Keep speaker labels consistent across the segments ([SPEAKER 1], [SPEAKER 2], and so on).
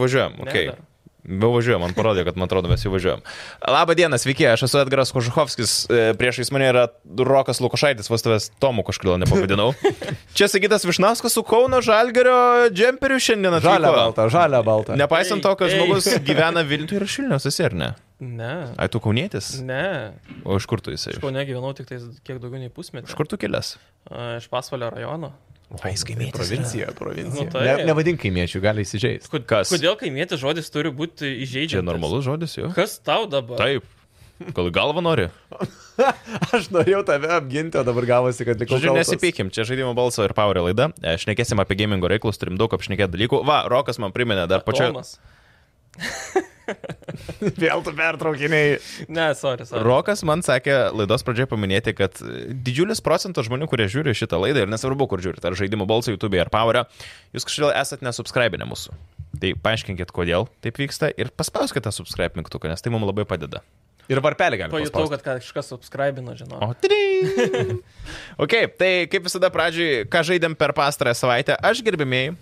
[SPEAKER 1] Važiuojam,
[SPEAKER 2] Ne,
[SPEAKER 1] okei.
[SPEAKER 2] dar.
[SPEAKER 1] Okay. Be važiuojam, man parodė, kad man atrodo mes jau važiuojam. Labą dieną, sveiki, aš esu Edgaras Kožuhovskis, e, priešais mane yra Rokas Lukošaitis, vos tavęs Tomu kažkodėl nepavadinau. Čia sakytas Višnauskas su Kauno Žalgerio džemperiu šiandien atvyko.
[SPEAKER 3] Žalia balta, žalia balta.
[SPEAKER 1] Nepaisant to, kad
[SPEAKER 2] Ei, ei.
[SPEAKER 1] žmogus gyvena Vilniuje ir Šilnius, esi ar ne?
[SPEAKER 2] Ne.
[SPEAKER 1] Ai, tu kaunietis?
[SPEAKER 2] Ne.
[SPEAKER 1] O iš kur tu jisai?
[SPEAKER 2] Aš kaune gyvenau tik tais kiek daugiau nei pusmetį.
[SPEAKER 1] Iš kur tu kilęs?
[SPEAKER 2] A, Iš Pasvalio rajono.
[SPEAKER 1] Ai, skaimėtis.
[SPEAKER 3] Provincija, provincija.
[SPEAKER 2] Nu,
[SPEAKER 3] Nu,
[SPEAKER 2] taip.
[SPEAKER 3] ne, nevadink kaimiečių, gali įsižeisti.
[SPEAKER 2] Kud,
[SPEAKER 1] Kas?
[SPEAKER 2] Kodėl kaimietis žodis turi būti
[SPEAKER 1] Čia
[SPEAKER 2] įžeidžiamas?
[SPEAKER 1] normalus žodis jau.
[SPEAKER 2] Kas tau dabar?
[SPEAKER 3] Tai
[SPEAKER 1] Taip. Gal galvą nori?
[SPEAKER 3] Aš norėjau tave apginti, o dabar gavosi, kad likau.
[SPEAKER 1] Žodžiu,
[SPEAKER 3] kaltas.
[SPEAKER 1] nesipykim, čia žaidimo balso ir power laida. E, Šnekėsim apie gamingo reikalus, turim daug apšnekėti dalykų. Va, Rokas man priminė dar pačią.
[SPEAKER 2] Tomas.
[SPEAKER 3] Vėl tu pertraukiniai.
[SPEAKER 2] Ne, sorry, sorry.
[SPEAKER 1] Rokas man sakė laidos pradžioje paminėti, kad e, didžiulis procentas žmonių, kurie žiūri šitą laidą ir nesvarbu, kur žiūrite, ar žaidimo balsą YouTube ar Power, jūs kažkodėl esate nesubscribinę mūsų. Tai paaiškinkit, kodėl taip vyksta ir paspauskite tą subscribe mygtuką, nes tai mums labai padeda. Ir varpelį galite.
[SPEAKER 2] Pajutau, kad kažkas subscribino, žinau.
[SPEAKER 1] O, trim. ok, tai kaip visada pradžiai, ką žaidėm per pastarąją savaitę, aš gerbimiai,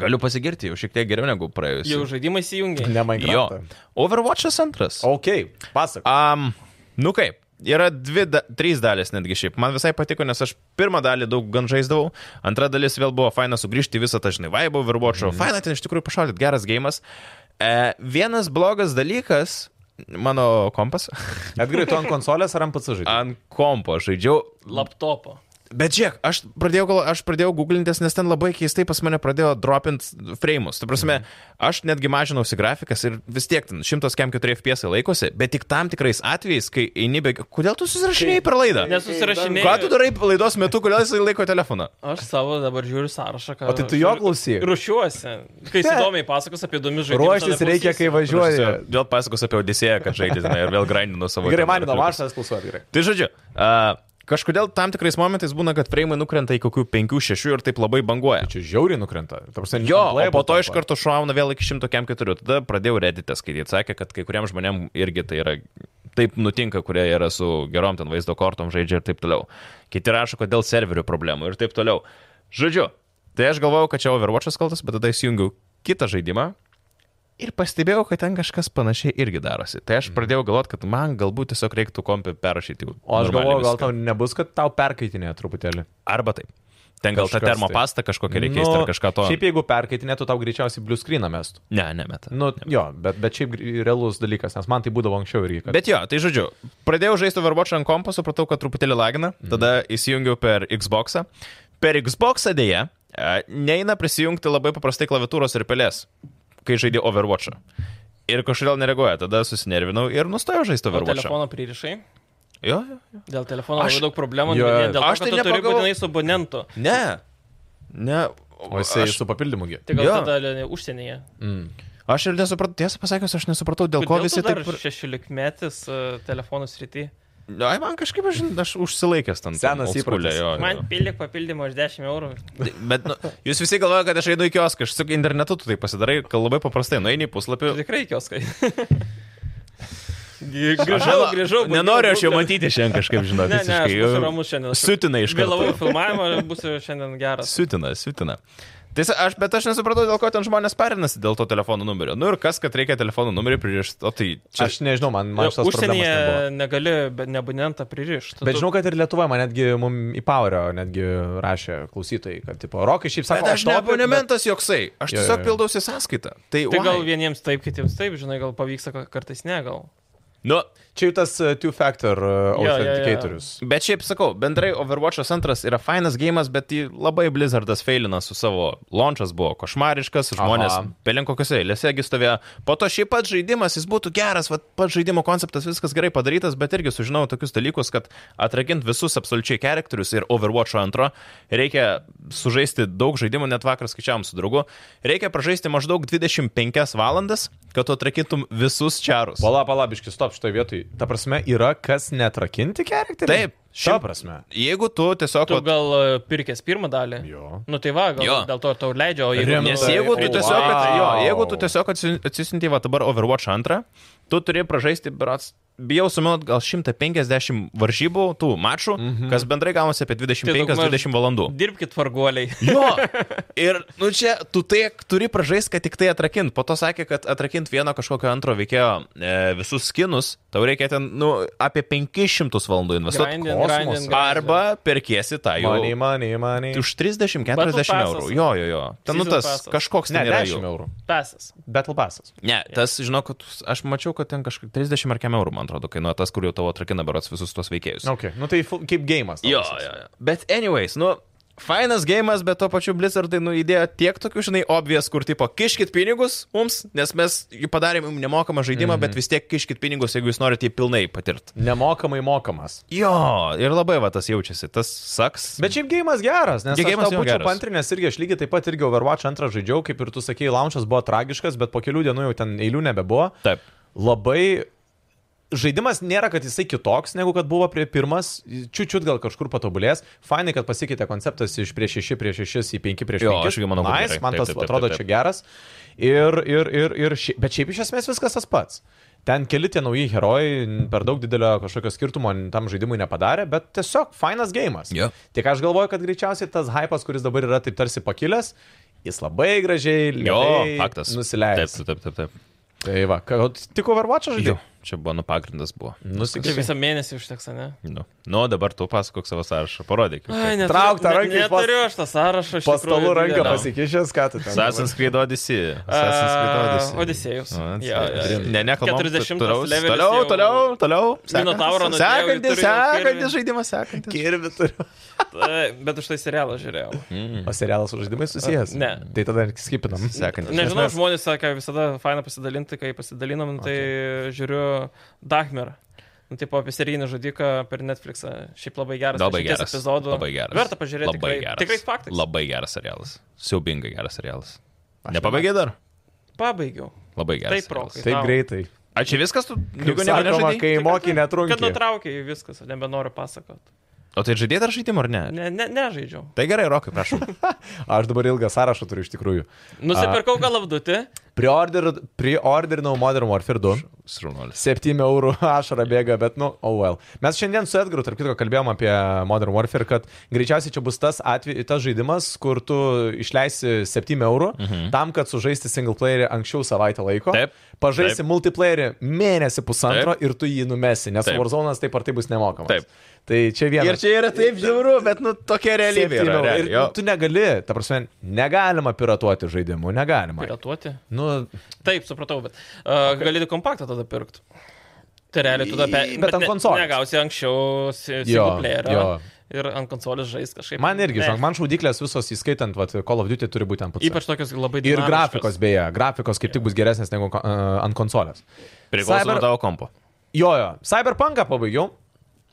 [SPEAKER 1] galiu pasigirti, jau šiek tiek geriau negu praėjusį.
[SPEAKER 2] Jau žaidimai įsijungia.
[SPEAKER 3] Ne
[SPEAKER 1] Jo.
[SPEAKER 3] Minecraft.
[SPEAKER 1] Overwatch'as antras.
[SPEAKER 3] Ok, pasak.
[SPEAKER 1] Um, nu kaip, yra dvi, da, trys dalis netgi šiaip. Man visai patiko, nes aš pirmą dalį daug gan žaisdavau, antra dalis vėl buvo faina sugrįžti į visą tą žinai vaibą, virbočio. Mm. Faina ten iš tikrųjų pašaudyti, geras gėjimas. E, vienas blogas dalykas, mano kompas,
[SPEAKER 3] Atgrai, tu ant konsolės ar ant pats žaidžiu?
[SPEAKER 1] ant kompo žaidžiau
[SPEAKER 2] Laptopo.
[SPEAKER 1] Bet žiūrėk, aš pradėjau, gal- aš pradėjau googlintis, nes ten labai keistai pas mane pradėjo dropint frame'us. Tai prasme,
[SPEAKER 3] Mhm.
[SPEAKER 1] aš netgi mažinausi grafikas ir vis tiek ten 104 FPS e laikosi, bet tik tam tikrais atvejais, kai eini be... Kodėl tu susirašinėjai per laidą?
[SPEAKER 2] Nesusirašinėjau.
[SPEAKER 1] Ką tu darai laidos metu, kodėl jisai laiko telefoną?
[SPEAKER 2] Aš savo dabar žiūriu sąrašą, ką.
[SPEAKER 3] O tai tu jo klausyk.
[SPEAKER 2] Rušiuosi. Kai jis įdomiai pasakos apie įdomius žaidimus.
[SPEAKER 3] Ruoštis
[SPEAKER 2] tada
[SPEAKER 3] reikia, kai
[SPEAKER 2] klausysiu.
[SPEAKER 3] važiuoji.
[SPEAKER 1] Aš Vėl pasakos apie Odisėją, kad žaidžiu žinai, ir vėl grindinu savo.
[SPEAKER 3] Gerai,
[SPEAKER 1] ten
[SPEAKER 3] man įdomu,
[SPEAKER 1] arkliukus.
[SPEAKER 3] aš tas klausau, gerai.
[SPEAKER 1] Tai žodžiu, a, kažkodėl tam tikrais momentais būna, kad frame'ai nukrenta į kokių 5-6 ir taip labai banguoja.
[SPEAKER 3] Čia žiauriai nukrenta. Ta prasme,
[SPEAKER 1] Jo, o
[SPEAKER 3] unplayable
[SPEAKER 1] po to iš
[SPEAKER 3] tampa.
[SPEAKER 1] karto šauna vėl iki 104. Tada pradėjau reditę skaityti. Sakė, kad kai kuriems žmonėms irgi tai yra. Taip nutinka, kurie yra su gerom ten vaizdo kortom žaidžia ir taip toliau. Kiti rašo, kad dėl serverių problemų ir taip toliau. Žodžiu, tai aš galvojau, kad čia Overwatch'as kaltas, bet tada įsijungiau kitą žaidimą ir pastebėjau, kad ten kažkas panašiai irgi darosi. Tai aš pradėjau galvoti, kad man galbūt tiesiog reiktų kompį perrašyti. jau
[SPEAKER 3] Mhm. O aš
[SPEAKER 1] normaliai
[SPEAKER 3] galvoju, gal
[SPEAKER 1] viską.
[SPEAKER 3] tau nebus, kad tau perkaitinė truputėlį.
[SPEAKER 1] Arba taip. Ten gal tą
[SPEAKER 3] Kažkas tai.
[SPEAKER 1] termopastą kažkokią reikės nu,
[SPEAKER 3] Nu,
[SPEAKER 1] ar kažką to.
[SPEAKER 3] Šiaip jeigu perkaitinėtų, tau greičiausiai blue screen mestų.
[SPEAKER 1] Ne, nemeta.
[SPEAKER 3] Nu, jo, bet, bet šiaip gr- realus dalykas, nes man tai būdavo anksčiau irgi. Kad...
[SPEAKER 1] Bet jo, tai žodžiu, pradėjau žaisti Overwatch ant kompo, supratau, kad truputėlį lagina,
[SPEAKER 2] Mhm.
[SPEAKER 1] tada įsijungiau per Xbox. Per Xbox dėje e, neina prisijungti labai paprastai klaviatūros ir pelės, kai žaidė Overwatch. Ir kažkodėl nereaguoja, tada susinervinau ir nustojau žaisti
[SPEAKER 2] O
[SPEAKER 1] Overwatch.
[SPEAKER 2] telefono pririšai.
[SPEAKER 1] Jo, jo, jo.
[SPEAKER 2] Dėl telefono
[SPEAKER 1] Aš-
[SPEAKER 2] labai daug problemų. Jo,
[SPEAKER 3] Jo, jo.
[SPEAKER 2] dėl to,
[SPEAKER 1] Aš
[SPEAKER 2] kad
[SPEAKER 1] tai
[SPEAKER 2] tu turi
[SPEAKER 1] nepagavau.
[SPEAKER 2] būtinai su abonentu.
[SPEAKER 1] Ne. Ne.
[SPEAKER 3] O jisai aš... su papildymu gi.
[SPEAKER 2] Tai gal
[SPEAKER 1] Jo.
[SPEAKER 2] tada le- užsienyje.
[SPEAKER 1] Aš ir nesupratau, tiesą pasakius, aš nesupratau, dėl ko
[SPEAKER 2] Kodėl
[SPEAKER 1] visi
[SPEAKER 2] tu dar
[SPEAKER 1] taip...
[SPEAKER 2] Šešiolikmetis uh, telefonų srity.
[SPEAKER 1] Ai, man kažkaip, aš, aš užsilaikęs tam.
[SPEAKER 3] Senas
[SPEAKER 1] old school'e,
[SPEAKER 3] įprotis.
[SPEAKER 1] jo, jo.
[SPEAKER 2] Man pildyk papildymą už 10 eurų.
[SPEAKER 1] Bet nu, jūs visi galvojate, kad aš einu į kioską, aš tiesiog internetu tu tai pasidarai, kad labai paprastai, nueini į puslapį.
[SPEAKER 2] Tai Tikrai kioskai. grįžau, grįžau. baigiau
[SPEAKER 1] Nenoriu aš jau
[SPEAKER 2] būklę.
[SPEAKER 1] matyti šiandien kažkaip, žinot,
[SPEAKER 2] Ne, ne, aš
[SPEAKER 1] visiškai.
[SPEAKER 2] būsiu ramus šiandien. Aš
[SPEAKER 1] Siutina iš
[SPEAKER 2] Vėlavau į
[SPEAKER 1] karto.
[SPEAKER 2] filmavimą, būsiu šiandien geras.
[SPEAKER 1] Siutina, siutina. Tai sa- aš, bet aš nesupratau, dėl ko ten žmonės parinasi dėl to telefono numerio. Nu ir kas, kad reikia telefono numerį pririšti, o tai
[SPEAKER 3] Čia...
[SPEAKER 1] čia...
[SPEAKER 3] Aš nežinau, man, man šitas problemas nebuvo.
[SPEAKER 2] Užsienyje negali be- ne abonentą pririšti.
[SPEAKER 3] Bet žinau, kad ir Lietuvoje man netgi mum į Powerio netgi rašė klausytojai, kad, tipo, Rokai šiaip sako,
[SPEAKER 1] Bet aš ne
[SPEAKER 3] topic,
[SPEAKER 1] abonementas joksai, aš
[SPEAKER 3] Jo, jo,
[SPEAKER 1] tiesiog
[SPEAKER 3] jo.
[SPEAKER 1] pildausi sąskaitą. Tai,
[SPEAKER 2] Tai gal
[SPEAKER 1] why?
[SPEAKER 2] vieniems taip, kitiems taip, žinai, gal pavyks, kartais ne, gal.
[SPEAKER 1] Nu,
[SPEAKER 3] bet Čia jau tas uh, two-factor uh,
[SPEAKER 2] Jo, jo, jo.
[SPEAKER 3] authenticatorius.
[SPEAKER 1] bet šiaip sakau, bendrai Overwatch'as antras yra fainas gėjimas, bet jį labai Blizzardas failina su savo launchas buvo košmariškas, žmonės
[SPEAKER 3] Aha.
[SPEAKER 1] pelin kokiuose eilėsegi stovėjo. Po to šiaip pat žaidimas, jis būtų geras, vat, pat žaidimo konceptas viskas gerai padarytas, bet irgi sužinojau tokius dalykus, kad atrakint visus absoliučiai charakterius ir Overwatch'o antro reikia sužaisti daug žaidimų, net vakar skaičiavom su draugu, reikia pražaisti maždaug 25 valandas, kad tu atrakintum visus čarus.
[SPEAKER 3] Pala, palabiškis, stop šitoje vietoje. Ta prasme, yra kas netrakinti charakterį?
[SPEAKER 1] Taip,
[SPEAKER 3] Šią prasme.
[SPEAKER 1] Jeigu tu tiesiog...
[SPEAKER 2] Tu
[SPEAKER 1] vat-
[SPEAKER 2] gal e, pirkęs pirmą dalį?
[SPEAKER 3] Jo.
[SPEAKER 2] Nu tai va, gal
[SPEAKER 1] Jo.
[SPEAKER 2] dėl to ir tau leidžia, o jeigu...
[SPEAKER 3] Rimtai.
[SPEAKER 1] Nes jeigu tu
[SPEAKER 3] O,
[SPEAKER 1] tiesiog,
[SPEAKER 3] wow.
[SPEAKER 1] jo, jeigu tu tiesiog atsi- atsisiuntei va dabar Overwatch antrą, tu turi pražaisti, berats, bijau sumeluot, gal 150 varžybų, tų mačų, kas bendrai gaunasi apie
[SPEAKER 2] Tai daugmaž-
[SPEAKER 1] 25-20 valandų.
[SPEAKER 2] Dirbkit varguoliai.
[SPEAKER 1] Jo, ir, nu čia, tu tai turi pražaisti, kad tik tai atrakint. Po to sakė, kad atrakint vieno kažkokio antro veikėjo e, visus skinus, tau reikia ten, nu, apie 500 valandų investuoti.
[SPEAKER 2] Grindin,
[SPEAKER 3] kosmosą.
[SPEAKER 2] grindin, grindin.
[SPEAKER 1] Arba perkiesi tą jau.
[SPEAKER 3] Money, money, money.
[SPEAKER 1] Už 30-40
[SPEAKER 2] Battle passas.
[SPEAKER 1] eurų. Jo, jo, jo. Ten, nu,
[SPEAKER 2] Season
[SPEAKER 1] tas
[SPEAKER 2] passas.
[SPEAKER 1] kažkoks
[SPEAKER 3] Ne,
[SPEAKER 1] ten yra
[SPEAKER 3] 10
[SPEAKER 1] jų.
[SPEAKER 3] eurų.
[SPEAKER 2] Pesas.
[SPEAKER 3] Battle pasas.
[SPEAKER 1] Ne, tas, žinau, kad aš mačiau, kad ten kažkaip 30 ar 100 eurų, man atrodo, kainuoja tas, kur jau tavo atrakina berots visus tuos veikėjus.
[SPEAKER 3] Okay. Nu tai fu- kaip gėjimas.
[SPEAKER 1] Jo, jo, jo. Bet anyways, nu, fainas gėjimas, bet to pačiu Blizzardai, nu, įdėjo tiek tokių, žinai, obvies, kur tipo, kiškit pinigus mums, nes mes jį padarėm jum nemokamą žaidimą, bet vis tiek kiškit pinigus, jeigu jūs norite jį pilnai patirti.
[SPEAKER 3] Nemokamai mokamas.
[SPEAKER 1] Jo, ir labai va tas jaučiasi, tas saks.
[SPEAKER 3] Bet šiaip gėjimas geras, nes
[SPEAKER 1] Gėjimas jo
[SPEAKER 3] aš tau būčiau
[SPEAKER 1] geras.
[SPEAKER 3] pantrinės irgi, aš lygiai taip pat irgi Overwatch antrą žaidžiau, kaip ir tu sakei, launchas buvo tragiškas, bet po kelių dienų jau ten eilių nebebuvo.
[SPEAKER 1] Taip.
[SPEAKER 3] labai žaidimas nėra, kad jisai kitoks, negu kad buvo prie pirmas, čiūčiut gal kažkur patobulės. Fainai, kad pasikeitė konceptas iš prieš 6 prieš 6 į 5 prieš 5.
[SPEAKER 1] Jo, aš irgi manau, kad
[SPEAKER 3] nice,
[SPEAKER 1] gerai.
[SPEAKER 3] man
[SPEAKER 1] Taip,
[SPEAKER 3] tas
[SPEAKER 1] taip, taip,
[SPEAKER 3] atrodo
[SPEAKER 1] taip,
[SPEAKER 3] čia geras. Ir, ir, ir, ir šia... bet šiaip iš esmės viskas tas pats. Ten keli tie nauji herojai n- per daug didelio kažkokio skirtumo n- tam žaidimui nepadarė, bet tiesiog fainas gėjimas.
[SPEAKER 1] Jo.
[SPEAKER 3] Tik aš galvoju, kad greičiausiai tas hypas, kuris dabar yra taip tarsi pakilęs, jis labai gražiai,
[SPEAKER 1] Jo,
[SPEAKER 3] lėtai
[SPEAKER 1] faktas.
[SPEAKER 3] nusileidęs.
[SPEAKER 1] Taip, taip, taip, taip.
[SPEAKER 3] Tai va, ką- o tik Overwatch
[SPEAKER 1] Jo,
[SPEAKER 3] žaidžiu.
[SPEAKER 1] čia buvo, nu, pagrindas buvo.
[SPEAKER 2] Tai
[SPEAKER 3] Nusikirpsiu.
[SPEAKER 2] visą mėnesį užteks, ar ne?
[SPEAKER 1] Nu, nu dabar tu pasakok savo sąrašą, parodyk. kaip
[SPEAKER 2] Ai,
[SPEAKER 1] tai.
[SPEAKER 2] neturiu-
[SPEAKER 3] Trauk tą
[SPEAKER 2] ne-
[SPEAKER 3] ranką iš pas-
[SPEAKER 2] Neturiu aš tą sąrašą. iš
[SPEAKER 3] Po
[SPEAKER 2] tikrųjų
[SPEAKER 3] stalu ranką
[SPEAKER 2] didelio.
[SPEAKER 1] No.
[SPEAKER 3] pasikišęs, ką tu ten.
[SPEAKER 1] Assassin's Creed Odyssey. Assassin's
[SPEAKER 2] A,
[SPEAKER 1] Creed Odyssey.
[SPEAKER 2] Odysėjus.
[SPEAKER 1] O,
[SPEAKER 2] Jo, jo, jo.
[SPEAKER 1] Ne, nekalbam.
[SPEAKER 2] 40
[SPEAKER 1] toliau,
[SPEAKER 2] levelis
[SPEAKER 1] toliau,
[SPEAKER 2] jau-
[SPEAKER 1] toliau, toliau. Sekantis-
[SPEAKER 2] Minotauro nudėjau,
[SPEAKER 1] Sekantis,
[SPEAKER 2] turiu jau kirvį.
[SPEAKER 1] sekantis žaidimas, sekantis.
[SPEAKER 3] Kirvi turiu.
[SPEAKER 2] E, Bet už tai serialą žiūrėjau.
[SPEAKER 1] Hmm.
[SPEAKER 3] O serialas su žaidimais susijęs?
[SPEAKER 2] Ne.
[SPEAKER 3] Tai tada skipinam.
[SPEAKER 1] Sekantis.
[SPEAKER 2] Nežinau,
[SPEAKER 3] Nes mes-
[SPEAKER 2] žmonės sako, visada faina pasidalinti, kai pasidalinam, tai žiūriu Dachmerą. Nu, tipo apie serijinį žudiką per Netflixą. Šiaip labai geras.
[SPEAKER 1] Labai
[SPEAKER 2] dešimties
[SPEAKER 1] geras.
[SPEAKER 2] Epizodų.
[SPEAKER 1] Labai geras.
[SPEAKER 2] Verta pažiūrėti.
[SPEAKER 1] Labai
[SPEAKER 2] tikrai,
[SPEAKER 1] geras.
[SPEAKER 2] Tikrai faktas.
[SPEAKER 1] Labai geras serialas. Siaubingai geras serialas.
[SPEAKER 3] Aš
[SPEAKER 1] Nepabaigė dar?
[SPEAKER 2] Pabaigiau.
[SPEAKER 1] Labai geras.
[SPEAKER 2] Taip, Rokai.
[SPEAKER 3] Taip
[SPEAKER 2] Tau.
[SPEAKER 3] greitai.
[SPEAKER 1] Ačiū viskas, tu
[SPEAKER 3] Kaip
[SPEAKER 1] daugiau nieko
[SPEAKER 3] sakoma,
[SPEAKER 1] nežaidai?
[SPEAKER 3] kai
[SPEAKER 2] Tai
[SPEAKER 3] moki
[SPEAKER 2] kad- Kad
[SPEAKER 3] netrunki.
[SPEAKER 2] nutraukiai viskas, nebenoriu pasakot.
[SPEAKER 1] O tai žaidėjai dar žaidimą ar ne?
[SPEAKER 2] Ne, ne, nežaidžiau.
[SPEAKER 1] Tai gerai, Rokai, prašom.
[SPEAKER 3] Aš dabar ilgą sąrašą turiu iš tikrųjų.
[SPEAKER 2] Nusipirkau galabdutį.
[SPEAKER 3] Preorder- Preorderinau Modern Warfare 2.
[SPEAKER 1] Srunolis.
[SPEAKER 3] 7 eurų ašara bėga, bet nu, oh well. Mes šiandien su Edgaru, tarp kitko, kalbėjom apie Modern Warfare, kad greičiausiai čia bus tas, atve, tas žaidimas, kur tu išleisi 7 eurų mhm. tam, kad sužaisti single playerį anksčiau savaitę laiko.
[SPEAKER 1] Taip,
[SPEAKER 3] Pažaisti
[SPEAKER 1] taip.
[SPEAKER 3] multiplayerį mėnesį pusantro taip. ir tu jį numesi, nes
[SPEAKER 1] Taip.
[SPEAKER 3] Warzone'as taip ar taip bus nemokamas.
[SPEAKER 1] Taip.
[SPEAKER 3] Tai čia vienas.
[SPEAKER 1] Ir čia yra taip žiauru, bet nu tokia realybė. Yra,
[SPEAKER 3] Septynių.
[SPEAKER 1] realiai,
[SPEAKER 3] ir
[SPEAKER 1] jo.
[SPEAKER 3] nu, tu negali, ta prasme, negalima piratuoti žaidimų, negalima.
[SPEAKER 2] Piratuoti.
[SPEAKER 3] Nu,
[SPEAKER 2] Taip, supratau, bet uh, okay. gali kompaktą tada pirkti. Tai realiai tu tada pe...
[SPEAKER 3] Bet ant konsolės.
[SPEAKER 2] Ne, negausi anksčiau
[SPEAKER 3] Jo,
[SPEAKER 2] singleplayerio.
[SPEAKER 3] jo.
[SPEAKER 2] Ir ant konsolės žais kažkaip.
[SPEAKER 3] man irgi,
[SPEAKER 2] Ne.
[SPEAKER 3] žinok, man šaudyklės visos įskaitant, vat, Call of Duty turi būti ant PC.
[SPEAKER 2] Ypač tokios labai
[SPEAKER 3] Ir
[SPEAKER 2] dinamiškos.
[SPEAKER 3] grafikos beje, grafikos kaip tik bus geresnės negu ko- a, ant konsolės.
[SPEAKER 1] Priklauso
[SPEAKER 3] Cyber-
[SPEAKER 1] nuo tavo kompo.
[SPEAKER 3] Jo, jo, Cyberpunką pabaigiau.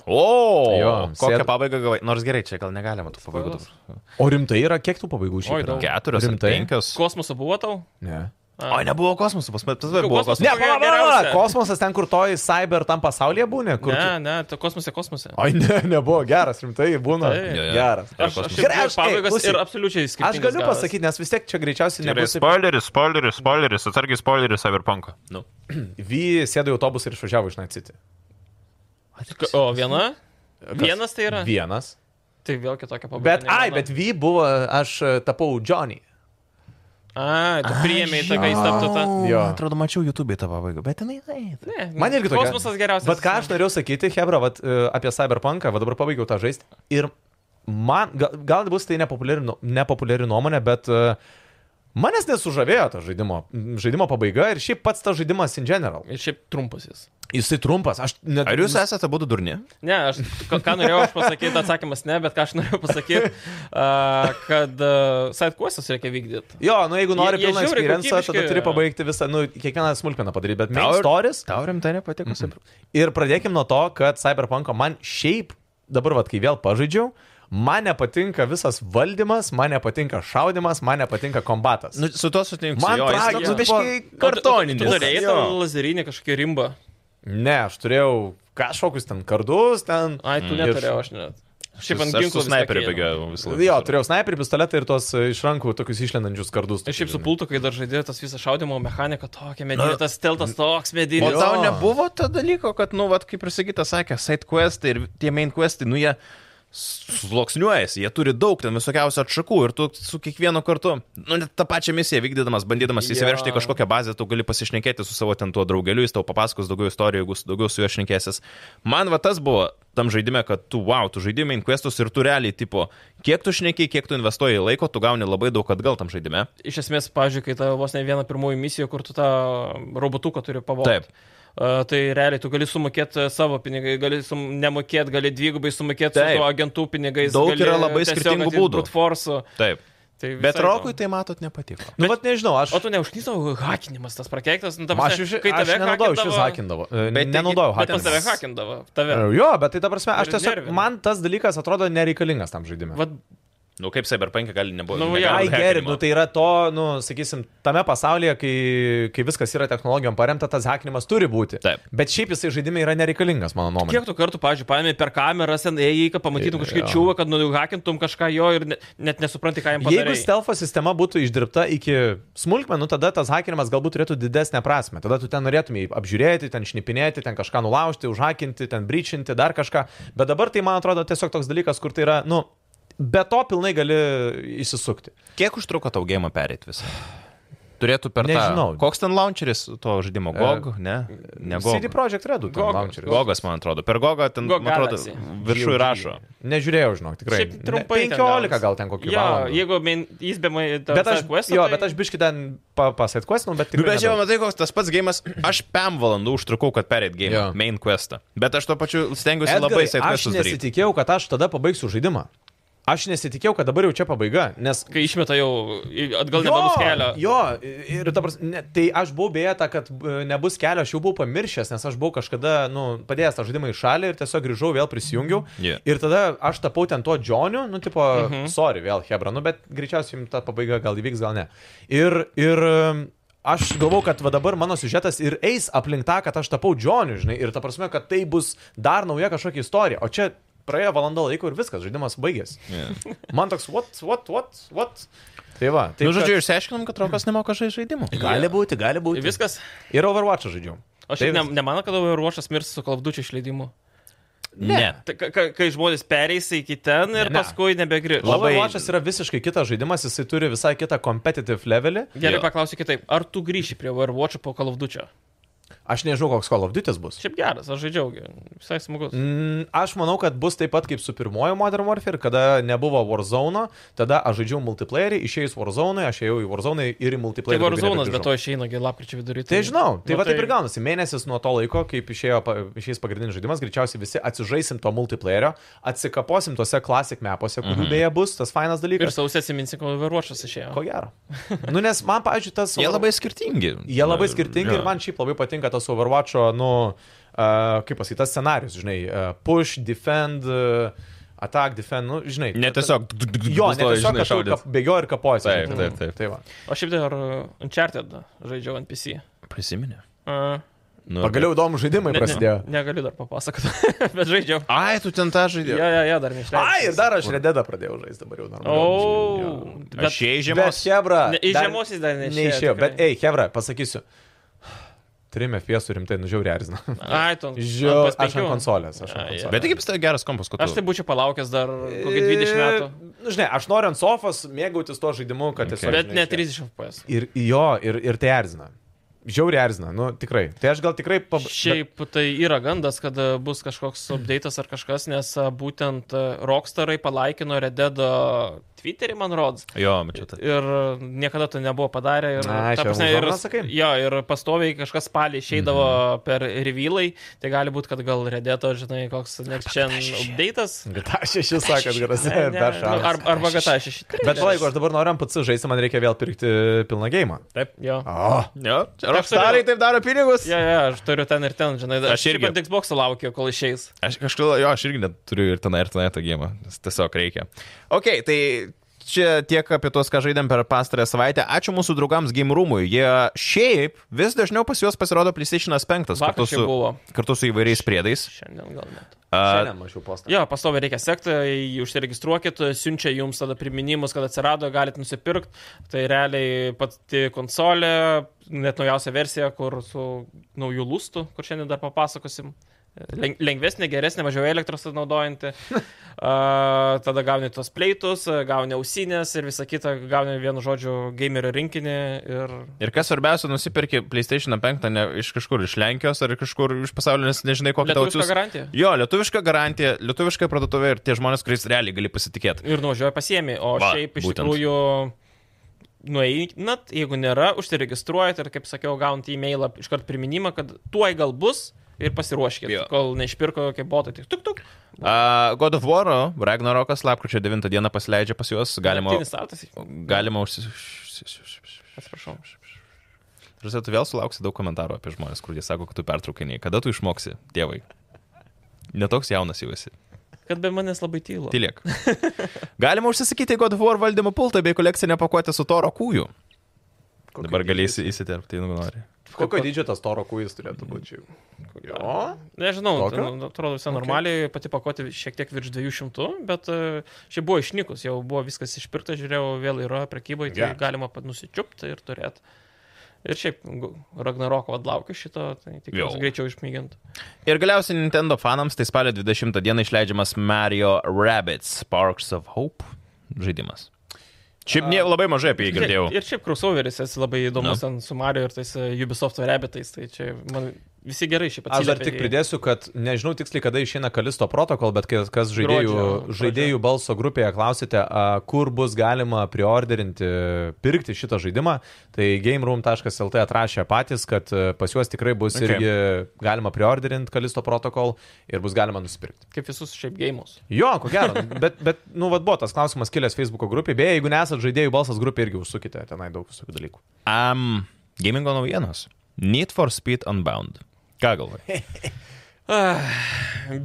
[SPEAKER 1] O,
[SPEAKER 3] Jo,
[SPEAKER 1] kokią
[SPEAKER 3] sėd-
[SPEAKER 1] pabaigą gavai? Nors gerai, čia gal negalima tų pabaigų.
[SPEAKER 2] Spoilas.
[SPEAKER 1] dabar.
[SPEAKER 3] O rimtai yra, kiek tų pabaigų
[SPEAKER 2] Oi,
[SPEAKER 3] šiaip yra?
[SPEAKER 2] daug.
[SPEAKER 1] Keturios, ar
[SPEAKER 3] Rimtai?
[SPEAKER 1] penkios.
[SPEAKER 2] Kosmoso buvo tau?
[SPEAKER 3] Ne.
[SPEAKER 1] O, nebuvo kosmosų, pas mane tas
[SPEAKER 2] Jau
[SPEAKER 1] buvo kosmosas.
[SPEAKER 2] kosmosas.
[SPEAKER 3] Ne,
[SPEAKER 2] Kokia
[SPEAKER 3] pala, pala, pala,
[SPEAKER 2] geriausia?
[SPEAKER 3] kosmosas ten, kur toj cyber tam pasaulyje būna, kur...
[SPEAKER 2] Ne, ne, tai kosmose, kosmose.
[SPEAKER 3] Ai, ne, nebuvo geras, rimtai būna.
[SPEAKER 2] Taip. Jo,
[SPEAKER 1] jo. Aš-
[SPEAKER 3] Geras.
[SPEAKER 2] Aš, aš
[SPEAKER 1] kosmose.
[SPEAKER 2] ir
[SPEAKER 3] Gerai, aš- ei,
[SPEAKER 2] pabaigas
[SPEAKER 3] klausyk.
[SPEAKER 2] ir absoliučiai skirtingas.
[SPEAKER 3] Aš galiu
[SPEAKER 2] gavęs.
[SPEAKER 3] pasakyti, nes vis tiek čia greičiausiai nebus... taip-
[SPEAKER 1] Spoileris, spoileris, spoileris, atsargiai spoileris Cyberpunk. Nu.
[SPEAKER 3] Vy sėdo į autobusą ir išvažiavo iš Natsiti.
[SPEAKER 2] K- tai O viena? Vienas tai yra?
[SPEAKER 3] Vienas.
[SPEAKER 2] Tai vėl kitokia pabaiga.
[SPEAKER 3] Bet,
[SPEAKER 2] ne
[SPEAKER 3] ai,
[SPEAKER 2] viena.
[SPEAKER 3] bet Vy buvo, aš e, tapau Johnny.
[SPEAKER 2] Ai, tu priėmė į tą, kai jis taptų tą.
[SPEAKER 3] Jo.
[SPEAKER 1] Atrodo, mačiau YouTube'e tą pabaigą, bet jinai... ai,
[SPEAKER 2] Ne,
[SPEAKER 3] Man irgi tokia.
[SPEAKER 2] Mm. Kosmosas geriausias.
[SPEAKER 3] Bet ką aš norėjau sakyti, Hebra, vat, e, apie Cyberpunką, va dabar pabaigiau tą žaisti. Ir man, gal, gal bus tai nepopuliari, nu- nepopuliari nuomonė, bet e, manęs nesužavėjo ta žaidimo, m, žaidimo pabaiga ir šiaip pats tas žaidimas in general.
[SPEAKER 2] Ir šiaip trumpas jis.
[SPEAKER 3] Jisai trumpas, aš net...
[SPEAKER 1] Ar jūs esate būtų durni?
[SPEAKER 2] Ne, aš ką ką norėjau aš pasakyti, atsakymas ne, bet ką aš norėjau pasakyti, uh, kad uh, sidequestus reikia vykdyti.
[SPEAKER 3] Jo, nu jeigu nori
[SPEAKER 2] Jie- jie
[SPEAKER 3] pilną
[SPEAKER 2] žiauri
[SPEAKER 3] experience, tada
[SPEAKER 2] kokybiški.
[SPEAKER 3] turi pabaigti visą, nu, kiekvieną smulkmeną padaryti, bet main
[SPEAKER 1] Tau ir-
[SPEAKER 3] stories
[SPEAKER 1] Tau rimtai nepatiko. Mm -mm.
[SPEAKER 3] Ir pradėkim nuo to, kad Cyberpunk'o man šiaip, dabar vad, kai vėl pažaidžiau, man nepatinka visas valdymas, man nepatinka šaudimas, man nepatinka kombatas.
[SPEAKER 1] Nu, su to sutinku.
[SPEAKER 3] Man
[SPEAKER 1] jo, jis
[SPEAKER 3] tragiškai
[SPEAKER 1] toks biškį
[SPEAKER 2] O tu- tu-
[SPEAKER 1] kartoninis.
[SPEAKER 2] Tu turėjai tą
[SPEAKER 1] Jo.
[SPEAKER 2] lazerinį kažkokį rimbą.
[SPEAKER 3] Ne, aš turėjau kažkokius ten kardus, ten...
[SPEAKER 2] Ai, tu
[SPEAKER 3] Mm.
[SPEAKER 2] neturėjau, aš net. Šiaip ant
[SPEAKER 1] Aš
[SPEAKER 2] ginklų
[SPEAKER 1] su
[SPEAKER 2] visą
[SPEAKER 1] sniperiu
[SPEAKER 2] laiką einu.
[SPEAKER 1] bėgiau visą laiką.
[SPEAKER 3] Jo, turėjau sniperį, pistoletą ir tos e, iš rankų tokius išlendančius kardus.
[SPEAKER 2] Aš šiaip
[SPEAKER 3] tokius,
[SPEAKER 2] su pultu, kai dar žaidėjau tas visą šaudimo mechaniką, tokia
[SPEAKER 1] Nu.
[SPEAKER 2] medinė, tas teltas toks
[SPEAKER 1] O
[SPEAKER 2] medinis.
[SPEAKER 3] Jo.
[SPEAKER 1] tau nebuvo to dalyko, kad, nu, vat, kaip ir sakyta, sakė, side questai ir tie main questai, nu, jie sluoksniuojasi, jie turi daug ten visokiausių atšakų ir tu su kiekvienu kartu, nu, net tą pačią misiją vykdydamas, bandydamas
[SPEAKER 2] Jo.
[SPEAKER 1] įsiveršti į kažkokią bazę, tu gali pasišnekėti su savo ten tuo draugeliu, jis tau papasakos daugiau istorijų, jeigu su- daugiau su juo šnekėsis. Man va tas buvo tam žaidime, kad tu, wow, tu žaidimi main questus ir tu realiai, tipo, kiek tu šneki, kiek tu investuoji laiko, tu gauni labai daug atgal tam žaidime.
[SPEAKER 2] Iš esmės, pažiūrėk, kai tavo vos ne viena pirmoji misija, kur tu tą robotuką turi pavogti.
[SPEAKER 1] Taip.
[SPEAKER 2] Uh, tai realiai tu gali sumokėti savo pinigai, gali sum, nemokėti, gali dvigubai sumokėti su
[SPEAKER 1] Taip.
[SPEAKER 2] tuo agentų pinigais.
[SPEAKER 1] Daug
[SPEAKER 2] gali
[SPEAKER 1] yra labai
[SPEAKER 2] tiesiog
[SPEAKER 1] skirtingų
[SPEAKER 2] atimt
[SPEAKER 1] būdų.
[SPEAKER 2] brute force'u.
[SPEAKER 1] Taip.
[SPEAKER 2] Tai
[SPEAKER 1] Bet
[SPEAKER 2] visai
[SPEAKER 1] Rokui
[SPEAKER 2] įdomu.
[SPEAKER 1] tai matot nepatiko.
[SPEAKER 3] Nu, vat nežinau, aš...
[SPEAKER 2] O tu neužknysau, hakinimas tas prakeiktas, nu, tam
[SPEAKER 3] Aš iš aš nenaudojau, iš vis hakindavo. E,
[SPEAKER 1] Bet
[SPEAKER 3] Nenaudojau
[SPEAKER 1] taigi-
[SPEAKER 2] Bet pas tave
[SPEAKER 3] hakindavo.
[SPEAKER 2] hakindavo, tave.
[SPEAKER 3] Jo, bet tai ta prasme, aš
[SPEAKER 2] Ir
[SPEAKER 3] tiesiog,
[SPEAKER 2] nervina.
[SPEAKER 3] man tas dalykas atrodo nereikalingas tam žaidimui.
[SPEAKER 2] Vat,
[SPEAKER 1] Nu, kaip Cyberpunk gali nebūti.
[SPEAKER 2] Nu, jo.
[SPEAKER 3] Ai,
[SPEAKER 2] Ai,
[SPEAKER 3] geri, nu tai yra to, nu, sakysim, tame pasaulyje, kai, kai viskas yra technologijom paremta, tas hakinimas turi būti.
[SPEAKER 1] Taip.
[SPEAKER 3] Bet šiaip jisai žaidime yra nereikalingas, mano nuomonė.
[SPEAKER 2] kiek tu kartų, pažiūrėjau, paėmė per kamerą, sen ėjai, kad pamatytum
[SPEAKER 3] Jo.
[SPEAKER 2] kažkokį čiūvą, kad nuhakintum kažką jo ir ne, net nesupranti, ką jam
[SPEAKER 3] Jeigu
[SPEAKER 2] padarė.
[SPEAKER 3] stealth sistema būtų išdirbta iki smulkmenų, tada tas hakinimas galbūt turėtų didesnę prasme. Tada tu ten norėtum jį apžiūrėti, ten šnipinėti, ten kažką nulaužti, užhakinti, ten bryčinti, dar kažką. Bet dabar tai, man atrodo, tiesiog toks dalykas, kur tai yra, nu, be to pilnai gali įsisukti.
[SPEAKER 1] nu, Kiek užtruko tau gėjimą pereiti visą? Turėtų per
[SPEAKER 3] Nežinau. E,
[SPEAKER 1] tą. Koks ten launcheris to žaidimo? GOG, ne? Ne
[SPEAKER 3] CD
[SPEAKER 1] GOG.
[SPEAKER 3] Projekt Redų,
[SPEAKER 2] Gogas,
[SPEAKER 3] launcheris.
[SPEAKER 1] GOGas, man atrodo. Per GOGą ten,
[SPEAKER 2] GOG
[SPEAKER 1] man atrodo,
[SPEAKER 2] Galaxy.
[SPEAKER 1] viršų įrašo.
[SPEAKER 3] Nežiūrėjau, žinok, tikrai.
[SPEAKER 2] Šiaip trumpai ten
[SPEAKER 3] 15
[SPEAKER 2] gavosi.
[SPEAKER 3] gal ten kokių.
[SPEAKER 2] Jo,
[SPEAKER 3] valandų.
[SPEAKER 2] jeigu main, jis be main, ta,
[SPEAKER 3] Bet aš,
[SPEAKER 2] side quest'o,
[SPEAKER 3] jo,
[SPEAKER 2] tai-
[SPEAKER 3] bet aš biški ten pasitkuesinu, bet
[SPEAKER 1] Nu,
[SPEAKER 3] tikrai.
[SPEAKER 1] bet jau
[SPEAKER 3] nedaug.
[SPEAKER 1] matai, koks tas pats gėjimas. Aš 5 valandų užtrukau, kad pereit gėjimą.
[SPEAKER 3] Jo.
[SPEAKER 1] Main questą. Bet aš tuo pačiu stengiuosi
[SPEAKER 3] Edgarai,
[SPEAKER 1] labai side
[SPEAKER 3] aš
[SPEAKER 1] questus daryti.
[SPEAKER 3] nesitikėjau, kad aš tada pabaigsiu žaidimą. Aš nesitikėjau, kad dabar jau čia pabaiga, nes...
[SPEAKER 2] kai išmeta jau į- atgal nebus kelio.
[SPEAKER 3] jo, ir dabar, ne, tai aš buvau beje, ta, kad e, nebus kelio, aš jau buvau pamiršęs, nes aš buvau kažkada, nu, padėjęs tą žaidimą į šalį ir tiesiog grįžau, vėl prisijungiau.
[SPEAKER 1] Jo.
[SPEAKER 3] Ir tada aš tapau ten tuo Džoniu, nu, tipo, uh
[SPEAKER 1] Mhm.
[SPEAKER 3] -huh. sorry, vėl Hebra, nu, bet greičiausiai jums ta pabaiga gal įvyks, gal ne. Ir, ir e, aš galvau, kad va dabar mano siužetas ir eis aplink tą, kad aš tapau Džoniu, žinai, ir ta prasme, kad tai bus dar nauja kažkokia istorija. O čia praėjo valanda laiko ir viskas, žaidimas baigėsi.
[SPEAKER 1] Yeah.
[SPEAKER 3] Man toks, what, what, what, what. Tai va, tai
[SPEAKER 1] Nu, žodžiu, išsiaiškinom, kad Rokas nemoka žaisti žaidimų.
[SPEAKER 3] Gali būti, gali būti.
[SPEAKER 2] Viskas.
[SPEAKER 3] Ir Overwatch'ą žaidžiau.
[SPEAKER 2] Aš ne,
[SPEAKER 3] Tai vis-
[SPEAKER 2] nemanau, kad ruošas mirs su kalbdučiu išleidimu.
[SPEAKER 1] Ne.
[SPEAKER 2] Tai ka- ka- Kai žmonės pereis iki ten ir
[SPEAKER 3] Ne.
[SPEAKER 2] paskui nebegrįš.
[SPEAKER 1] Labai-
[SPEAKER 3] Overwatch'as yra visiškai kitas žaidimas, jisai turi visai kitą competitive levelį.
[SPEAKER 2] Gerai,
[SPEAKER 1] Jo.
[SPEAKER 2] paklausiu kitaip. Ar tu grįši prie Overwatch'o po kalbdučio?
[SPEAKER 3] Aš nežinau, koks Call of Duty bus.
[SPEAKER 2] Šiaip geras, aš žaidžiau. gi. Visai smagus. Tai
[SPEAKER 3] Mm, Aš manau, kad bus taip pat kaip su pirmoju Modern Warfare, kada nebuvo Warzone, tada aš žaidžiau multiplayerį, išėjus Warzone, aš ėjau į Warzone ir į
[SPEAKER 2] Tai
[SPEAKER 3] multiplayerį. daugiau
[SPEAKER 2] Warzone'as be
[SPEAKER 3] nebegrįžau.
[SPEAKER 2] to išeina, gi lapkričio vidury.
[SPEAKER 3] Tai žinau, tai nu, va taip ir gaunasi. Mėnesis nuo to laiko, kaip išėjo, pa- išeis pagrindinis žaidimas, greičiausiai visi atsižaisim to multiplayerio, atsikaposim tose classic mapuose, kurių mm -hmm. beje bus, tas fainas
[SPEAKER 2] Ir
[SPEAKER 3] dalykas.
[SPEAKER 2] sausės įminsi, kad Overwatch'as
[SPEAKER 3] Ko
[SPEAKER 2] išėjo.
[SPEAKER 3] gero. Nu, nes man, pavyzdžiui, tas...
[SPEAKER 1] Jie labai skirtingi.
[SPEAKER 3] Jie labai skirtingi
[SPEAKER 1] Jo.
[SPEAKER 3] ir man šiaip labai patinka tas Overwatch'o, nu, uh, kaip pasakyti, tas scenarius, žinai, uh, push, defend, uh, attack, defend, nu, žinai.
[SPEAKER 1] Ne tiesiog.
[SPEAKER 3] Jo, ne
[SPEAKER 1] bus to,
[SPEAKER 3] tiesiog
[SPEAKER 1] žinai,
[SPEAKER 3] aš jau
[SPEAKER 1] šaudyt.
[SPEAKER 3] kap- bėgioju ir kapoju.
[SPEAKER 1] Taip, taip, taip.
[SPEAKER 3] Tai va.
[SPEAKER 2] O šiaip dar uh, Uncharted žaidžiau ant PC.
[SPEAKER 1] Prisiminė.
[SPEAKER 2] Uh,
[SPEAKER 1] Nu,
[SPEAKER 3] Pagaliau įdomu žaidimai
[SPEAKER 2] ne-
[SPEAKER 3] prasidėjo.
[SPEAKER 2] ne- Negaliu dar papasakoti, bet žaidžiau.
[SPEAKER 1] Ai, tu ten tą žaidimą.
[SPEAKER 2] Jo, jo, jo, dar neišleidau.
[SPEAKER 3] Ai, ir dar aš redėdą pradėjau žaisti dabar jau normaliai.
[SPEAKER 1] Oh.
[SPEAKER 2] O, bet
[SPEAKER 1] Aš jai
[SPEAKER 3] Bet
[SPEAKER 1] žiemos.
[SPEAKER 3] Hebra.
[SPEAKER 2] Ne, iš žiemos jis dar neišėjo,
[SPEAKER 3] Neišėjo,
[SPEAKER 2] tikrai.
[SPEAKER 3] bet, ei, Hebra, pasakysiu. Trim FPS rimtai nužiauri erzina.
[SPEAKER 2] Ai, tu. ant-
[SPEAKER 3] Žiau,
[SPEAKER 2] ant
[SPEAKER 3] aš ant
[SPEAKER 2] PS5.
[SPEAKER 3] konsolės. Aš ant
[SPEAKER 2] Ai,
[SPEAKER 3] konsolės.
[SPEAKER 1] Bet tai kaip tai geras kompas, kad
[SPEAKER 2] Aš tai būčiau palaukęs dar kokį
[SPEAKER 3] E,
[SPEAKER 2] 20 metų.
[SPEAKER 3] Nu, žinai, aš noriu ant sofos mėgautis tuo žaidimu, kad tiesiog...
[SPEAKER 2] Bet
[SPEAKER 3] žinai,
[SPEAKER 2] ne
[SPEAKER 3] čia-
[SPEAKER 2] 30 FPS.
[SPEAKER 3] Ir jo, ir, ir tai erzina. Žiauri erzina, nu tikrai. Tai aš gal tikrai... Pab...
[SPEAKER 2] Šiaip tai yra gandas, kad e, bus kažkoks update'as ar kažkas, nes e, būtent e, Rockstarai palaikino Rededo Twitter'į, man rods.
[SPEAKER 1] Jo, mačiau tai. tą.
[SPEAKER 2] Ir e, niekada to nebuvo padarę. Ir,
[SPEAKER 3] Na,
[SPEAKER 2] ta
[SPEAKER 3] čia
[SPEAKER 2] ir,
[SPEAKER 3] Warzone, sakai? Mhm.
[SPEAKER 2] jo, ir pastoviai kažkas spalį išeidavo per revilai, tai gali būti, kad gal redėto, žinai, koks next gen update'as.
[SPEAKER 3] GTA 6 sakot, garasi,
[SPEAKER 2] Ne, ne,
[SPEAKER 3] per
[SPEAKER 2] nu,
[SPEAKER 3] šalį.
[SPEAKER 2] ar- Arba GTA 6.
[SPEAKER 3] Bet palaik, aš dabar noriu MPC žaisti, man reikia vėl pirkti pilną gėjimą.
[SPEAKER 1] Taip.
[SPEAKER 2] Jo.
[SPEAKER 3] O,
[SPEAKER 1] Jo, Rockstarai taip daro pinigus.
[SPEAKER 2] Ja, ja, aš turiu ten ir ten, žinai,
[SPEAKER 1] Aš
[SPEAKER 2] šiaip
[SPEAKER 1] irgi.
[SPEAKER 2] ant Xbox laukiu, kol išeis.
[SPEAKER 1] Aš kažkaip, jo, aš irgi net turiu ir ten, ir ten tą gėjimą. Tiesiog reikia. Ok, tai čia tiek apie tuos, ką žaidėm per pastarę savaitę. Ačiū mūsų draugams Game Roomui. Jie šiaip vis dažniau pas juos pasirodo PlayStation'as 5
[SPEAKER 2] Vakar
[SPEAKER 1] kartu
[SPEAKER 2] čia
[SPEAKER 1] su,
[SPEAKER 2] buvo.
[SPEAKER 1] kartu su įvairiais priedais.
[SPEAKER 2] Šiandien gal net.
[SPEAKER 1] A,
[SPEAKER 3] Šiandien mačiau postą.
[SPEAKER 2] Jo, pastovi reikia sekti, jį užsiregistruokit, siunčia jums tada priminimus, kad atsirado, galite nusipirkti. Tai realiai pati konsolė, net naujausia versija, kur su naujų lūstų, kur šiandien dar papasakosim. Len- Lengvesnė, geresnė, mažiau elektros naudojanti. A, tada gauni tos pleitus, gauni ausinės ir visą kitą, gauni vienu žodžiu gamerio rinkinį ir
[SPEAKER 1] ir kas svarbiausia, nusipirki PlayStation 5 ne iš kažkur iš Lenkijos ar kažkur iš pasaulio, nes nežinai, kokią tau
[SPEAKER 2] lietuvišką
[SPEAKER 1] atsiųs.
[SPEAKER 2] garantiją.
[SPEAKER 1] Jo, lietuviška garantija, lietuviška parduotuvė ir tie žmonės, kuriais realiai gali pasitikėti.
[SPEAKER 2] Ir nuvažiuoja pasiemi, o
[SPEAKER 1] Va,
[SPEAKER 2] Va, šiaip iš
[SPEAKER 1] būtent.
[SPEAKER 2] būtent. tikrųjų nueinat, jeigu nėra, užsiregistruojat ir, kaip sakiau, gaunat e-mailą iškart priminimą, kad tuoj gal bus ir pasiruoškit,
[SPEAKER 1] Jo.
[SPEAKER 2] jo. kol neišpirko kokie botai. Tik tuk tuk.
[SPEAKER 1] Uh, God of War, Ragnarokas, lapkričio 9 dieną pasileidžia pas juos, galima,
[SPEAKER 2] Naktinis startas.
[SPEAKER 1] galima užsis...
[SPEAKER 2] Atsiprašau.
[SPEAKER 1] Žinai, tu vėl sulauksi daug komentarų apie žmonės, kurie sako, kad tu pertraukiniai. Kada tu išmoksi, tėvai? Netoks jaunas jau esi.
[SPEAKER 2] Kad be manęs labai tylu.
[SPEAKER 1] Tylėk. Galima užsisakyti God of War valdymo pultą bei kolekcinę pakuotę su toro kūju.
[SPEAKER 3] Kokio
[SPEAKER 1] Dabar
[SPEAKER 3] dydžio
[SPEAKER 1] galėsi
[SPEAKER 3] jis-
[SPEAKER 1] įsiterpti, jeigu nori.
[SPEAKER 3] Kokio dydžio tas toro kujas turėtų būti? čia jau? Jo.
[SPEAKER 2] Nežinau,
[SPEAKER 3] Tokio?
[SPEAKER 2] ten, atrodo visai normaliai, pati pakuoti šiek tiek virš 200, bet e, šiaip buvo išnykus, jau buvo viskas išpirkta, žiūrėjau, vėl yra prekybai, tai
[SPEAKER 3] Geras.
[SPEAKER 2] galima pat nusičiupti ir turėti. Ir šiaip gu- Ragnaroko atlaukiu šito, tai
[SPEAKER 1] Jau.
[SPEAKER 2] tikiuosi greičiau išmygint.
[SPEAKER 1] Ir galiausiai Nintendo fanams tai spalio 20 dieną išleidžiamas Mario Rabbits Sparks of Hope žaidimas. Šiaip ne, labai mažai apie jį girdėjau.
[SPEAKER 2] Ir šiaip crossoveris esi labai
[SPEAKER 1] Nu.
[SPEAKER 2] įdomus ten su Mario ir tais e, Ubisoft rebetais, tai čia man visi gerai šiaip
[SPEAKER 3] Aš
[SPEAKER 2] atsiprašau.
[SPEAKER 3] dar tik pridėsiu, kad nežinau tiksliai, kada išeina Kalisto protokol, bet kas, kas žaidėjų,
[SPEAKER 2] Gruodžio
[SPEAKER 3] žaidėjų balso grupėje klausite, a, kur bus galima priorderinti, pirkti šitą žaidimą, tai gameroom.lt atrašė patys, kad a, pas juos tikrai bus
[SPEAKER 1] Okay.
[SPEAKER 3] okay. irgi galima priorderinti Kalisto protokol ir bus galima nusipirkti.
[SPEAKER 2] Kaip visus šiaip gėjimus.
[SPEAKER 3] Jo, ko gero. Bet, bet nu, vad buvo tas klausimas kilęs Facebook grupėje. Beje, jeigu nesat žaidėjų balsas grupėje, irgi užsukite tenai daug visokių dalykų.
[SPEAKER 1] Um, gamingo naujienos. Need for Speed Unbound. Ką galvoj?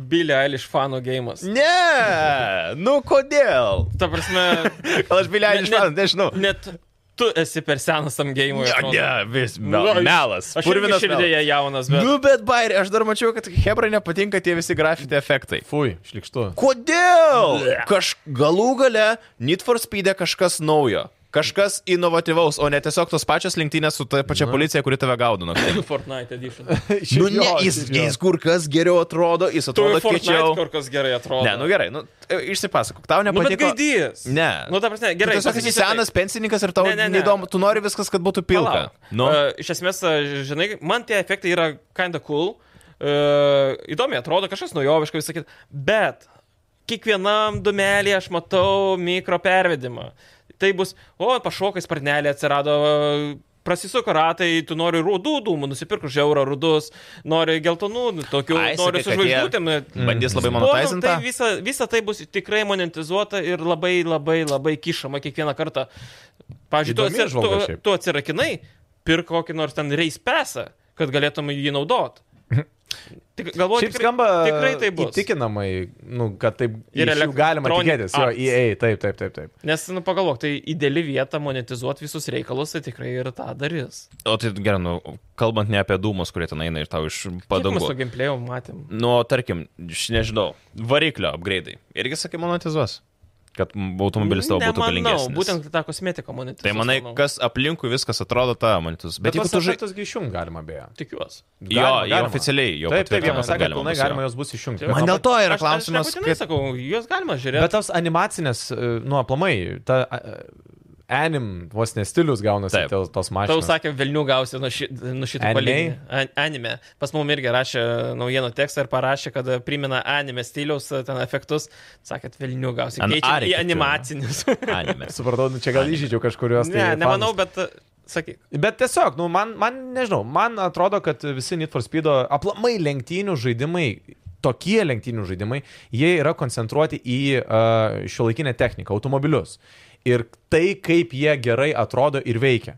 [SPEAKER 2] Bilė Eilish fanų gėjimas.
[SPEAKER 1] Ne, nu kodėl?
[SPEAKER 2] Ta prasme,
[SPEAKER 1] Gal aš biliai
[SPEAKER 2] Ne-
[SPEAKER 1] išmanau, nežinau.
[SPEAKER 2] net tu esi per senas tam gėjimui.
[SPEAKER 1] Ne,
[SPEAKER 2] atrodo.
[SPEAKER 1] ne, vis
[SPEAKER 2] Nu,
[SPEAKER 1] mel,
[SPEAKER 2] aš-
[SPEAKER 1] melas.
[SPEAKER 2] Aš irgi
[SPEAKER 1] Purvinas melas.
[SPEAKER 2] širdėje jaunas, bet...
[SPEAKER 1] Nu, bet bairi, aš dar mačiau, kad Hebra nepatinka tie visi grafiti efektai.
[SPEAKER 3] Fui, šlikštu.
[SPEAKER 1] Kodėl? Kaž, galų gale Need for Speed'e kažkas naujo. Kažkas inovatyvaus, o ne tiesiog tos pačios lenktynės su ta pačia policija, kuri tave nu, tai gaudino.
[SPEAKER 2] Fortnite edition.
[SPEAKER 1] Mhm. Nu, ne, jis, jis kur kas geriau atrodo, jis
[SPEAKER 2] Tu
[SPEAKER 1] atrodo
[SPEAKER 2] Fortnite
[SPEAKER 1] kiečiau.
[SPEAKER 2] kur kas gerai atrodo.
[SPEAKER 1] Ne, nu gerai, nu, e, išsipasakok, tau
[SPEAKER 2] Nu, bet
[SPEAKER 1] nepatiko.
[SPEAKER 2] gaidys.
[SPEAKER 1] Ne.
[SPEAKER 2] Nu, ta prasme, gerai.
[SPEAKER 1] tu tiesiog esi
[SPEAKER 2] pasakysiu taip.
[SPEAKER 1] senas pensininkas ir tau ne, ne,
[SPEAKER 2] Ne,
[SPEAKER 1] ne.
[SPEAKER 2] ne, ne.
[SPEAKER 1] neįdomu, tu nori viskas, kad būtų pilka. Nu.
[SPEAKER 2] Palauk. E, iš esmės, e, žinai, man tie efektai yra kinda cool, uh, įdomiai atrodo, kažkas naujoviško visakit, bet kiekvienam dumelį aš matau mikro pervedimą. Tai bus, o pašokai sparnelė atsirado. e, Prasisuka ratai, tu nori rudų dūmų, nusipirk žiaurą rudus, nori geltonų, nu, tokių,
[SPEAKER 1] Ai, sakai,
[SPEAKER 2] nori su
[SPEAKER 1] kad jie
[SPEAKER 2] žvaigždutėm. e,
[SPEAKER 1] Bandys labai
[SPEAKER 2] Suprantam,
[SPEAKER 1] monetizinti.
[SPEAKER 2] Tai visa, visa tai bus tikrai monetizuota ir labai labai labai kišama kiekvieną kartą. Pavyzdžiui, tu,
[SPEAKER 3] Įdomi
[SPEAKER 2] atsir,
[SPEAKER 3] įžvalga
[SPEAKER 2] tu,
[SPEAKER 3] šiaip.
[SPEAKER 2] tu atsirakinai, pirk kokį nors ten reis pesą, kad galėtum jį naudot. Tik, galvoju,
[SPEAKER 3] Šiaip
[SPEAKER 2] tikrai,
[SPEAKER 3] skamba e,
[SPEAKER 2] tikrai tai bus.
[SPEAKER 3] Įtikinamai, nu, kad taip
[SPEAKER 2] Ir
[SPEAKER 3] ir jų galima
[SPEAKER 2] Electronic
[SPEAKER 3] tikėtis. Jo,
[SPEAKER 2] Arts.
[SPEAKER 3] EA, taip, taip, taip, taip.
[SPEAKER 2] Nes, nu, pagalvok, tai ideali vieta monetizuoti visus reikalus, tai tikrai ir tą darys.
[SPEAKER 1] O tai gerai, nu, kalbant ne apie dūmus, kurie ten eina ir tau iš
[SPEAKER 2] Kiek mes
[SPEAKER 1] padangų.
[SPEAKER 2] to gameplayo matėm.
[SPEAKER 1] Nu, o tarkim, aš nežinau, variklio upgraidai. Irgi sakai, monetizuos, kad m, automobilis tavo būtų
[SPEAKER 2] Mm, Nemanau,
[SPEAKER 1] galingesnis.
[SPEAKER 2] būtent tą kosmetiką monetizuoti.
[SPEAKER 1] Tai manai, kas aplinkui viskas atrodo tą monetizus. Bet,
[SPEAKER 3] Bet
[SPEAKER 1] bet jeigu tu žai...
[SPEAKER 3] tas gišjum galima beje.
[SPEAKER 2] Tikiuosi.
[SPEAKER 1] Jo, jie oficialiai jau
[SPEAKER 3] Taip, taip,
[SPEAKER 1] patvirtino,
[SPEAKER 3] jie
[SPEAKER 1] kad
[SPEAKER 3] pasakė, kad pilnai
[SPEAKER 1] bus jo.
[SPEAKER 3] galima jos bus išjungti.
[SPEAKER 1] Man dėl to yra
[SPEAKER 2] Aš- aš
[SPEAKER 1] klausimas,
[SPEAKER 2] nebūtinai
[SPEAKER 1] kaip-
[SPEAKER 2] Sakau, juos galima žiūrėti.
[SPEAKER 3] Bet tos animacinės, e, nu, aplamai, ta e, anim vos nestilius gaunasi
[SPEAKER 1] Taip.
[SPEAKER 3] tel- tos
[SPEAKER 2] Tau
[SPEAKER 3] mašinos.
[SPEAKER 2] sakė, Vilnių gausi nuo, ši, nuo šito
[SPEAKER 3] Anime?
[SPEAKER 2] palyginimo. An- Anime. Pas mum irgi rašė naujienų tekstą ir parašė, kad primena anime stiliaus e, ten efektus. Sakėt, Vilnių gausi.
[SPEAKER 1] An-
[SPEAKER 2] Keičia
[SPEAKER 1] arė
[SPEAKER 2] į
[SPEAKER 1] keičia.
[SPEAKER 2] animacinius.
[SPEAKER 1] Anime.
[SPEAKER 3] Supratau, nu, čia gal įžydžiau kažkurios.
[SPEAKER 2] ne,
[SPEAKER 3] tai
[SPEAKER 2] nemanau,
[SPEAKER 3] fanus.
[SPEAKER 2] bet e, sakyk.
[SPEAKER 3] Bet tiesiog, nu, man, man, nežinau, man atrodo, kad visi Need for Speed aplamai lenktynių žaidimai, tokie lenktynių žaidimai, jie yra koncentruoti į uh, šiuolaikinę techniką, automobilius. Ir tai, kaip jie gerai atrodo ir veikia.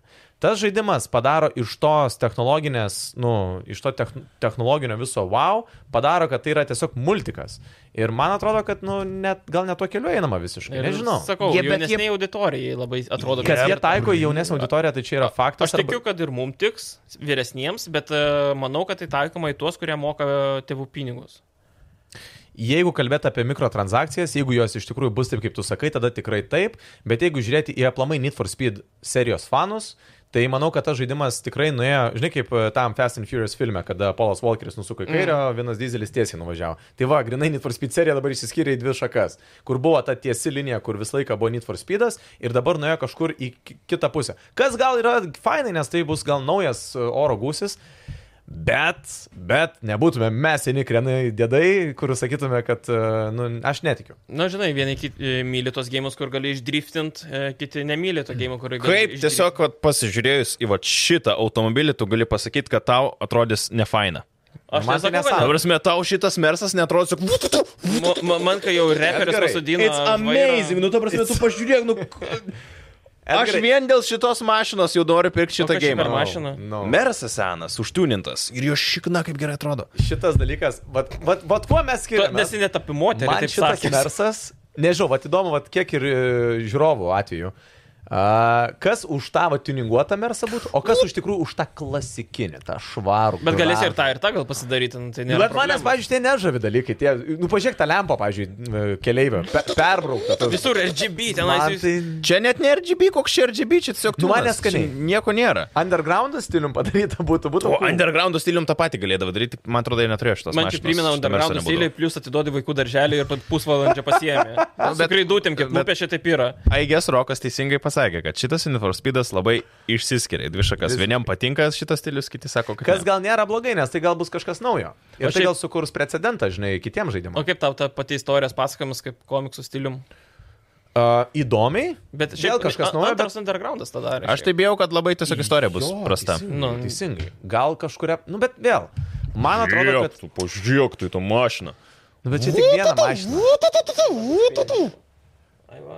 [SPEAKER 3] Tas žaidimas padaro iš tos technologinės, nu, iš to techn- technologinio viso wow, padaro, kad tai yra tiesiog multikas. Ir man atrodo, kad, nu, net, gal net tuo keliu einama visiškai.
[SPEAKER 2] Ir
[SPEAKER 3] Nežinau.
[SPEAKER 2] Sakau,
[SPEAKER 4] Jie-
[SPEAKER 2] jie,
[SPEAKER 4] bet
[SPEAKER 2] jaunesniai jie... auditorijai labai atrodo,
[SPEAKER 3] Kas
[SPEAKER 2] kad
[SPEAKER 3] jie taiko į jaunesnį auditoriją, tai čia yra faktas.
[SPEAKER 2] Aš tikiu, kad ir mums tiks, vyresniems, bet e, manau, kad tai taikoma į tuos, kurie moka tėvų pinigus.
[SPEAKER 3] Jeigu kalbėt apie mikrotransakcijas, jeigu jos iš tikrųjų bus taip, kaip tu sakai, tada tikrai taip, bet jeigu žiūrėti į aplamai Need for Speed serijos fanus, tai manau, kad tas žaidimas tikrai nuėjo, žinai, kaip e, tam Fast and Furious filme, kada Polas Walkeris nusuko į kairę, mm. vienas dizelis tiesiai nuvažiavo. Tai va, grinai Need for Speed serija dabar išsiskyrė į dvi šakas, kur buvo ta tiesi linija, kur visą laiką buvo Need for Speedas ir dabar nuėjo kažkur į ki- kitą pusę. Kas gal yra fainai, nes tai bus gal naujas e, oro gūsis. Bet, bet nebūtume mes seni krenai dėdai, kur sakytume, kad, e, nu, aš netikiu.
[SPEAKER 2] Na, žinai, vieni kit, e, myli tos gėjimus, kur gali išdriftint, e, kiti nemyli to gėjimo, kur gali
[SPEAKER 1] Kaip
[SPEAKER 2] išdriftint.
[SPEAKER 1] tiesiog vat, pasižiūrėjus į vat, šitą automobilį, tu gali pasakyti, kad tau atrodys ne faina.
[SPEAKER 2] Aš nesakau,
[SPEAKER 3] Man tai
[SPEAKER 2] kad
[SPEAKER 3] nesąmonė.
[SPEAKER 1] Dabar mes tau šitas mersas neatrodys, kad...
[SPEAKER 2] Ma- ma- Man, kai jau reperis
[SPEAKER 3] Edgarai,
[SPEAKER 2] pasodina.
[SPEAKER 1] It's
[SPEAKER 2] ant vairo-
[SPEAKER 1] amazing, nu, ta prasme, tu pažiūrėk, nu... Aš
[SPEAKER 3] Edgarai-
[SPEAKER 1] vien dėl šitos mašinos jau noriu pirkti
[SPEAKER 2] O
[SPEAKER 1] šitą
[SPEAKER 2] kas čia
[SPEAKER 1] gėjimą.
[SPEAKER 2] per mašina.
[SPEAKER 3] No, no.
[SPEAKER 1] Mersas senas, užtūnintas ir jo šikna kaip gerai atrodo.
[SPEAKER 3] Šitas dalykas, vat, vat, vat kuo mes
[SPEAKER 2] Tu
[SPEAKER 3] skiriamės?
[SPEAKER 2] nesi net apie moterį,
[SPEAKER 3] Man
[SPEAKER 2] taip
[SPEAKER 3] šitas
[SPEAKER 2] sakė.
[SPEAKER 3] versas, nežinau, vat įdomu, vat kiek ir e, žiūrovų atveju. Uh, kas už tą vat tuninguotą mersą būtų, o kas už tikrųjų už tą klasikinį, tą švarų.
[SPEAKER 2] Bet galėsi ir
[SPEAKER 3] gražų.
[SPEAKER 2] tą, ir tą gal pasidaryti, nu, tai ne.
[SPEAKER 3] Bet manęs, pažiūrėjau, tie nežavi dalykai, tie, nu pažiūrėk tą lempą, pažiūrėjau, keleivio, pe, perbraukta. tas-
[SPEAKER 2] Visur RGB
[SPEAKER 3] Man
[SPEAKER 2] tenais.
[SPEAKER 3] tai
[SPEAKER 1] Čia net ne RGB, koks čia RGB, čia tiesiog
[SPEAKER 3] Nu, man
[SPEAKER 1] tūnas.
[SPEAKER 3] neskaniai.
[SPEAKER 1] Čia Nieko nėra.
[SPEAKER 3] underground stilium padaryta būtų, būtų.
[SPEAKER 1] O
[SPEAKER 3] cool.
[SPEAKER 1] underground stilium tą patį galėdavo daryti, man atrodo, jie neturėjo šitos
[SPEAKER 2] Man
[SPEAKER 1] mašinos.
[SPEAKER 2] čia primena
[SPEAKER 1] šito merso
[SPEAKER 2] underground
[SPEAKER 1] nebūdavo.
[SPEAKER 2] stilių, plus atiduodi vaikų darželį ir pat pusvalandžio pasiemi.
[SPEAKER 1] bet-
[SPEAKER 2] Tikrai dutim, kaip
[SPEAKER 1] bet-
[SPEAKER 2] lūpė čia taip yra.
[SPEAKER 1] Aigės Rokas teisingai pasakė, kad šitas Uniforspeedas labai išsiskiria į dvi šakas.
[SPEAKER 3] Vis-
[SPEAKER 1] Vieniam patinka šitas stilius, kiti sako, kad... ne.
[SPEAKER 3] Kas gal nėra blogai, nes tai gal bus kažkas naujo. Ir
[SPEAKER 2] O
[SPEAKER 3] tai
[SPEAKER 2] šiaip-
[SPEAKER 3] gal sukurs precedentą, žinai, kitiems
[SPEAKER 2] O
[SPEAKER 3] žaidimams.
[SPEAKER 2] kaip tau ta pati istorijos pasakojimas, kaip komiksų stilium?
[SPEAKER 3] Uh, įdomiai.
[SPEAKER 2] Bet
[SPEAKER 3] Vėl kažkas naujo, bet-
[SPEAKER 2] Antras undergroundas tada darė.
[SPEAKER 1] Aš tai bijau, kad labai tiesiog istorija bus
[SPEAKER 3] Jo,
[SPEAKER 1] prasta.
[SPEAKER 3] Teisingai, nu,
[SPEAKER 2] Nu.
[SPEAKER 3] teisingai. Gal kažkuria. Nu, bet vėl. Man atrodo, kad.
[SPEAKER 1] Pažiūrėk, tu į tą mašiną.
[SPEAKER 3] Nu, bet čia tik viena mašina.
[SPEAKER 2] Ai, va.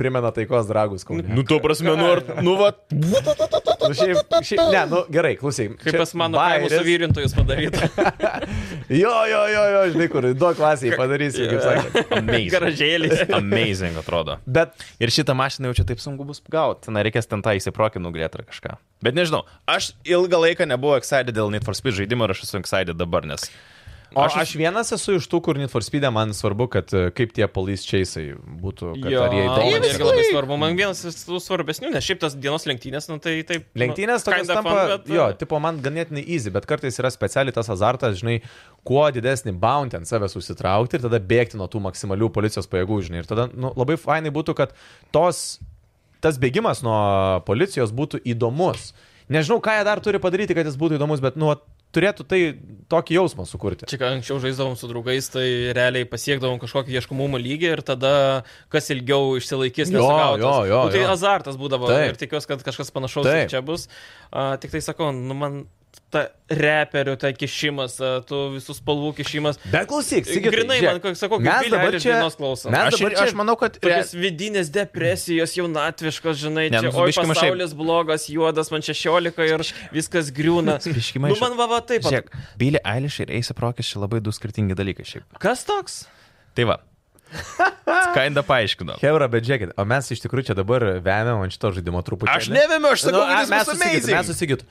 [SPEAKER 3] Primena taikos dragus, kaunu.
[SPEAKER 1] Nu, to prasme, nu, ar, nu, va.
[SPEAKER 3] Nu, šiaip, šiaip, ne, nu gerai, klausyk.
[SPEAKER 2] Kaip
[SPEAKER 3] čia
[SPEAKER 2] pas mano kaimo
[SPEAKER 3] bajeris.
[SPEAKER 2] suvyrintojus padaryta.
[SPEAKER 3] Jo, jo, jo, jo, žinai, kur du klasiai padarysi, kaip sakė.
[SPEAKER 1] Amazing.
[SPEAKER 2] Garažėlis.
[SPEAKER 1] Amazing atrodo.
[SPEAKER 3] Bet
[SPEAKER 1] Ir šitą mašiną jau čia taip sunku bus gauti. Na, reikės ten tą įsiprokį nugrėti ar kažką. Bet nežinau, aš ilgą laiką nebuvau excited dėl Need for Speed žaidimo ir aš esu excited dabar, nes...
[SPEAKER 3] O aš, aš vienas esu iš tų, kur Need for Speed man svarbu, kad e, kaip tie police chase'ai būtų, kad
[SPEAKER 2] Jo,
[SPEAKER 3] ar jie
[SPEAKER 2] man
[SPEAKER 3] įdomus.
[SPEAKER 2] irgi labai svarbu. Man vienas iš tų svarbesnių, nes šiaip tas dienos lenktynės, nu tai taip. nu,
[SPEAKER 3] Lenktynės tokios
[SPEAKER 2] kinda
[SPEAKER 3] tampa,
[SPEAKER 2] fun, e.
[SPEAKER 3] jo, tai- tipo man ganėtinai easy, bet kartais yra specialiai tas azartas, žinai, kuo didesnį bounty ant savęs susitraukti ir tada bėgti nuo tų maksimalių policijos pajėgų, žinai. Ir tada nu, labai fainai būtų, kad tos, tas bėgimas nuo policijos būtų įdomus. Nežinau, ką jie dar turi padaryti, kad jis būtų įdomus, bet, nu, vat, turėtų tai tokį jausmą sukurti.
[SPEAKER 2] Čia, kai anksčiau žaisdavom su draugais, tai realiai pasiekdavom kažkokį ieškomumo lygį ir tada kas ilgiau išsilaikys,
[SPEAKER 3] Jo,
[SPEAKER 2] nesugautas.
[SPEAKER 3] jo, jo,
[SPEAKER 2] Nu, tai
[SPEAKER 3] jo.
[SPEAKER 2] azartas būdavo
[SPEAKER 3] Taip.
[SPEAKER 2] ir tikiuosi, kad kažkas panašaus
[SPEAKER 3] Taip.
[SPEAKER 2] ir čia bus. A, tik tai sakau, nu man ta reperių, ta kišimas, a, tų visų spalvų kišimas.
[SPEAKER 3] Bet klausyk, Sigitai,
[SPEAKER 2] Grinai,
[SPEAKER 3] žiūrėk,
[SPEAKER 2] man kaip sakau, kaip
[SPEAKER 3] mes
[SPEAKER 2] Billie
[SPEAKER 3] dabar
[SPEAKER 2] Eilish
[SPEAKER 3] čia,
[SPEAKER 2] dainos klausom.
[SPEAKER 3] mes
[SPEAKER 1] Aš,
[SPEAKER 3] dabar
[SPEAKER 1] ir-
[SPEAKER 3] čia
[SPEAKER 1] aš manau, kad...
[SPEAKER 2] Tokios vidinės depresijos, jaunatviškos, žinai,
[SPEAKER 1] Ne,
[SPEAKER 2] ne, čia
[SPEAKER 1] nu,
[SPEAKER 2] oi,
[SPEAKER 1] biškį maišai.
[SPEAKER 2] pasaulis blogas, juodas, man 16 ir viskas griūna.
[SPEAKER 1] Biškį
[SPEAKER 2] Nu,
[SPEAKER 1] maišai.
[SPEAKER 2] man va, va taip.
[SPEAKER 1] Žiūrėk, Billy Eilish ir Ace Prokis čia labai du skirtingi dalykai šiaip.
[SPEAKER 2] Kas toks?
[SPEAKER 1] Tai va. Skaidą paaiškino.
[SPEAKER 3] Hebra, bet žiūrėkit, o mes iš tikrųjų čia dabar vemiam ant šito žaidimo truputį.
[SPEAKER 1] Aš nevėmiau, aš sakau,
[SPEAKER 3] Nu, a,
[SPEAKER 1] kad
[SPEAKER 3] mes
[SPEAKER 1] jis
[SPEAKER 3] susigytum, mes
[SPEAKER 1] amazing.
[SPEAKER 3] susigytum.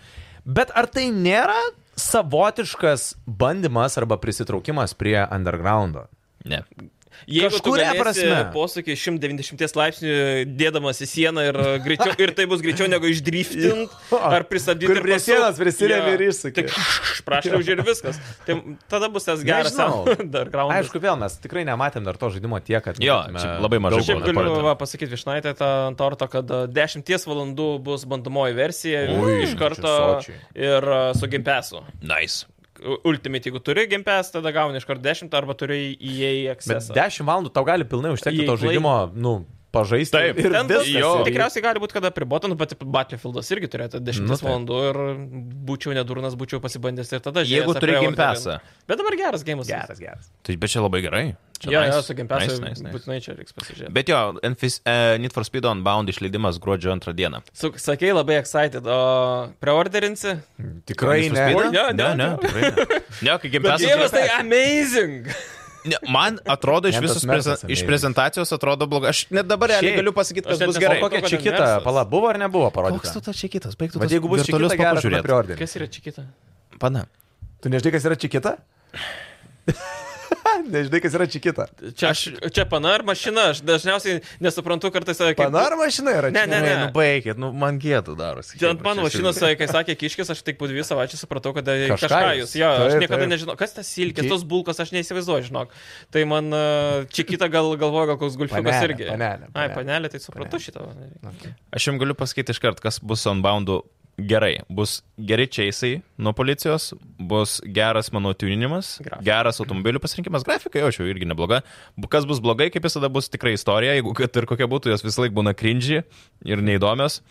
[SPEAKER 3] Bet ar tai nėra savotiškas bandymas arba prisitraukimas prie undergroundo?
[SPEAKER 1] Ne.
[SPEAKER 2] Jeigu
[SPEAKER 3] Kažkuria
[SPEAKER 2] kažkuria prasme.
[SPEAKER 3] prasme.
[SPEAKER 2] Posūkį 190 laipsnių dėdamas į sieną ir, e, greičiau, ir tai bus greičiau negu išdriftint ar pristabdyti.
[SPEAKER 3] Kur prie sienos prisiremi ir išsuki.
[SPEAKER 2] Prašau, ir viskas. Tai tada bus tas geras
[SPEAKER 3] Nežinau.
[SPEAKER 2] dar graundas.
[SPEAKER 3] Aišku, vėl mes tikrai nematėm dar to žaidimo tiek, kad...
[SPEAKER 1] Jo,
[SPEAKER 3] matytume
[SPEAKER 1] čia labai mažai
[SPEAKER 3] daug
[SPEAKER 1] buvo.
[SPEAKER 2] Šiaip
[SPEAKER 1] Pone
[SPEAKER 2] galiu
[SPEAKER 1] Polita.
[SPEAKER 2] va, pasakyti Višnaitė tą ant torto, kad 10 valandų bus bandomoji versija
[SPEAKER 3] Ui,
[SPEAKER 2] Ui, iš karto
[SPEAKER 3] čia sočiai.
[SPEAKER 2] ir a, su gimpesu.
[SPEAKER 1] Nice.
[SPEAKER 2] Ultimate, jeigu turi gimpes, tada gauni iš karto 10 arba turi įėjai
[SPEAKER 3] Bet
[SPEAKER 2] access.
[SPEAKER 3] 10 valandų tau gali pilnai užtekti
[SPEAKER 2] Jei
[SPEAKER 3] to
[SPEAKER 2] klai-
[SPEAKER 3] žaidimo, nu, pažaisti.
[SPEAKER 1] Taip.
[SPEAKER 3] ir
[SPEAKER 2] Ten tas,
[SPEAKER 3] viskas.
[SPEAKER 2] jo,
[SPEAKER 1] jo.
[SPEAKER 3] Ir-
[SPEAKER 2] tikriausiai gali būti, kada pribota, nu, bet Battlefieldas irgi turėtų 10
[SPEAKER 3] Nu,
[SPEAKER 2] nu,
[SPEAKER 3] taip.
[SPEAKER 2] valandų ir būčiau nedurnas, būčiau pasibandęs ir tada
[SPEAKER 1] Jeigu
[SPEAKER 2] žiūrėjęs
[SPEAKER 1] turi
[SPEAKER 2] apie
[SPEAKER 1] Game Passą.
[SPEAKER 2] Overwatch. Bet dabar geras gėjimas.
[SPEAKER 3] Geras, geras.
[SPEAKER 1] Tai bet čia labai gerai. Čia
[SPEAKER 2] Jo,
[SPEAKER 1] nice.
[SPEAKER 2] jo, su Game Passu
[SPEAKER 1] Nice, nice, nice.
[SPEAKER 2] būtinai čia reiks pasižiūrėti.
[SPEAKER 1] Bet jo, Enfis, uh, Need for Speed on Bound išleidimas gruodžio antrą dieną.
[SPEAKER 2] Su, sakei labai excited, o preorderinsi?
[SPEAKER 3] Tikrai
[SPEAKER 1] Need for
[SPEAKER 3] ne.
[SPEAKER 1] Speed?
[SPEAKER 2] Oi, ne,
[SPEAKER 1] ne,
[SPEAKER 2] ne,
[SPEAKER 1] ne, tikrai ne. Ne, kai Game Passas.
[SPEAKER 2] Dievas, tai amazing!
[SPEAKER 1] Ne, man atrodo, iš
[SPEAKER 3] Vien tas
[SPEAKER 1] visos
[SPEAKER 3] Mercas
[SPEAKER 1] preze, iš
[SPEAKER 3] amazing.
[SPEAKER 1] prezentacijos atrodo blogai. Aš net dabar realiai
[SPEAKER 3] Šiaip.
[SPEAKER 1] galiu pasakyti,
[SPEAKER 2] Aš
[SPEAKER 1] kas
[SPEAKER 2] net
[SPEAKER 1] bus
[SPEAKER 2] nesuprantu,
[SPEAKER 1] gerai.
[SPEAKER 3] O kokia
[SPEAKER 2] Kokia
[SPEAKER 3] čia
[SPEAKER 2] ten
[SPEAKER 3] kita?
[SPEAKER 2] verslas?
[SPEAKER 3] Pala, buvo ar nebuvo
[SPEAKER 1] Koks tu
[SPEAKER 3] parodyta?
[SPEAKER 1] to čia kitas? Baigtų.
[SPEAKER 3] Bet jeigu bus čia kita, geras priordinis.
[SPEAKER 2] Kas yra čia kita?
[SPEAKER 1] Pana.
[SPEAKER 3] Tu nežinai, kas yra čia kita? nežinai, kas yra čia kita.
[SPEAKER 2] Čia, aš, čia pana ar mašina, aš dažniausiai nesuprantu kartais, kaip...
[SPEAKER 3] Panar mašina yra čia.
[SPEAKER 2] Ne, ne, ne.
[SPEAKER 1] Nu baigit, nu man gėtų darosi.
[SPEAKER 2] Čia Ant mano mašinos, kai sakė kiškis, aš tik po dvi savaitės supratau, kad kažką,
[SPEAKER 3] Kažką
[SPEAKER 2] kažką jūs.
[SPEAKER 3] jūs.
[SPEAKER 2] Jo, aš
[SPEAKER 3] Taip,
[SPEAKER 2] niekada
[SPEAKER 3] taip.
[SPEAKER 2] nežinau, kas tas silkis,
[SPEAKER 3] Gi-
[SPEAKER 2] tos bulkos, aš neįsivaizduoju, žinok. Tai man a, čia kita gal galvoja, gal koks gulfiukas
[SPEAKER 3] Panelė,
[SPEAKER 2] irgi.
[SPEAKER 3] panelė,
[SPEAKER 2] Ai,
[SPEAKER 3] panelė.
[SPEAKER 2] panelė, tai supratau šitą.
[SPEAKER 1] Aš jums galiu pasakyti iškart, kas bus on boundų gerai. Bus geri čiaisai nuo policijos, bus geras mano tuninimas,
[SPEAKER 2] Grafika.
[SPEAKER 1] geras automobilių pasirinkimas, grafika jaučiu irgi nebloga. Bu- Kas bus blogai, kaip visada bus tikrai istorija, jeigu kad ir kokia būtų, jos visą laiką būna cringy ir neįdomios.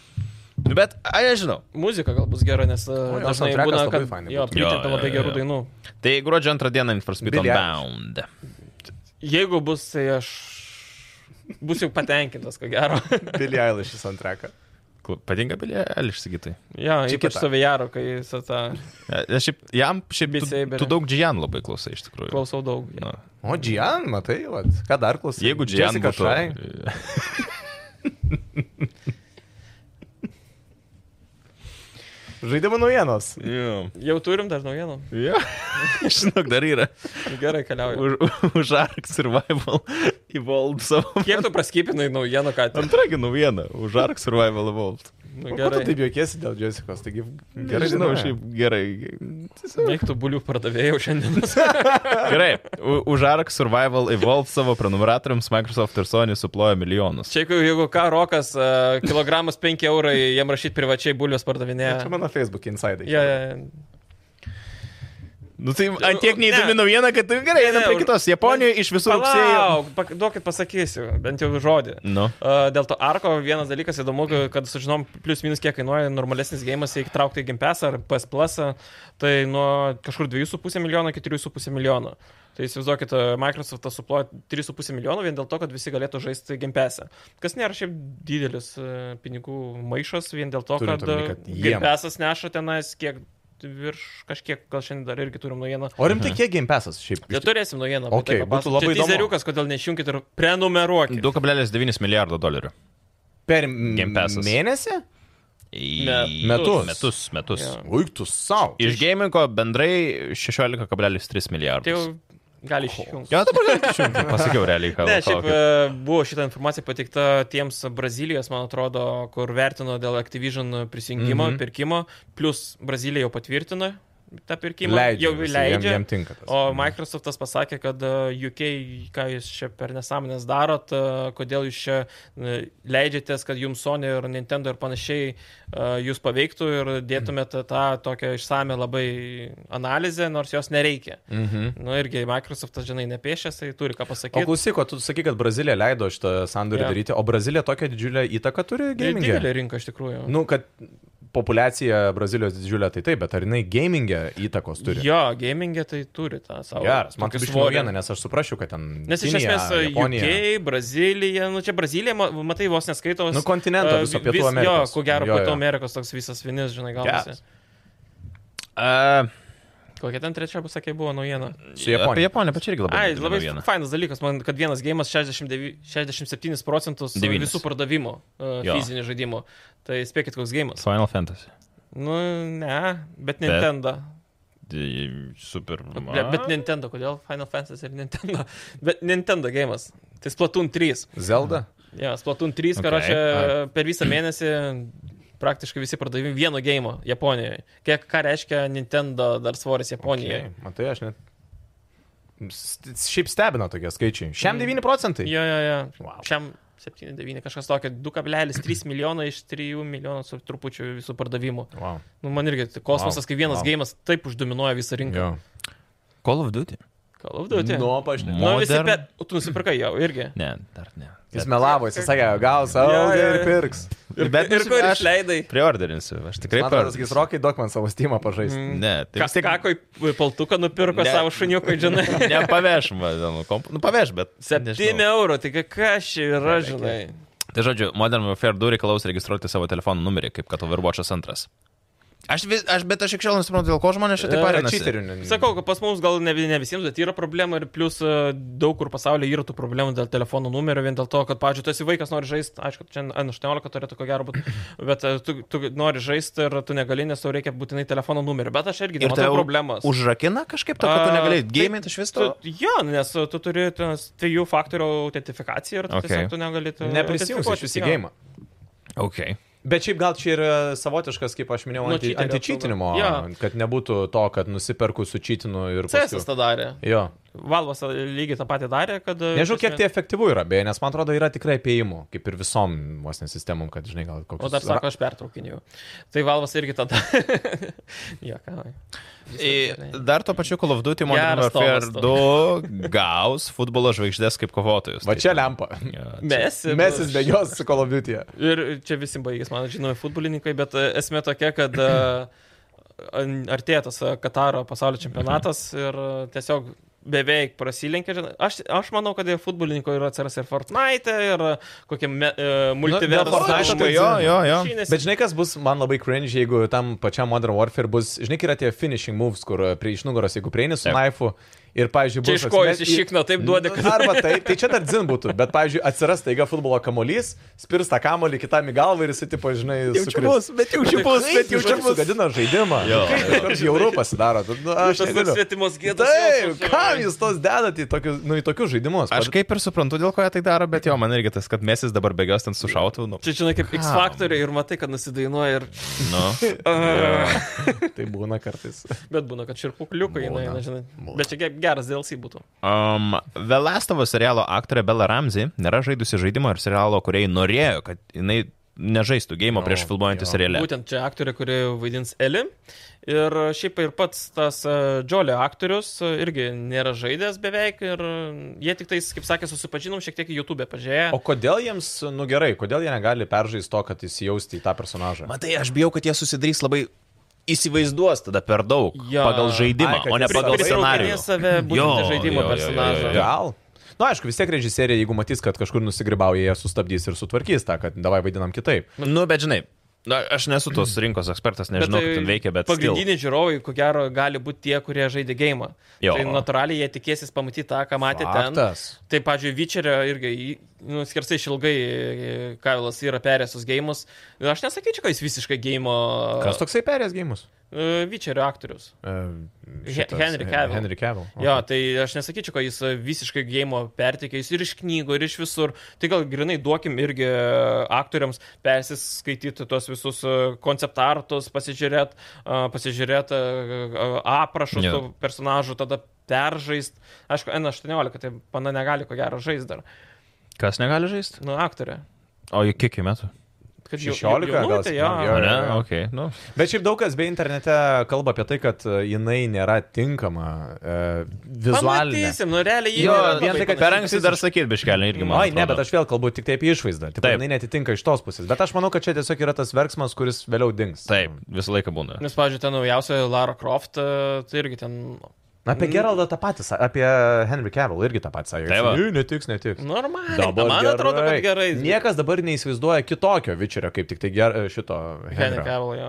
[SPEAKER 1] Nu, Bet, ai, nežinau.
[SPEAKER 2] Muzika gal bus gera, nes a,
[SPEAKER 3] jo,
[SPEAKER 2] dažnai
[SPEAKER 3] soundtrackas
[SPEAKER 2] būna,
[SPEAKER 3] labai
[SPEAKER 2] kad...
[SPEAKER 3] fainai
[SPEAKER 2] Jo,
[SPEAKER 3] būtų.
[SPEAKER 1] Jo,
[SPEAKER 2] pritinta
[SPEAKER 1] jo,
[SPEAKER 2] labai
[SPEAKER 1] jo.
[SPEAKER 2] gerų dainų.
[SPEAKER 1] Tai gruodžio antrą dieną Infraspeed on
[SPEAKER 3] Billie
[SPEAKER 1] Bound.
[SPEAKER 2] Jeigu bus, tai aš... Būsiu patenkintas, ko gero.
[SPEAKER 3] Billy Eilish į soundtracką.
[SPEAKER 1] Kl- Patinka Bilė Eliš, sakytai.
[SPEAKER 2] jo,
[SPEAKER 3] Čia
[SPEAKER 2] ypač
[SPEAKER 3] kita.
[SPEAKER 2] su Vejaro, kai su tą
[SPEAKER 1] Aš šiaip, jam šiaip tu,
[SPEAKER 2] Beat Saber'e.
[SPEAKER 1] tu daug Džian labai klausai iš tikrųjų.
[SPEAKER 2] klausau daug.
[SPEAKER 1] Nu,
[SPEAKER 3] O, Gian, matai, vat, ką dar klausai?
[SPEAKER 1] jeigu Džian
[SPEAKER 3] Jessica
[SPEAKER 1] būtų.
[SPEAKER 3] Chai. Žaidimo naujienos.
[SPEAKER 1] Jo.
[SPEAKER 2] Jau turim dar naujienų. Nu,
[SPEAKER 1] Jo. Žinok, dar yra.
[SPEAKER 2] Gerai, keliauju.
[SPEAKER 1] Už, už Ark Survival Evolved savo.
[SPEAKER 2] Kiek tu praskipinai naujienų, ką tik?
[SPEAKER 1] Antragi naujiena. Už Ark Survival Evolved.
[SPEAKER 2] Nu,
[SPEAKER 3] Gerai. Tu
[SPEAKER 2] gerai.
[SPEAKER 3] taip juokiesi dėl Jessicos, taigi
[SPEAKER 1] Gerai,
[SPEAKER 3] gerai
[SPEAKER 1] žinau,
[SPEAKER 3] dainuoja.
[SPEAKER 1] šiaip gerai. Tiesiog-
[SPEAKER 2] Reiktų bulių pardavėjų šiandien.
[SPEAKER 1] Gerai. U- Už Ark Survival Evolved savo prenumeratoriams Microsoft ir Sony suplojo milijonus.
[SPEAKER 2] Čia, jeigu- jeigu ką, rokas, a, kilogramas 5 eurai, jiem rašyti privačiai bulius pardavinėja.
[SPEAKER 3] Čia mano Facebook insidai.
[SPEAKER 2] Ja, ja.
[SPEAKER 1] Nu tai ant tiek neįdomi
[SPEAKER 2] Ne.
[SPEAKER 1] naujiena, kad tai gerai, einam
[SPEAKER 2] Ne,
[SPEAKER 1] prie
[SPEAKER 2] už-
[SPEAKER 1] kitos. Japonijoje iš visų rugsėjo.
[SPEAKER 2] Palauk, pak- duokit pasakysiu, bent jau žodį.
[SPEAKER 1] Nu.
[SPEAKER 2] A, Dėl to arko vienas dalykas įdomu, kad sužinom plius minus kiek kainuoja normalesnis gėjimas, jei traukti į Gimpes ar PS Plus, tai nuo kažkur 2,5 milijono iki 3,5 milijono. Tai įsivaizduokit, Microsoft suploja 3,5 milijono vien dėl to, kad visi galėtų žaisti Gimpesą. Kas nėra šiaip didelis e, pinigų maišas vien dėl to, kad,
[SPEAKER 3] Turint omeny,
[SPEAKER 2] kad
[SPEAKER 3] kad jiem.
[SPEAKER 2] Gimpesas neša tenais kiek virš kažkiek, gal šiandien dar irgi turim naujieną.
[SPEAKER 3] O rimtai, kiek Game Passas šiaip?
[SPEAKER 2] Ja, tai- turėsim naujieną.
[SPEAKER 3] Okei, būtų labai įdomu.
[SPEAKER 2] Dizeriukas, kodėl neišjungit ir prenumeruokit.
[SPEAKER 1] 2,9 milijardo dolerių.
[SPEAKER 3] Per
[SPEAKER 1] Game Passas.
[SPEAKER 3] mėnesį?
[SPEAKER 1] Į-
[SPEAKER 2] Me-
[SPEAKER 3] Metus.
[SPEAKER 1] Metus, metus.
[SPEAKER 2] Jo.
[SPEAKER 3] Uiktus savo.
[SPEAKER 1] Iš gamingo bendrai 16,3 milijardus.
[SPEAKER 2] Tai jau gali išjungti.
[SPEAKER 1] Jo, dabar galit išjungti. Pasakiau realiai, ką.
[SPEAKER 2] Ne,
[SPEAKER 1] ką-
[SPEAKER 2] šiaip
[SPEAKER 1] ką-
[SPEAKER 2] e, buvo šitą informaciją pateikta tiems Brazilijos, man atrodo, kur vertino dėl Activision prisijungimo, mm
[SPEAKER 3] Mhm.
[SPEAKER 2] -hmm. pirkimo, plus Brazilija jau patvirtino tą pirkimą,
[SPEAKER 3] Leidžia.
[SPEAKER 2] jau
[SPEAKER 3] visi,
[SPEAKER 2] leidžia.
[SPEAKER 3] Jam, jam tinka tas.
[SPEAKER 2] O Microsoftas pasakė, kad e, UK, ką jūs čia per nesąmonės darot, e, kodėl jūs čia e, leidžiatės, kad jums Sony ir Nintendo ir panašiai e, jūs paveiktų ir
[SPEAKER 3] Mhm.
[SPEAKER 2] dėtumėte tą tokią išsame labai analizę, nors jos nereikia.
[SPEAKER 3] Mhm.
[SPEAKER 2] Nu irgi Microsoftas, žinai, nepiešęs, tai turi ką
[SPEAKER 3] O
[SPEAKER 2] pasakyti.
[SPEAKER 3] klausyk, o tu sakai, kad Brazilija leido šitą sandorį
[SPEAKER 2] Jo.
[SPEAKER 3] daryti, o Brazilija tokią didžiulę įtaką turi
[SPEAKER 2] Tai
[SPEAKER 3] gamingė.
[SPEAKER 2] didelė rinka iš tikrųjų.
[SPEAKER 3] Nu, kad populiacija Brazilijos didžiulė, tai taip, bet ar jinai gamingė įtakos turi?
[SPEAKER 2] Jo, gamingė tai turi tą savo.
[SPEAKER 3] Geras, man
[SPEAKER 2] tokį
[SPEAKER 3] kaip
[SPEAKER 2] svorį.
[SPEAKER 3] svorieną, nes aš suprasčiau, kad ten.
[SPEAKER 2] Nes iš
[SPEAKER 3] Kinija,
[SPEAKER 2] esmės uh, Japonija.
[SPEAKER 3] Japonija.
[SPEAKER 2] UK, Brazilija, nu čia Brazilija, ma- matai, vos neskaitos.
[SPEAKER 3] Nu, kontinento
[SPEAKER 2] e,
[SPEAKER 3] viso
[SPEAKER 2] vi-
[SPEAKER 3] Pietų
[SPEAKER 2] vis- Jo,
[SPEAKER 3] Amerikos.
[SPEAKER 2] ko gero,
[SPEAKER 3] Jo, jo.
[SPEAKER 2] Pietų Amerikos toks visas vinis, žinai, gal.
[SPEAKER 3] Geras.
[SPEAKER 1] A,
[SPEAKER 2] Kokia ten trečia, bus, sakė, buvo naujiena.
[SPEAKER 3] Su Japonija.
[SPEAKER 1] Apie Japoniją pačią irgi labai.
[SPEAKER 2] Ai,
[SPEAKER 1] didelė
[SPEAKER 2] labai
[SPEAKER 1] naujiena.
[SPEAKER 2] fainas dalykas, man, kad vienas gėjimas 69 67 procentus
[SPEAKER 1] Devynis.
[SPEAKER 2] visų pardavimo uh,
[SPEAKER 1] Jo.
[SPEAKER 2] fizinių žaidimų. Tai spėkit, koks gėjimas.
[SPEAKER 1] Final Fantasy.
[SPEAKER 2] Nu, ne, bet Nintendo.
[SPEAKER 1] Di- Tai Super.
[SPEAKER 2] Bet, bet Nintendo, kodėl Final Fantasy ir Nintendo? Bet Nintendo gėjimas. Tai Splatoon 3.
[SPEAKER 3] Zelda?
[SPEAKER 2] Ja, Splatoon 3, okay.
[SPEAKER 1] Okay.
[SPEAKER 2] karočią, per visą mėnesį praktiškai visi pardavimai vieno gėjimo Japonijoje. Kiek ką reiškia Nintendo dar svoris Japonijoje?
[SPEAKER 3] Okei, Matai, aš net. St- Šiaip stebina tokie skaičiai. Šiam 9 procentai.
[SPEAKER 2] Mm. Jo, jo, jo.
[SPEAKER 3] Wow.
[SPEAKER 2] Šiam 7-9 kažkas tokio, 2,3 milijono iš 3 milijonų su trupučiu visų pardavimų.
[SPEAKER 3] Wow.
[SPEAKER 2] Nu, man irgi tai kosmosas,
[SPEAKER 3] Wow,
[SPEAKER 2] kai vienas
[SPEAKER 3] wow.
[SPEAKER 2] wow. gėjimas taip uždominuoja visą rinką.
[SPEAKER 3] Jo.
[SPEAKER 1] Call of Duty.
[SPEAKER 2] Call of Duty.
[SPEAKER 3] Nu, pašnekam.
[SPEAKER 2] nu visi,
[SPEAKER 1] Modern.
[SPEAKER 2] bet tu nusipirkai jau irgi.
[SPEAKER 1] Ne, dar ne.
[SPEAKER 3] Jis melavo, jis sakė, gaus, o
[SPEAKER 2] Jo, jo,
[SPEAKER 3] ir
[SPEAKER 2] jo.
[SPEAKER 3] pirks.
[SPEAKER 2] Ir,
[SPEAKER 1] Bet
[SPEAKER 2] ir kur
[SPEAKER 1] aš
[SPEAKER 2] išleidai?
[SPEAKER 1] Priorderinsiu, aš tikrai
[SPEAKER 3] Man atrodo, jis
[SPEAKER 1] per...
[SPEAKER 3] rokai daug man savo stymą pažaisti.
[SPEAKER 2] Mm.
[SPEAKER 1] Ne, tai
[SPEAKER 2] Kas
[SPEAKER 1] vis tiek...
[SPEAKER 2] tiek kakoj paltuką nupirko
[SPEAKER 1] Ne.
[SPEAKER 2] savo šuniukui, žinai.
[SPEAKER 1] Nepaveš, man, nu, komp... nu, paveš, bet...
[SPEAKER 2] 7
[SPEAKER 1] nežinau.
[SPEAKER 2] eurų, tai kas čia yra, žinai.
[SPEAKER 1] Tai žodžiu, Modern Warfare 2 reikalaus registruoti savo telefonų numerį, kaip kad Overwatch'as antras. Aš, vis, aš bet aš iki šiol nesuprantu, dėl ko žmonės šitaip
[SPEAKER 2] E,
[SPEAKER 1] parinasi.
[SPEAKER 2] Sakau, kad pas mus gal ne, ne visiems, bet yra problema ir plus e, daug kur pasaulyje yra tų problemų dėl telefono numerio, vien dėl to, kad, pavyzdžiui, tu esi vaikas, nori žaisti, aišku, čia N18 turėtų ko gero būti, bet e, tu, tu nori žaisti ir tu negali, nes tau reikia būtinai telefono numerio, bet aš irgi
[SPEAKER 1] Ir tai
[SPEAKER 2] nematau problemas.
[SPEAKER 1] užrakina kažkaip to, kad tu
[SPEAKER 2] A,
[SPEAKER 1] negalėjai
[SPEAKER 2] tai-
[SPEAKER 1] gėminti iš viso.
[SPEAKER 2] Tu, jo, nes tu turi tas trijų faktorių autentifikaciją ir tu
[SPEAKER 1] Okay.
[SPEAKER 2] okay. tiesiog tu negali... tu
[SPEAKER 3] Neprisijungsiu iš
[SPEAKER 2] autentifikuotis,
[SPEAKER 3] visų
[SPEAKER 2] e, jo.
[SPEAKER 3] gėjimą.
[SPEAKER 1] Okay.
[SPEAKER 3] Bet šiaip gal čia yra savotiškas, kaip aš minėjau,
[SPEAKER 2] Nuo
[SPEAKER 3] anti-
[SPEAKER 2] čiterio
[SPEAKER 3] antičytinimo,
[SPEAKER 2] Nu, apsauga.
[SPEAKER 3] kad nebūtų to, kad nusiperku su čytinu ir...
[SPEAKER 2] CS
[SPEAKER 3] paskui-
[SPEAKER 2] tą darė.
[SPEAKER 3] Jo.
[SPEAKER 2] Valvas lygiai tą patį darė, kad... e,
[SPEAKER 3] Nežinau,
[SPEAKER 2] iš
[SPEAKER 3] kiek
[SPEAKER 2] esmės-
[SPEAKER 3] tai efektyvu yra, beje, nes man atrodo yra tikrai apieimų, kaip ir visom vos nesistemom, kad žinai, gal kokios...
[SPEAKER 2] O dar sako, aš pertraukinėjau. Tai Valvas irgi tada. Jaka.
[SPEAKER 1] Į- Dar to pačiu Call of Duty Modern
[SPEAKER 2] Geras
[SPEAKER 1] Warfare
[SPEAKER 2] tomas tu.
[SPEAKER 1] 2 gaus futbolo žvaigždės kaip kovotojus.
[SPEAKER 3] Va čia lempa.
[SPEAKER 1] Mes.
[SPEAKER 2] Mes.
[SPEAKER 3] Mesis be jos su Call of Duty.
[SPEAKER 2] Ir čia visi baigės, man žinomi, futbolininkai, bet e, esmė tokia, kad e, an- artėja tas e, Kataro pasaulio čempionatas
[SPEAKER 3] Mhm.
[SPEAKER 2] ir e, tiesiog beveik prasilenkia. žinai. Aš, aš manau, kad ir futbolininko yra atsiras ir Fortnite, ir e, kokie me, e,
[SPEAKER 3] Nu, dėl Fortnite'o
[SPEAKER 2] multiverso.
[SPEAKER 3] tai-
[SPEAKER 1] Jo, jo, jo.
[SPEAKER 3] Bet žinai, kas bus man labai cringe, jeigu tam pačiam Modern Warfare bus, žinai, kai yra tie finishing moves, kur e, prie iš nugaros, jeigu prieini su
[SPEAKER 1] Taip.
[SPEAKER 3] knaifu ir, pavyzdžiui,
[SPEAKER 2] Čia
[SPEAKER 3] bus...
[SPEAKER 2] iš kojos
[SPEAKER 3] atsimes-
[SPEAKER 2] išikno taip duodė, kad...
[SPEAKER 3] Arba taip, tai čia dar dzin būtų, bet, pavyzdžiui, atsiras taiga futbolo kamuolys, spirs tą kamuolį kitam į galvą ir jis, tipo, žinai, sukris.
[SPEAKER 1] bet jau
[SPEAKER 2] čia bus, bet
[SPEAKER 3] Jau čia
[SPEAKER 2] Žodžiu,
[SPEAKER 3] sugadina žaidimą.
[SPEAKER 1] Jo.
[SPEAKER 3] Kaip jauru pasidaro. Tu- Nu, aš
[SPEAKER 2] Tas
[SPEAKER 3] negaliu.
[SPEAKER 2] svetimos gėdos.
[SPEAKER 3] Taip,
[SPEAKER 2] jausmas,
[SPEAKER 3] ką
[SPEAKER 2] žinai.
[SPEAKER 3] jūs tos dedat į tokius, nu, į tokius žaidimus?
[SPEAKER 1] Aš kaip ir suprantu, dėl ko jie tai daro, bet jo, man irgi tas, kad mesis dabar bėgios ten su šautuvu. Nu,
[SPEAKER 2] Čia, žinai, kaip X faktoriai ir matai, kad nusidainuoja ir...
[SPEAKER 1] nu.
[SPEAKER 3] Tai būna kartais.
[SPEAKER 2] Bet būna, kad širpukliukai, jinai,
[SPEAKER 3] Būna,
[SPEAKER 2] na, žinai.
[SPEAKER 3] būna.
[SPEAKER 2] Bet čia ge- geras DLC būtų.
[SPEAKER 1] Um, The Last of Us serialo aktorė Bella Ramsey nėra žaidusi žaidimo ir serialo, kuriai norėjo, kad jinai nežaistų gėjimo
[SPEAKER 3] No,
[SPEAKER 1] prieš filmuojantį
[SPEAKER 3] jo.
[SPEAKER 1] serialę.
[SPEAKER 2] Būtent čia aktorė, kuri vaidins Eli. Ir šiaip ir pats tas Džolio aktorius e, irgi nėra žaidęs beveik. Ir e, jie tik tais, kaip sakė, susipažinom šiek tiek į YouTube pažiūrėję.
[SPEAKER 3] O kodėl jiems, nu gerai, kodėl jie negali peržaisti to, kad įsijausti į tą personažą?
[SPEAKER 1] Matai, aš bijau, kad jie susidarys labai įsivaizduos tada per daug
[SPEAKER 2] Jo.
[SPEAKER 1] pagal žaidimą,
[SPEAKER 3] Ai, kad
[SPEAKER 1] o ne
[SPEAKER 3] jis
[SPEAKER 1] pagal
[SPEAKER 3] prisitraukinės
[SPEAKER 1] scenarijų.
[SPEAKER 2] save būtent
[SPEAKER 1] Jo,
[SPEAKER 2] žaidimo
[SPEAKER 1] jo, jo, jo, jo,
[SPEAKER 2] personažą.
[SPEAKER 1] jo.
[SPEAKER 3] Gal? Na, nu, aišku, vis tiek režisierė, jeigu matys, kad kažkur nusigribauja, jie sustabdys ir sutvarkys tą, kad davai vaidinam kitaip.
[SPEAKER 1] Nu, bet žinai, na, aš nesu tos rinkos ekspertas, nežinau,
[SPEAKER 2] tai
[SPEAKER 1] kaip ten veikia, bet... still.
[SPEAKER 2] Pagrindiniai žiūrovai, ko gero, gali būti tie, kurie žaidė gėjimą.
[SPEAKER 1] Jo.
[SPEAKER 2] Tai natūraliai jie tikėsis pamatyti tą, ką matė ten.
[SPEAKER 3] Faktas.
[SPEAKER 2] Tai, pavyzdžiui, Vyčerio irgi, jį- nu, skersai išilgai e, Kailas yra perėjęs tos gėjimus. Aš nesakyčiau, kad jis visiškai gėjimo
[SPEAKER 3] Kas toksai perės gėjimus?
[SPEAKER 2] Vyčerio aktorius. Henry Cavill.
[SPEAKER 3] Henry Cavill.
[SPEAKER 2] Jo, tai aš nesakyčiau, kad jis e, visiškai gėjimo pertikė, jis ir iš knygų, ir iš visur. Tai gal grinai duokim irgi e, aktoriams persiskaityti tuos visus e, konceptartus, pasižiūrėt, e, pasižiūrėt e, e, aprašus
[SPEAKER 1] Jo.
[SPEAKER 2] tų personažų, tada peržaist. Aišku, N18, tai pana negali ko gero žaisti dar.
[SPEAKER 1] Kas negali žaisti?
[SPEAKER 2] Nu, aktorė.
[SPEAKER 1] O į kiek į metų?
[SPEAKER 2] Kad jau-
[SPEAKER 3] 16
[SPEAKER 2] jau-
[SPEAKER 3] gal
[SPEAKER 2] jaunutė, jo.
[SPEAKER 3] septyniolika.
[SPEAKER 1] O
[SPEAKER 3] Jo,
[SPEAKER 1] ne,
[SPEAKER 3] jo, jo.
[SPEAKER 1] okei, nu.
[SPEAKER 3] Bet šiaip daug kas be internete kalba apie tai, kad e, jinai nėra tinkama e, vizualinė.
[SPEAKER 2] Pamatysim, nu realiai jį
[SPEAKER 1] Jo,
[SPEAKER 2] yra
[SPEAKER 3] vien
[SPEAKER 2] labai
[SPEAKER 3] tai, kad
[SPEAKER 1] per
[SPEAKER 2] panaši.
[SPEAKER 1] anksti dar sakyt, biškelį irgi man.
[SPEAKER 3] Oi, ne,
[SPEAKER 1] atrodo.
[SPEAKER 3] bet aš vėl kalbu tik tai apie išvaizdą. Taip,
[SPEAKER 1] Taip.
[SPEAKER 3] jinai netitinka iš tos pusės. Bet aš manau, kad čia tiesiog yra tas verksmas, kuris vėliau dings.
[SPEAKER 1] Taip, visą laiką būna.
[SPEAKER 2] Nes, pavyzdžiui, ten naujausia Lara Croft, e, tai irgi ten...
[SPEAKER 3] Na, Apie Geraldą tą patį, sa- apie Henry Cavill irgi tą patį Nu, sakė.
[SPEAKER 1] Tai va.
[SPEAKER 3] Ne, netiks, netiks.
[SPEAKER 2] Normaliai. Dabar man atrodo, kad gerai.
[SPEAKER 3] Niekas dabar neįsivaizduoja kitokio vičerio, kaip tik tai ger, šito
[SPEAKER 2] Henry
[SPEAKER 3] Henry.
[SPEAKER 2] Cavill, jo.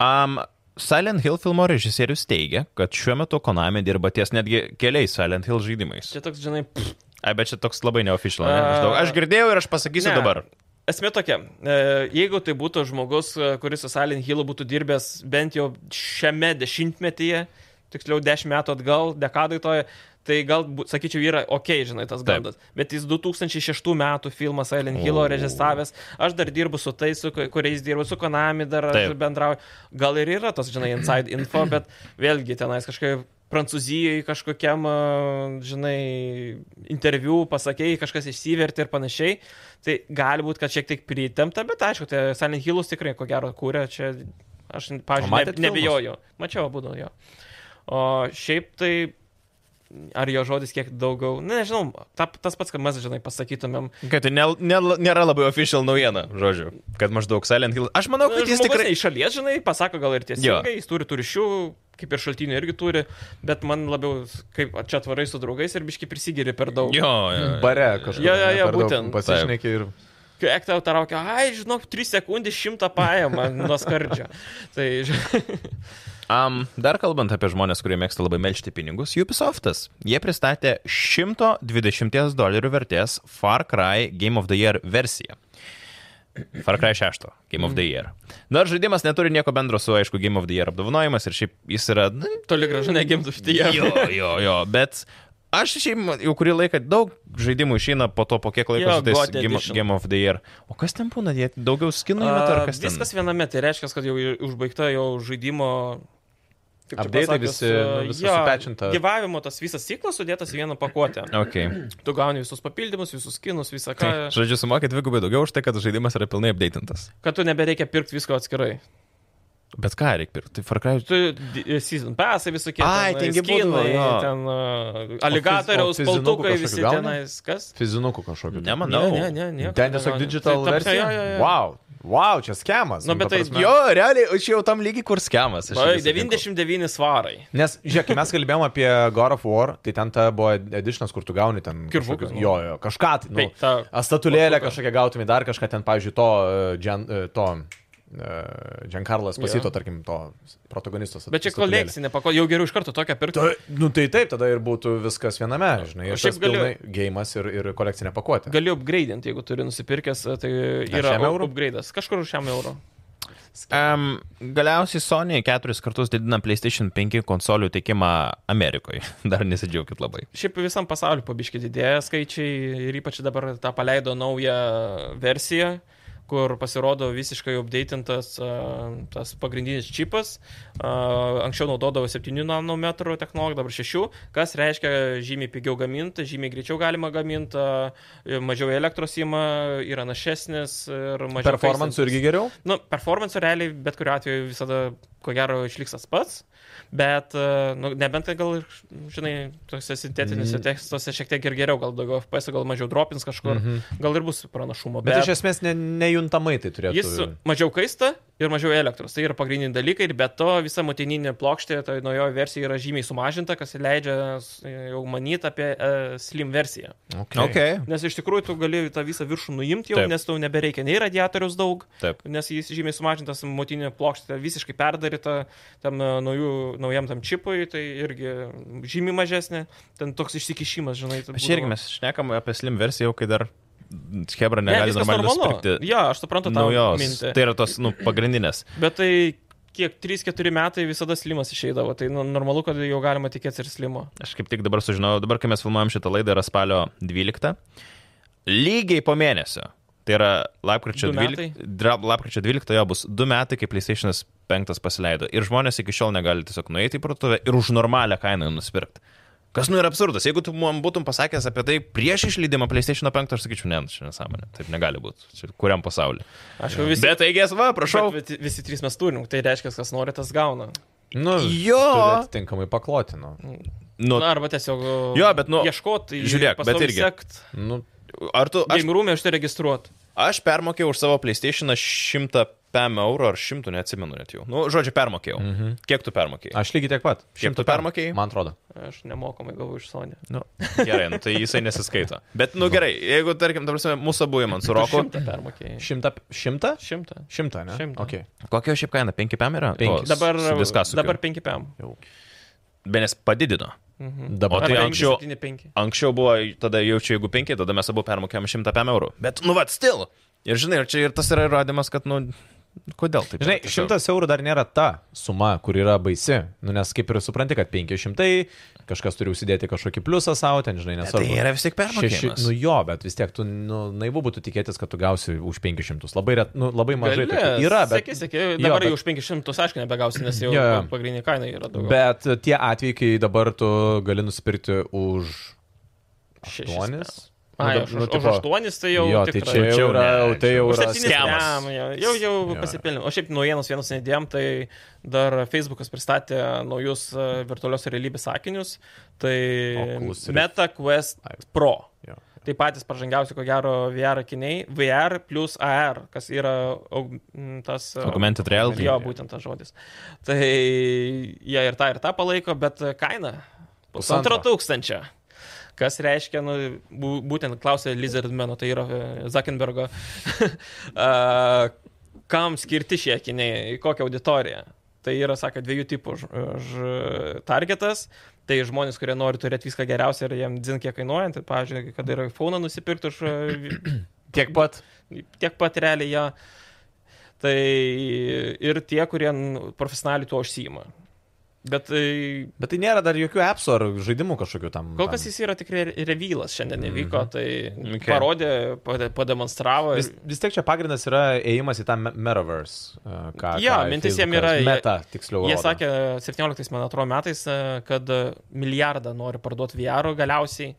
[SPEAKER 1] Um, Silent Hill filmo režisierius teigia, kad šiuo metu Konami dirba ties netgi keliais Silent Hill žaidimais.
[SPEAKER 2] Čia toks, žinai, pff,
[SPEAKER 1] Ai, bet čia toks labai neoficial. Ne?
[SPEAKER 2] A.
[SPEAKER 1] Maždaug. Aš girdėjau ir aš pasakysiu
[SPEAKER 2] Ne.
[SPEAKER 1] dabar.
[SPEAKER 2] esmė tokia. e, Jeigu tai būtų žmogus, e, kuris su Silent Hillu būtų dirbęs bent jau šiame dešimtmetyje, tiksliau dešimt metų atgal, dekadai toje, tai galbūt, sakyčiau, yra ok, žinai, tas
[SPEAKER 1] Taip.
[SPEAKER 2] gandas. Bet jis 2006 metų filmą Silent Hillo
[SPEAKER 1] O.
[SPEAKER 2] režisavęs, aš dar dirbu su tais, su ku- kuriais dirbu, su Konami dar aš
[SPEAKER 1] Taip.
[SPEAKER 2] bendrauju. Gal ir yra tas, žinai, inside info, bet vėlgi tenais kažkaip Prancūzijoje kažkokiam, a, žinai, interviu pasakėjai, kažkas išsivertė ir panašiai. Tai gali būti, kad šiek tiek pritemta, bet aišku, tai Silent Hillus tikrai ko gero kūrė, čia aš,
[SPEAKER 3] O
[SPEAKER 2] pažiūrėjau,
[SPEAKER 3] matėt
[SPEAKER 2] ne, nebijoju. Mačiau, būdavo jo. O šiaip tai ar jo žodis kiek daugiau, ne, nežinau, ta, tas pats, kad mes, žinai, pasakytumėm.
[SPEAKER 1] Kad tai ne, ne, nėra labai official naujiena, žodžiu. Kad maždaug Silent Hill. Aš manau, kad jis
[SPEAKER 2] Nu, Žmogus
[SPEAKER 1] tikrai...
[SPEAKER 2] ne iš šalies, žinai, pasako gal ir tiesiogiai, jis turi turišių, kaip ir šaltinių irgi turi, bet man labiau, kaip čia atvarai su draugais ir biški prisigiri per daug.
[SPEAKER 1] Jo, jo, jo.
[SPEAKER 3] Bare kažkur.
[SPEAKER 2] Jo, jo, jo,
[SPEAKER 3] ne, per daug
[SPEAKER 2] būtent.
[SPEAKER 3] Pasišneki ir...
[SPEAKER 2] Kai ektau taraukia, ai, žinok, 3 sekundės šimtą paėmą nuo skardžio. tai, žinai,
[SPEAKER 1] Um, dar kalbant apie žmonės, kurie mėgsta labai melžti pinigus, Ubisoftas. Jie pristatė 120 dolerių vertės Far Cry Game of the Year versiją. Far Cry 6 Game
[SPEAKER 2] Mm.
[SPEAKER 1] of the Year. Nors žaidimas neturi nieko bendro su, aišku, Game of the Year apdovanojimas ir šiaip jis yra... nu, na,
[SPEAKER 2] toli gražu negimtų šitie.
[SPEAKER 1] Jo, jo, jo, bet aš šiaip jau kurį laiką daug žaidimų išeina po to, po kiek laiko
[SPEAKER 2] Jo,
[SPEAKER 1] su tais
[SPEAKER 2] God
[SPEAKER 1] Game,
[SPEAKER 2] Edition.
[SPEAKER 1] Game of the Year. O kas ten būna, jie daugiau skinų įmeta ar
[SPEAKER 2] A,
[SPEAKER 1] kas ten?
[SPEAKER 2] Viskas viename, tai reiškia, kad jau i- užbaigta jau žaidimo. kaip čia
[SPEAKER 3] Update'ai
[SPEAKER 2] pasakius,
[SPEAKER 3] visi-
[SPEAKER 1] nu,
[SPEAKER 2] a,
[SPEAKER 3] viskas
[SPEAKER 2] jo,
[SPEAKER 3] supečinta.
[SPEAKER 2] Gyvavimo tas visas ciklas sudėtas į vieną pakuotę.
[SPEAKER 1] Okay.
[SPEAKER 2] Tu gauni visus papildymus, visus skinus, visą ką.
[SPEAKER 1] Žodžiu, sumokė dvigubai daugiau už tai, kad žaidimas yra pilnai apdeitintas.
[SPEAKER 2] Kad tu nebereikia pirkti visko atskirai.
[SPEAKER 1] Bet ką reikia pirkti? Tai Far Cry.
[SPEAKER 2] Tu di- e, season pasai visokie.
[SPEAKER 1] Ai,
[SPEAKER 2] tenai,
[SPEAKER 1] tengi būdavo,
[SPEAKER 2] skinai,
[SPEAKER 1] jo.
[SPEAKER 2] ten a, aligatoriaus,
[SPEAKER 3] o fizinukų
[SPEAKER 2] paltukai,
[SPEAKER 3] kažkokių
[SPEAKER 2] visi
[SPEAKER 3] gauni?
[SPEAKER 2] tenais. Kas?
[SPEAKER 3] Fizinukų kažkokiu.
[SPEAKER 1] Nemanau.
[SPEAKER 2] Ne, ne, ne. nieko
[SPEAKER 3] Ten tiesiog
[SPEAKER 2] negauni.
[SPEAKER 3] digital
[SPEAKER 2] Tai ta prasme,
[SPEAKER 3] versija.
[SPEAKER 2] jo, jo, jo.
[SPEAKER 3] Wow, wow, čia schemas.
[SPEAKER 2] Nu, bet
[SPEAKER 3] ta
[SPEAKER 2] tai
[SPEAKER 3] prasme.
[SPEAKER 1] Jo, realiai, aš jau tam lygiai kur skemas.
[SPEAKER 2] Beveik 99 svarai.
[SPEAKER 3] Nes, žiūrėk, kai mes kalbėjom apie God of War, tai ten ta buvo editionas, kur tu gauni ten
[SPEAKER 2] Kirvukus,
[SPEAKER 3] kažkokius-
[SPEAKER 2] nu.
[SPEAKER 3] Jo, jo, kažką, tai, nu,
[SPEAKER 2] Tai ta-
[SPEAKER 3] a, statulėlę kažkokią gautumai dar kažką ten, pavyzdžiui, to, uh, Gian, uh, to uh, Giancarlas pasito,
[SPEAKER 2] Jo.
[SPEAKER 3] tarkim, to protagonisto. stat-
[SPEAKER 2] Bet čia
[SPEAKER 3] statulėlę.
[SPEAKER 2] kolekcinė, pako, jau geriau iš karto tokią pirkti.
[SPEAKER 3] Ta, nu tai taip, tada ir būtų viskas viename, žinai. Ir
[SPEAKER 2] O šiaip
[SPEAKER 3] šiaip galiu. Gėjimas ir, ir kolekcinė pakuotė.
[SPEAKER 2] Gali upgraidinti, jeigu turi nusipirkęs, tai yra
[SPEAKER 3] šiam eurų?
[SPEAKER 2] upgraidas. Kažkur už šiam eurų.
[SPEAKER 1] Um, galiausiai Sony keturis kartus didina PlayStation 5 konsolių tiekimą Amerikoje. Dar nesidžiaukit labai.
[SPEAKER 2] Šiaip visam pasauliu pabiškiai didėja skaičiai ir ypač dabar tą paleido naują versiją, kur pasirodo visiškai updatintas a, tas pagrindinis čipas. A, Anksčiau naudodavo 7 nanometrų technologiją, dabar 6, kas reiškia žymiai pigiau gaminti, žymiai greičiau galima gaminti, a, mažiau elektros įma, yra našesnis ir mažiau.
[SPEAKER 3] Performansų
[SPEAKER 2] kaistantis.
[SPEAKER 3] irgi geriau.
[SPEAKER 2] Nu, performance realiai bet kuriu atveju visada, ko gero, išliks tas pats, bet, e, nu, nebent tai gal, ir, žinai, tuose sintetiniuose
[SPEAKER 3] Mm.
[SPEAKER 2] tekstuose šiek tiek ir geriau, gal daugiau FPS, gal mažiau dropins kažkur,
[SPEAKER 3] Mhm.
[SPEAKER 2] gal ir bus pranašumo.
[SPEAKER 3] Bet, bet iš esmės ne, nejuntamai tai turėtų.
[SPEAKER 2] jis mažiau kaista ir mažiau elektros, tai yra pagrindiniai dalykai ir be to visa motininė plokštė, tai naujoji versija yra žymiai sumažinta, kas leidžia s- jau manyti apie uh, slim versiją.
[SPEAKER 3] Okay.
[SPEAKER 2] Nes iš tikrųjų tu gali tą visą viršų nuimti jau,
[SPEAKER 1] Taip.
[SPEAKER 2] Taip. nes tau nebereikia nei radiatorius daug,
[SPEAKER 1] Taip.
[SPEAKER 2] nes jis žymiai sumažintas motinė plokštė, visiškai perdaryta tam e, naujų, naujam tam čipui, tai irgi žymiai mažesnė, ten toks išsikišimas, žinai, tai
[SPEAKER 1] Aš irgi mes šnekam apie slim versiją, jau kai dar Hebra
[SPEAKER 2] Ne,
[SPEAKER 1] negali
[SPEAKER 2] viskas
[SPEAKER 1] normaliai
[SPEAKER 2] normalu.
[SPEAKER 1] nusipirkti
[SPEAKER 2] Ja, aš suprantu tą
[SPEAKER 1] naujos.
[SPEAKER 2] mintį.
[SPEAKER 1] Tai yra tos, nu, pagrindinės.
[SPEAKER 2] Bet tai kiek 3-4 metai visada slimas išeidavo, tai nu, normalu, kad jau galima tikėtis ir slimo.
[SPEAKER 1] Aš kaip tik dabar sužinojau, dabar kai mes filmuojam šitą laidą yra spalio 12. Lygiai po mėnesio. Tai yra lapkričio
[SPEAKER 2] Du
[SPEAKER 1] 12, dra- lapkričio 12 jo bus 2 metai, kai PlayStation 5 pasileido. Ir žmonės iki šiol negali tiesiog nueiti į parduotuvę ir už normalią kainą jų nusipirkti. Kas nu yra absurdas. Jeigu tu man būtum pasakęs apie tai prieš išleidimą PlayStation 5, aš sakyčiau, ne, nu, čia nesąmonė. Taip negali būti. Čia kuriam pasauliu.
[SPEAKER 2] Aš jau visi.
[SPEAKER 1] Bet tai GSV, prašau.
[SPEAKER 2] Bet, bet visi trys mes turim, tai reiškia, kas nori, tas gauna.
[SPEAKER 3] Nu,
[SPEAKER 1] Jo.
[SPEAKER 3] turi Atitinkamai paklotinu.
[SPEAKER 1] Nu,
[SPEAKER 2] Na, arba tiesiog
[SPEAKER 1] Jo, bet, nu,
[SPEAKER 2] ieškoti,
[SPEAKER 1] žiūrėk, bet
[SPEAKER 2] pastoviai
[SPEAKER 1] irgi.
[SPEAKER 2] sekt.
[SPEAKER 3] Nu,
[SPEAKER 1] ar tu... Aš
[SPEAKER 2] Game Room'e užsiregistruot.
[SPEAKER 1] Aš permokėjau už savo PlayStation 100 PM eurų ar 100, neatsimenu net jau. Nu, žodžiu, permokėjau. Mhm. Kiek tu permokėjai?
[SPEAKER 3] aš lygiai tiek pat.
[SPEAKER 1] Kiek tu
[SPEAKER 3] Šimtą per-
[SPEAKER 1] permokėjai?
[SPEAKER 3] Man atrodo.
[SPEAKER 2] Aš nemokamai gavau iš Sony.
[SPEAKER 1] Nu, gerai, nu, tai jisai nesiskaito. Bet, nu gerai, jeigu, tarkim, ta prasme, mūsų abu man su Roku.
[SPEAKER 2] Šimtą permokėjai.
[SPEAKER 3] Šimtą. Šimtą?
[SPEAKER 2] Šimtą.
[SPEAKER 3] Šimtą, ne?
[SPEAKER 2] Šimtą.
[SPEAKER 3] Okay.
[SPEAKER 1] Kokia jo šiaip kaina? 5 PM yra?
[SPEAKER 3] Penki.
[SPEAKER 2] Dabar,
[SPEAKER 1] viskas.
[SPEAKER 2] dabar 5 PM.
[SPEAKER 1] Benes padidino.
[SPEAKER 3] Hm.
[SPEAKER 1] O
[SPEAKER 3] Dabar
[SPEAKER 1] tai
[SPEAKER 2] Ar penki,
[SPEAKER 1] anksčiau-
[SPEAKER 2] septyni, penki.
[SPEAKER 1] Anksčiau buvo, tada jaučiu, jeigu 5, tada mes abu permokėjom 100 PM eurų. Bet, nu, vad, still. Ir žinai, ir čia ir tas yra įrodymas, kad, nu, kodėl taip.
[SPEAKER 3] Žinai,
[SPEAKER 1] yra tiesiog.
[SPEAKER 3] šimtas eurų dar nėra ta suma, kur yra baisi. Nu, nes kaip ir supranti, kad 500, kažkas turi užsidėti kažkokį pliusą savo, ten, žinai,
[SPEAKER 1] Bet Tai
[SPEAKER 3] nesvarbu.
[SPEAKER 1] yra vis tik permokėjimas.
[SPEAKER 3] nu jo, bet vis tiek, tu, nu, naivu būtų tikėtis, kad tu gausi už 500. Labai, ret, nu, labai mažai.
[SPEAKER 2] Gali,
[SPEAKER 3] tokių Yra, bet...
[SPEAKER 2] Sėki, sėki.
[SPEAKER 3] Jo,
[SPEAKER 2] Dabar
[SPEAKER 3] bet-
[SPEAKER 2] jau už 500 aišku nebegausi, nes jau
[SPEAKER 3] Jo, jo.
[SPEAKER 2] pagrindinė kaina yra daugiau.
[SPEAKER 3] Bet tie atvejai, kai dabar tu gali nusipirkti už
[SPEAKER 2] Šešis
[SPEAKER 3] 8,
[SPEAKER 2] eurus. Ai,
[SPEAKER 3] Nu,
[SPEAKER 2] už,
[SPEAKER 3] nu,
[SPEAKER 2] nu,
[SPEAKER 3] tipo-
[SPEAKER 2] už aštuonis tai jau...
[SPEAKER 3] Jo, tai
[SPEAKER 2] tikrai.
[SPEAKER 3] čia jau
[SPEAKER 1] Čia jau
[SPEAKER 3] yra,
[SPEAKER 1] ne,
[SPEAKER 3] jau- tai jau
[SPEAKER 2] Už
[SPEAKER 3] yra
[SPEAKER 2] septynis
[SPEAKER 1] schemas.
[SPEAKER 2] jam, jo, Jau, jau
[SPEAKER 1] Jo.
[SPEAKER 2] pasipilnė. O šiaip naujienos vienos nedėjom, tai dar Facebookas pristatė naujus e, virtualios realybės sakinius. Tai
[SPEAKER 3] Oculus Rift.
[SPEAKER 2] Meta Quest
[SPEAKER 3] Ai.
[SPEAKER 2] Pro.
[SPEAKER 3] Jo.
[SPEAKER 2] Tai patys pažangiausi, ko gero, VR akiniai. VR plus AR, kas yra aug- m, tas... e,
[SPEAKER 1] Augmented reality.
[SPEAKER 2] Jo, būtent tas žodis. Tai jie ir tą, ir tą palaiko, bet kaina pusantro
[SPEAKER 3] Pusantro.
[SPEAKER 2] tūkstančio. Kas reiškia, nu, bū- būtent klausė Lizardmeno, tai yra e, Zuckerbergo, a, kam skirti šie akiniai, į kokią auditoriją. Tai yra, sakė, dviejų tipų ž, ž, targetas. Tai žmonės, kurie nori turėti viską geriausia ir jiem dzin kiek kainuojant, tai, pavyzdžiui, kad ir iPhone nusipirktų už e,
[SPEAKER 3] Tiek pat.
[SPEAKER 2] tiek pat realiai ją. Tai ir tie, kurie n- profesionaliai tuo užsima. Bet tai,
[SPEAKER 3] Bet tai nėra dar jokių apps ar žaidimų kažkokių tam.
[SPEAKER 2] kol kas
[SPEAKER 3] tam.
[SPEAKER 2] jis yra tikrai re- revylas, šiandien įvyko, tai
[SPEAKER 1] Okay.
[SPEAKER 2] okay. parodė, pade- pademonstravo.
[SPEAKER 3] Vis,
[SPEAKER 2] Vis...
[SPEAKER 3] vis tiek čia pagrindas yra ėjimas į tą me- metaverse. e, Ką,
[SPEAKER 2] Jo,
[SPEAKER 3] ką
[SPEAKER 2] mintis jiem
[SPEAKER 3] Facebookas-
[SPEAKER 2] yra- jie-
[SPEAKER 3] Meta, tiksliau.
[SPEAKER 2] Jie
[SPEAKER 3] rodo.
[SPEAKER 2] sakė 17, man atrodo, metais, e, kad milijardą nori parduoti VR galiausiai,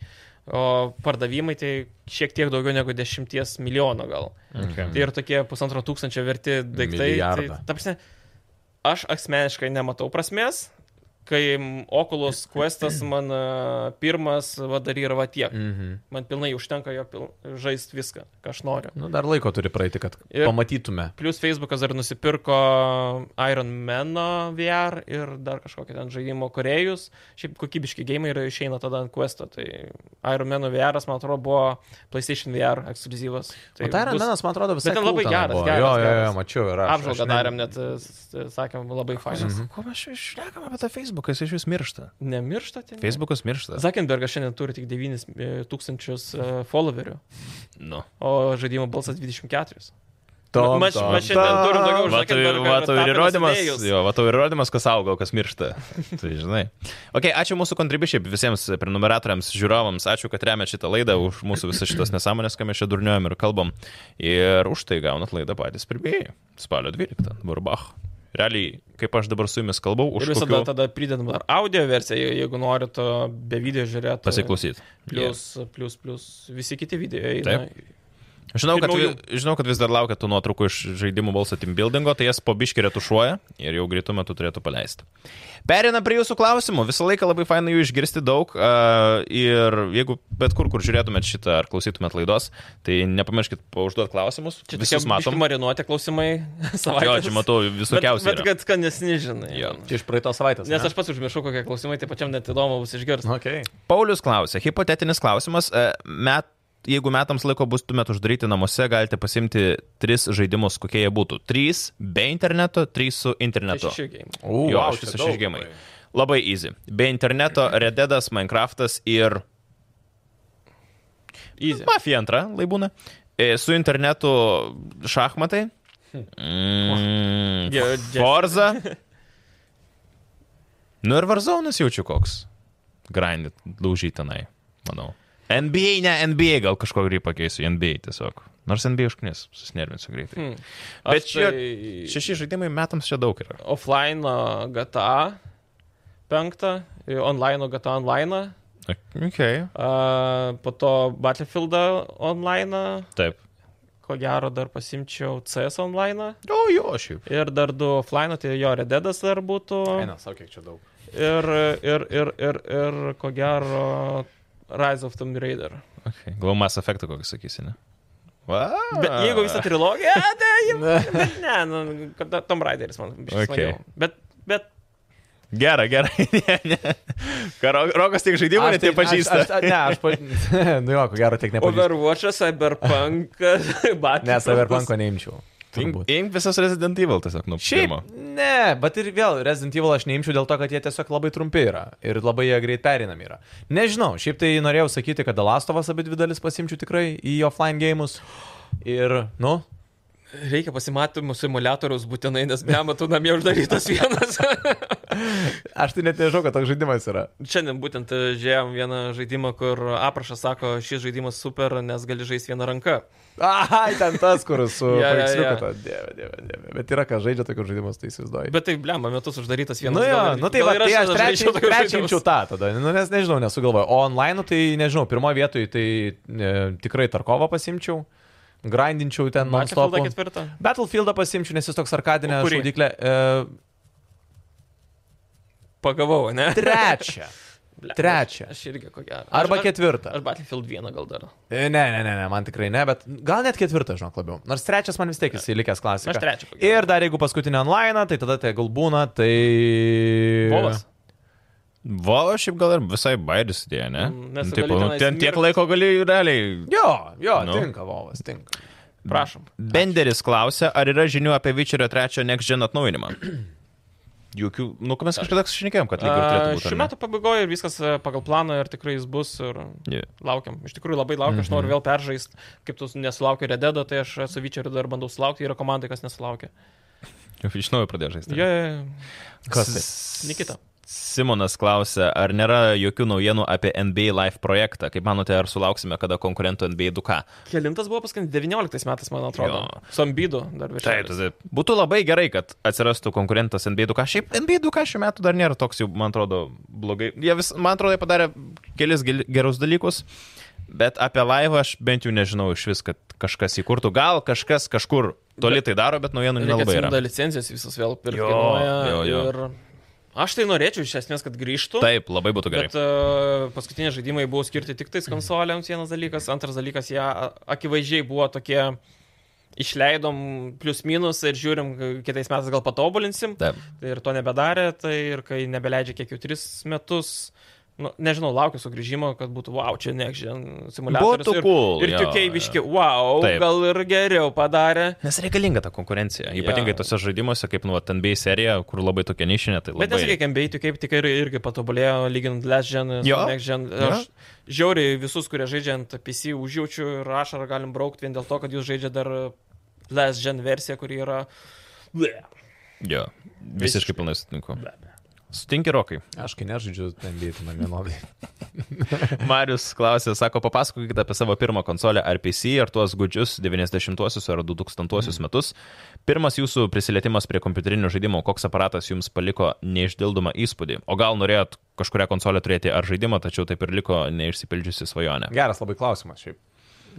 [SPEAKER 2] o pardavimai tai šiek tiek daugiau negu 10 milijonų gal.
[SPEAKER 1] Okay.
[SPEAKER 2] Tai ir tokie pusantro tūkstančio verti daiktai. Tai,
[SPEAKER 3] Milijardą.
[SPEAKER 2] ta prasme, aš asmeniškai nematau prasmės, kai m, Oculus Questas man a, pirmas va, dar yra va tiek.
[SPEAKER 3] Mhm.
[SPEAKER 2] Man pilnai užtenka jo pil... žaisti viską, ką aš noriu.
[SPEAKER 3] Nu, dar laiko turi praeiti, kad
[SPEAKER 2] Ir-
[SPEAKER 3] pamatytume.
[SPEAKER 2] Plus Facebookas dar nusipirko Iron Man'o VR ir dar kažkokį ten žaidimo korėjus. Šiaip kokybiški gėjimai yra išeina tada ant Quest'o. Tai Iron Man'o VR, man atrodo, buvo PlayStation VR ekskluzyvas.
[SPEAKER 3] Tai tai yra
[SPEAKER 2] bus-
[SPEAKER 3] menas, man atrodo, visai.
[SPEAKER 2] ten labai
[SPEAKER 3] cool
[SPEAKER 2] geras,
[SPEAKER 3] buvo.
[SPEAKER 2] geras,
[SPEAKER 3] Jo, jo, jo,
[SPEAKER 2] geras.
[SPEAKER 3] mačiau, yra.
[SPEAKER 2] Apžvalgą darėm net, e, s- e, sakėm, labai fainas.
[SPEAKER 1] Ko mes čia šnekam apie tą Facebooką, jis iš vis miršta.
[SPEAKER 2] Nemirštate?
[SPEAKER 1] Facebookas miršta.
[SPEAKER 2] Zakenbergas šiandien turi tik 9 tūkstančius e, followerių,
[SPEAKER 1] Nu.
[SPEAKER 2] o žaidimo balsas 24.
[SPEAKER 3] Tom,
[SPEAKER 2] Mes-
[SPEAKER 3] tom,
[SPEAKER 2] mes šiandien
[SPEAKER 3] tom.
[SPEAKER 2] turim daugiau
[SPEAKER 1] Va
[SPEAKER 2] Zuckerbergo
[SPEAKER 1] tai-
[SPEAKER 2] ir
[SPEAKER 1] va tau ir
[SPEAKER 2] Tapinas
[SPEAKER 1] įrodymas,
[SPEAKER 2] idėjos.
[SPEAKER 1] jo, va tau ir įrodymas, kas auga, o kas miršta. tai žinai. Ok, ačiū mūsų kontribišiai visiems prenumeratoriams, žiūrovams, ačiū, kad remiat šitą laidą, už mūsų visas šitas nesąmonės, ką mes čia durniuojam ir kalbam. Ir už tai gaunat laidą patys pirmieji. Spalio 12. Burbach. Realiai, kaip aš dabar su jumis kalbau, už
[SPEAKER 2] Ir visada
[SPEAKER 1] kokių...
[SPEAKER 2] tada pridedam dar audio versiją, je- jeigu norit e, be video žiūrėti.
[SPEAKER 1] Pasiklausyt.
[SPEAKER 2] Plus, plus, plus visi kiti video. eina.
[SPEAKER 1] Taip. Žinau kad,
[SPEAKER 2] Pirmųjų.
[SPEAKER 1] vi- žinau, kad vis dar laukia tų nuotraukų iš žaidimų balso team buildingo, tai jas po biškį retušuoja ir jau greitų metų turėtų paleisti. Perina prie jūsų klausimų, visą laiką labai fainai jų išgirsti daug a, ir jeigu bet kur, kur žiūrėtumėt šitą ar klausytumėt laidos, tai nepamirškit užduoti klausimus.
[SPEAKER 2] Čia
[SPEAKER 1] Čia visus matom.
[SPEAKER 2] Marinuoti klausimai savaitę.
[SPEAKER 1] Jo, čia matau visokiausių.
[SPEAKER 2] Bet, bet kad skanesni, žinai.
[SPEAKER 1] Jo.
[SPEAKER 3] Čia iš praeitos savaitės.
[SPEAKER 2] Nes aš pats užmiršau, kokie klausimai, tai pačiam net įdomu bus išgirsti.
[SPEAKER 1] Nu,
[SPEAKER 3] Okay.
[SPEAKER 1] Paulius klausė, hipotetinis klausimas, e, met, jeigu metams laiko būstumėt uždaryti namuose, galite pasimti tris žaidimus, kokie jie būtų. Trys be interneto, trys su internetu.
[SPEAKER 2] Šešių gėjimų.
[SPEAKER 3] U,
[SPEAKER 1] Jo, aš visą šį žaidimą. Labai easy. Be interneto, Rededas, Minecraftas ir
[SPEAKER 2] Easy.
[SPEAKER 1] Mafija antra laibūna. E, Su internetu šachmatai. Mm,
[SPEAKER 2] Ge- ge-
[SPEAKER 1] Forza. Nu ir Varzonas jaučiu koks. Grindit, daužyt tenai, manau. NBA, ne NBA, gal kažko greit pakeisiu, NBA tiesiog. Nors NBA užknis, susnervinsiu greitai.
[SPEAKER 2] Hmm.
[SPEAKER 1] Bet
[SPEAKER 2] Aš
[SPEAKER 1] čia
[SPEAKER 2] tai-
[SPEAKER 1] Šeši žaidimai metams čia daug yra.
[SPEAKER 2] offline GTA 5, online GTA online,
[SPEAKER 1] Okay.
[SPEAKER 2] a, po to Battlefield online,
[SPEAKER 1] Taip.
[SPEAKER 2] ko gero dar pasimčiau CS online
[SPEAKER 1] O jo, šiaip.
[SPEAKER 2] ir dar du offline, tai jo Rededas dar būtų
[SPEAKER 3] Eina, savo kiek čia daug.
[SPEAKER 2] ir, ir, ir, ir, ir ko gero Rise of Tomb Raider.
[SPEAKER 1] Okay. Glau Mass Effectą kokį sakysi, ne? Wow.
[SPEAKER 2] Bet jeigu visą trilogiją, tai jau. Bet ne, nu, kad Tomb Raideris man
[SPEAKER 1] Okay.
[SPEAKER 2] biškai smagiau. Bet, bet
[SPEAKER 1] Gerai, gerai. ne, ne. Ką, Ro- Rokas tik žaidimą, ne tai pažįsta.
[SPEAKER 3] Aš, aš, ne, aš pa... nu jo, ko gero, tiek nepažįstu.
[SPEAKER 2] Overwatch'as, Cyberpunk, Battlefield.
[SPEAKER 3] Ne, Cyberpunko neimčiau.
[SPEAKER 1] Imk
[SPEAKER 3] turbūt.
[SPEAKER 1] imk visas Resident Evil tiesiog nuo
[SPEAKER 3] Šiaip,
[SPEAKER 1] pirmo.
[SPEAKER 3] ne, bet ir vėl Resident Evil aš neimčiau dėl to, kad jie tiesiog labai trumpi yra ir labai jie greit perinami yra. Nežinau, šiaip tai norėjau sakyti, kad Dalastovas abi dvi dalis pasimčiau tikrai į offline gėjimus. Ir, nu,
[SPEAKER 2] Reikia pasimatymų simulatoriaus būtinai, nes be matau namie uždarytas vienas.
[SPEAKER 3] Aš tai net nežinau, kad toks žaidimas yra.
[SPEAKER 2] Šiandien būtent e, žiūrėjom vieną žaidimą, kur aprašas sako, šis žaidimas super, nes gali žaisti vieną ranką.
[SPEAKER 3] Ai, ten tas, kur su
[SPEAKER 2] Jo, jo, jo.
[SPEAKER 3] paveiksliuku. to. Dieve, dieve, dieve. Bet yra, kas žaidžia tokius žaidimus, tai įsivaizduoju.
[SPEAKER 2] Bet tai, blemba, metus uždarytas vienas.
[SPEAKER 3] Nu, jo,
[SPEAKER 2] gal ir-
[SPEAKER 3] nu
[SPEAKER 2] gal
[SPEAKER 3] tai, va,
[SPEAKER 2] ir
[SPEAKER 3] tai aš
[SPEAKER 2] tada žaisčiau tokius
[SPEAKER 3] trečiinčiau
[SPEAKER 2] žaidimus.
[SPEAKER 3] tą tada, nu, nes nežinau, nesugalvoju. O online, tai nežinau, pirmoje vietoje tai e, tikrai Tarkovą pasimčiau, grindinčiau ten non-stop.
[SPEAKER 2] Battlefieldą ketvirtą.
[SPEAKER 3] Battlefieldą pasimčiau, nes jis toks arkadinė
[SPEAKER 2] O kurį?
[SPEAKER 3] žaidiklė. E,
[SPEAKER 2] Pagavau, ne?
[SPEAKER 3] trečią.
[SPEAKER 2] Blemba,
[SPEAKER 3] trečią.
[SPEAKER 2] Aš irgi ko gero.
[SPEAKER 3] Arba
[SPEAKER 2] Aš-
[SPEAKER 3] ketvirtą.
[SPEAKER 2] Aš Battlefield 1 gal dar.
[SPEAKER 3] E, Ne, ne, ne, ne, man tikrai ne, bet gal net ketvirtą, žinok, labiau. Nors trečias man vis tiek jis įlikęs klasika.
[SPEAKER 2] Aš trečią ko gero.
[SPEAKER 3] Ir dar jeigu paskutinį online, tai tada tai gal būna, tai...
[SPEAKER 2] Volas.
[SPEAKER 1] Valo šiaip gal ir visai bairis idėja, ne?
[SPEAKER 2] Mm, nes
[SPEAKER 1] Nu,
[SPEAKER 2] tu
[SPEAKER 1] taip,
[SPEAKER 2] gali
[SPEAKER 1] nu,
[SPEAKER 2] tenais
[SPEAKER 1] ten tiek
[SPEAKER 2] mirt.
[SPEAKER 1] laiko gali realiai.
[SPEAKER 3] Jo, jo,
[SPEAKER 1] Nu.
[SPEAKER 3] no. tinka Volas, tinka.
[SPEAKER 2] Prašom.
[SPEAKER 1] Benderis klausia, ar yra žinių apie Vyčerio trečio Next Gen atnaujinimą? Jokių, nu, ką mes kažkada šnekėjom, kad lyg ir
[SPEAKER 2] A,
[SPEAKER 1] turėtų būti.
[SPEAKER 2] Šių metų pabaigoje ir viskas e, pagal planą ir tikrai jis bus ir
[SPEAKER 1] Yeah.
[SPEAKER 2] laukiam. Iš tikrųjų labai laukiu,
[SPEAKER 1] Mhm.
[SPEAKER 2] aš noriu vėl peržaisti. Kaip tu nesulaukiu Rededo, tai aš su Vyčeriu dar bandau sulaukti, yra komandai, kas nesulaukia.
[SPEAKER 1] Iš naujo pradėjo žaisti.
[SPEAKER 2] Jie,
[SPEAKER 1] Kas tai?
[SPEAKER 3] S-
[SPEAKER 2] Nikita.
[SPEAKER 1] Simonas klausia, ar nėra jokių naujienų apie NBA Live projektą? Kaip manote, ar sulauksime kada konkurentų NBA 2K?
[SPEAKER 2] Kelintas buvo paskutinis 19 metais, man atrodo.
[SPEAKER 1] Jo.
[SPEAKER 2] Su Ambidu dar virš.
[SPEAKER 1] Taip, tada tai būtų labai gerai, kad atsirastų konkurentas NBA 2K. Šiaip NBA 2K šiuo metu dar nėra toks jau, man atrodo, blogai. Jie vis, man atrodo, jie padarė kelis gil- gerus dalykus, bet apie laivą aš bent jau nežinau iš vis, kad kažkas įkurtų. Gal kažkas kažkur toli tai daro, bet naujienų
[SPEAKER 2] Reikia
[SPEAKER 1] nelabai
[SPEAKER 2] atsiimti
[SPEAKER 1] yra.
[SPEAKER 2] licencijas visas vėl
[SPEAKER 1] Jo, jo, jo.
[SPEAKER 2] pirkti. Aš tai norėčiau iš esmės, kad grįžtų.
[SPEAKER 1] Taip, labai būtų gerai.
[SPEAKER 2] Bet uh, paskutiniai žaidimai buvo skirti tik tais konsolėms vienas dalykas, antras dalykas, jie a- akivaizdžiai buvo tokie, išleidom plius minus ir žiūrim, k- kitais metais gal patobulinsim.
[SPEAKER 1] Taip.
[SPEAKER 2] Tai ir to nebedarė, tai ir kai nebeleidžia kiek jau tris metus. Nu, nežinau, laukiu sugrįžimo, kad būtų wow, čia nekžin simuliatorius.
[SPEAKER 1] Būtų cool,
[SPEAKER 2] Ir,
[SPEAKER 1] jo,
[SPEAKER 2] ir tiukiai biški, wow,
[SPEAKER 1] Taip.
[SPEAKER 2] Taip. gal ir geriau padarė.
[SPEAKER 1] Nes reikalinga ta konkurencija, ypatingai
[SPEAKER 2] Jo.
[SPEAKER 1] tose žaidimuose, kaip nu, vat, NBA serija, kur labai tokia nišinė, tai labai...
[SPEAKER 2] Bet nesakykime, bei kaip tik ir, irgi patobulėjo, lyginant Last Gen ir
[SPEAKER 1] Jo.
[SPEAKER 2] Next Gen.
[SPEAKER 1] Jo.
[SPEAKER 2] Aš žiauriai visus, kurie žaidžia ant PC, užjaučiu ir aš ar galim braukti vien dėl to, kad jūs žaidžia dar Last Gen versiją, kuri yra... Bleh.
[SPEAKER 1] Jo, visiškai
[SPEAKER 2] Visiškai.
[SPEAKER 1] pilnai sutinku.
[SPEAKER 2] Be abejo.
[SPEAKER 1] Sutinki, Rokai.
[SPEAKER 3] Aš kai nežaidžiu, ten dėti man vienodai.
[SPEAKER 1] Marius klausė, sako, papasakokit apie savo pirmą konsolę ar PC, ar tuos gudžius 90-uosius ar 2000-uosius metus. Pirmas jūsų prisilietimas prie kompiuterinių žaidimų, koks aparatas jums paliko neišdildomą įspūdį. O gal norėjot kažkurią konsolę turėti ar žaidimą, tačiau taip ir liko neišsipildžiusi svajonė.
[SPEAKER 3] Geras labai klausimas šiaip.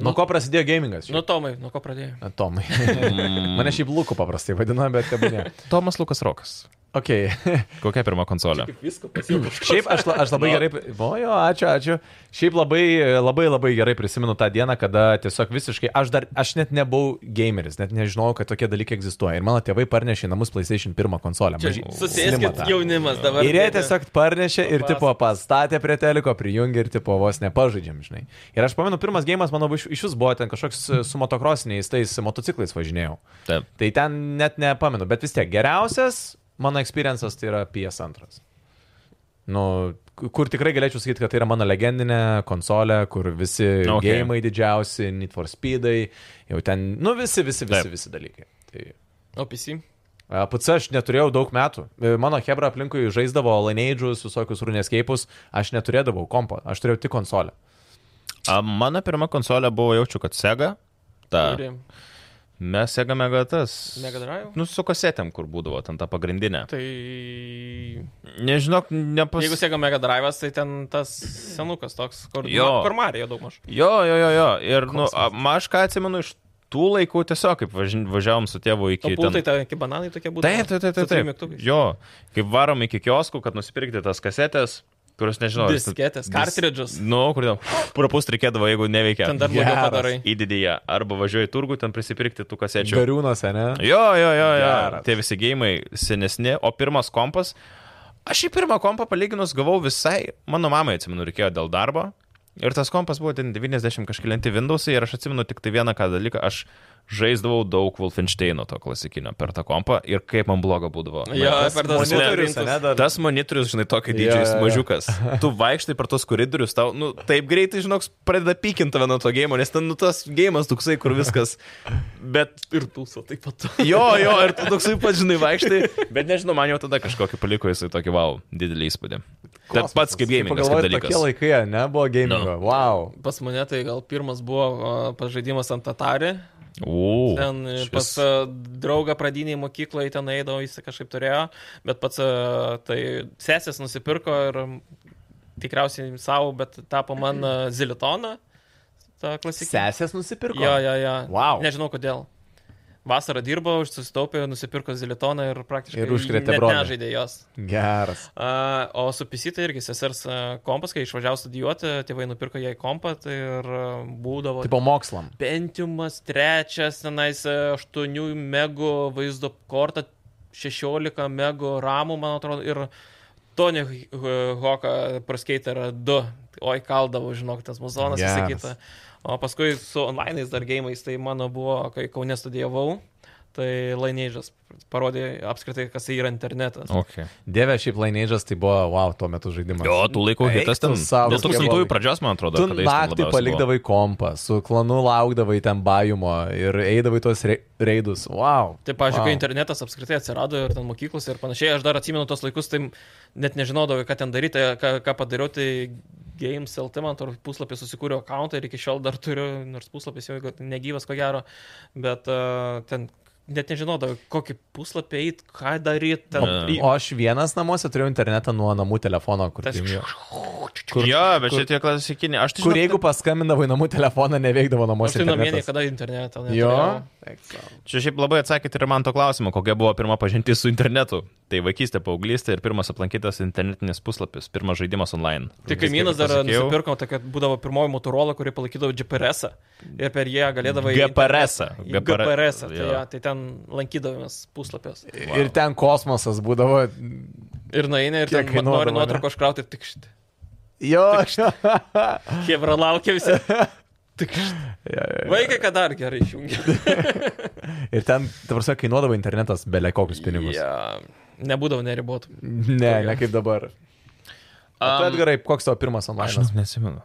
[SPEAKER 3] Nuo ko prasidėjo gamingas?
[SPEAKER 2] Nu, Tomai, nuo ko pradėjai?
[SPEAKER 3] Tomai. Mane šiaip Luku paprastai vadina, bet tebūnė.
[SPEAKER 1] Tomas Lukas Rokas.
[SPEAKER 3] Ok.
[SPEAKER 1] Kokia pirma konsolė?
[SPEAKER 2] Viską pasiekau.
[SPEAKER 3] Šiaip aš, la- aš labai gerai, pri- vojo, ačiū, ačiū. Šiaip labai, labai, labai gerai prisimenu tą dieną, kada tiesiog visiškai, aš dar, aš net nebuvau gameris, net nežinojau, kad tokie dalykai egzistuoja. Ir mano tėvai parnešė į namus PlayStation 1 konsolę. maži- slimą
[SPEAKER 2] Susėskit
[SPEAKER 3] tą.
[SPEAKER 2] jaunimas dabar.
[SPEAKER 3] Ir jie tiesiog parnešė ir
[SPEAKER 2] Papas-
[SPEAKER 3] tipo pastatė prie teliko, prijungė ir tipo vos nepažaidžiam, žinai. Ir aš pamenu, pirmas gėjimas mano iš, iš jūs buvo ten kažkoks e, su motokrosiniais tais motociklais važinėjau.
[SPEAKER 1] Taip.
[SPEAKER 3] Tai ten net nepamenu, bet vis tiek geriausias mano experiencas tai yra PS2. Nu, ku- kur tikrai galėčiau sakyti, kad tai yra mano legendinė konsolė, kur visi
[SPEAKER 1] Nu,
[SPEAKER 3] okay.
[SPEAKER 1] okei.
[SPEAKER 3] gėjimai didžiausi, Need for Speedai, jau ten, nu visi, visi, visi,
[SPEAKER 1] Taip.
[SPEAKER 3] visi dalykai. Tai...
[SPEAKER 2] O PC?
[SPEAKER 3] A, PC aš neturėjau daug metų. E, Mano hebra aplinkui žaisdavo laneidžius, visokius runeskeikus, aš neturėdavau kompo, aš turėjau tik konsolę.
[SPEAKER 1] A, mano pirma konsolė buvo, jaučiu, kad Sega. Ta.
[SPEAKER 2] Turi
[SPEAKER 1] Mes Sega Megatas.
[SPEAKER 2] Mega Drive?
[SPEAKER 1] Nu, su kasetėm, kur būdavo, ten ta pagrindinė.
[SPEAKER 2] Tai...
[SPEAKER 1] Nežinok, nepas...
[SPEAKER 2] Jeigu sėga Mega Drive'as, tai ten tas senukas toks, kur, nu,
[SPEAKER 1] Jo.
[SPEAKER 2] kur Marija daugmaž.
[SPEAKER 1] Jo, jo, jo, jo. Ir, nu, a- ma- aš ką atsimenu iš tų laikų tiesiog, kaip važin- važiavom su tėvu
[SPEAKER 2] O
[SPEAKER 1] iki...
[SPEAKER 2] pultai, tai kaip bananai tokie būtų.
[SPEAKER 1] Taip, taip, taip,
[SPEAKER 2] Su
[SPEAKER 1] taip.
[SPEAKER 2] trim
[SPEAKER 1] taip.
[SPEAKER 2] mygtukais.
[SPEAKER 1] Jo, kaip varom iki kioskų, kad nusipirkti tas kasetės, kurios nežinau. ar-
[SPEAKER 2] Disketės,
[SPEAKER 1] dis-
[SPEAKER 2] kartridžus.
[SPEAKER 1] Nu, kur ten prapūst reikėdavo, jeigu neveikia.
[SPEAKER 2] Ten dar blogiau
[SPEAKER 3] Geras.
[SPEAKER 2] padarai.
[SPEAKER 1] Į didįją. Arba važiuoji į turgų, ten prisipirkti tų kasečių.
[SPEAKER 3] Gariūnuose, ne?
[SPEAKER 1] Jo, jo, jo, jo.
[SPEAKER 3] Geras.
[SPEAKER 1] Tie visi gėjimai senesni, o pirmas kompas. Aš į pirmą kompą palyginus gavau visai, mano mamai atsimenu, reikėjo dėl darbo. Ir tas kompas buvo ten 90 kažkėlinti Windowsai ir aš atsimenu tik tai vieną ką dalyką, aš žaisdavau daug Wolfensteino to klasikinio per tą kompą ir kaip man blogo būdavo.
[SPEAKER 2] Jo,
[SPEAKER 1] Man-
[SPEAKER 2] per tas
[SPEAKER 3] monitorius,
[SPEAKER 2] labirintus.
[SPEAKER 3] ne, dar.
[SPEAKER 1] Tas monitorius, žinai, tokio dydžio,
[SPEAKER 3] Jo,
[SPEAKER 1] jis
[SPEAKER 3] jo, jo.
[SPEAKER 1] mažiukas. Tu vaikštai per tos koridorius, tau, nu, taip greitai, žinok, pradeda pykinti tave nuo to gėjimo, nes ten, nu, tas gėjimas toksai, kur viskas. Bet
[SPEAKER 2] Ir tūso taip pat.
[SPEAKER 1] jo, jo, ir tu toksai pats, žinai, vaikštai. Bet nežinau, man jau tada kažkokį paliko jisai tokį, wow, didelį įspūdį. Tai pats kaip gėjimas, kaip
[SPEAKER 3] Pagalvoju,
[SPEAKER 1] dalykas. Nu.
[SPEAKER 3] tokie laikai, ne, buvo gamingo. Wow.
[SPEAKER 2] Pas mane tai gal pirmas buvo pažaidimas ant Atari.
[SPEAKER 1] O,
[SPEAKER 2] Ten e,
[SPEAKER 1] išvis.
[SPEAKER 2] pas a, draugą pradiniai mokykloje ten eidavo, jis kažkaip turėjo, bet pats a, tai sesės nusipirko ir m, tikriausiai savo, bet tapo man a, zilitoną. Ta klasikinė.
[SPEAKER 3] Sesės nusipirko.
[SPEAKER 2] Jo, jo, jo.
[SPEAKER 3] Vau.
[SPEAKER 2] Nežinau kodėl. Vasarą dirbau, susitaupiau, nusipirko zilitoną ir praktiškai
[SPEAKER 3] Ir užkrėtė
[SPEAKER 2] net
[SPEAKER 3] brolį.
[SPEAKER 2] Nežaidė jos.
[SPEAKER 3] Geras.
[SPEAKER 2] A, O su PC tai irgi sesers a, kompas, kai išvažiavau studijuoti, tėvai nupirko jai kompą tai ir a, būdavo
[SPEAKER 3] Tipo mokslam.
[SPEAKER 2] Pentiumas trečias, tenais e, 8 megų vaizdo kortą, 16 megų ramų, man atrodo, ir Tony Hoka praskaiter 2. Oi, kaldavo, žinok, tas muzonas visą
[SPEAKER 3] Geras.
[SPEAKER 2] kitą. O paskui su online'ais dar gėjimais, tai mano buvo, kai Kaune studijavau, tai Lainežas parodė apskritai, kas tai yra internetas.
[SPEAKER 1] Okay.
[SPEAKER 3] Dieve, šiaip Laineidžas tai buvo, wow, tuo metu žaidimas.
[SPEAKER 1] Jo, tų laikų
[SPEAKER 3] Eik
[SPEAKER 1] hitas
[SPEAKER 3] tu
[SPEAKER 1] ten.
[SPEAKER 3] sau,
[SPEAKER 1] 2000
[SPEAKER 3] Dievai.
[SPEAKER 1] pradžios, man atrodo,
[SPEAKER 3] Tu
[SPEAKER 1] kada jis ten
[SPEAKER 3] naktį
[SPEAKER 1] labiausiai buvo.
[SPEAKER 3] palikdavai kompą, su klanu laukdavai ten bajumo ir eidavai tuos re reidus. Wow.
[SPEAKER 2] Tai, pažiūrėjau, wow.
[SPEAKER 3] wow.
[SPEAKER 2] internetas apskritai atsirado ir ten mokyklose ir panašiai, aš dar atsimenu tos laikus, tai net nežinodavau, ką ten daryti, ką, ką padariau, tai Games LT man tur puslapį susikūriau akantą ir iki šiol dar turiu, nors puslapis jau negyvas ko gero, bet uh, ten net nežinodavau, kokį puslapį eit, ką daryti. Ten...
[SPEAKER 1] Ne.
[SPEAKER 3] O aš vienas namuose turėjau internetą nuo namų telefono, kur,
[SPEAKER 2] Tas-
[SPEAKER 3] tai-
[SPEAKER 1] Kur, jo, bet šitie klasikiniai. Aš tai
[SPEAKER 3] kur jeigu paskambindavai namų telefoną, neveikdavo
[SPEAKER 2] Aš
[SPEAKER 3] namuose.
[SPEAKER 2] tai namie
[SPEAKER 3] internetas.
[SPEAKER 2] niekada interneto
[SPEAKER 3] Jo.
[SPEAKER 2] neturėjau. Tai
[SPEAKER 1] Čia šiaip labai atsakėte ir man to klausimo, kokia buvo pirma pažintis su internetu. Tai vaikystė, paauglystė ir pirmas aplankytas internetinis puslapis, pirmas žaidimas online.
[SPEAKER 2] Tai kaimynas dar nusipirko, tai kad būdavo pirmoji motorola, kuri palaikydavo GPS ą ir per ją galėdavai...
[SPEAKER 1] GPRS.
[SPEAKER 2] GPRS, tai, ja, tai ten lankydavomės puslapės.
[SPEAKER 1] Wow.
[SPEAKER 3] Ir ten kosmosas būdavo.
[SPEAKER 2] Ir nueini ir
[SPEAKER 3] Kiek
[SPEAKER 2] ten vat
[SPEAKER 3] kainuodavo,
[SPEAKER 2] nori
[SPEAKER 3] ne?
[SPEAKER 2] nuotrauką iškrauti, tik šitą.
[SPEAKER 3] Jo,
[SPEAKER 2] Tai
[SPEAKER 3] aš.
[SPEAKER 2] Hebra laukia visi. Tik šitą. Vaikai, kad dar gerai išjungia.
[SPEAKER 3] Ir ten, tavarsai, kainuodavo internetas belie kokius pinigus. Yeah.
[SPEAKER 2] Ja, nebūdavo neribotų.
[SPEAKER 3] Ne, ne kaip dabar. Um,
[SPEAKER 1] Um,
[SPEAKER 3] Edgarai, koks tavo pirmas
[SPEAKER 1] aš
[SPEAKER 3] online?
[SPEAKER 1] nesimenu.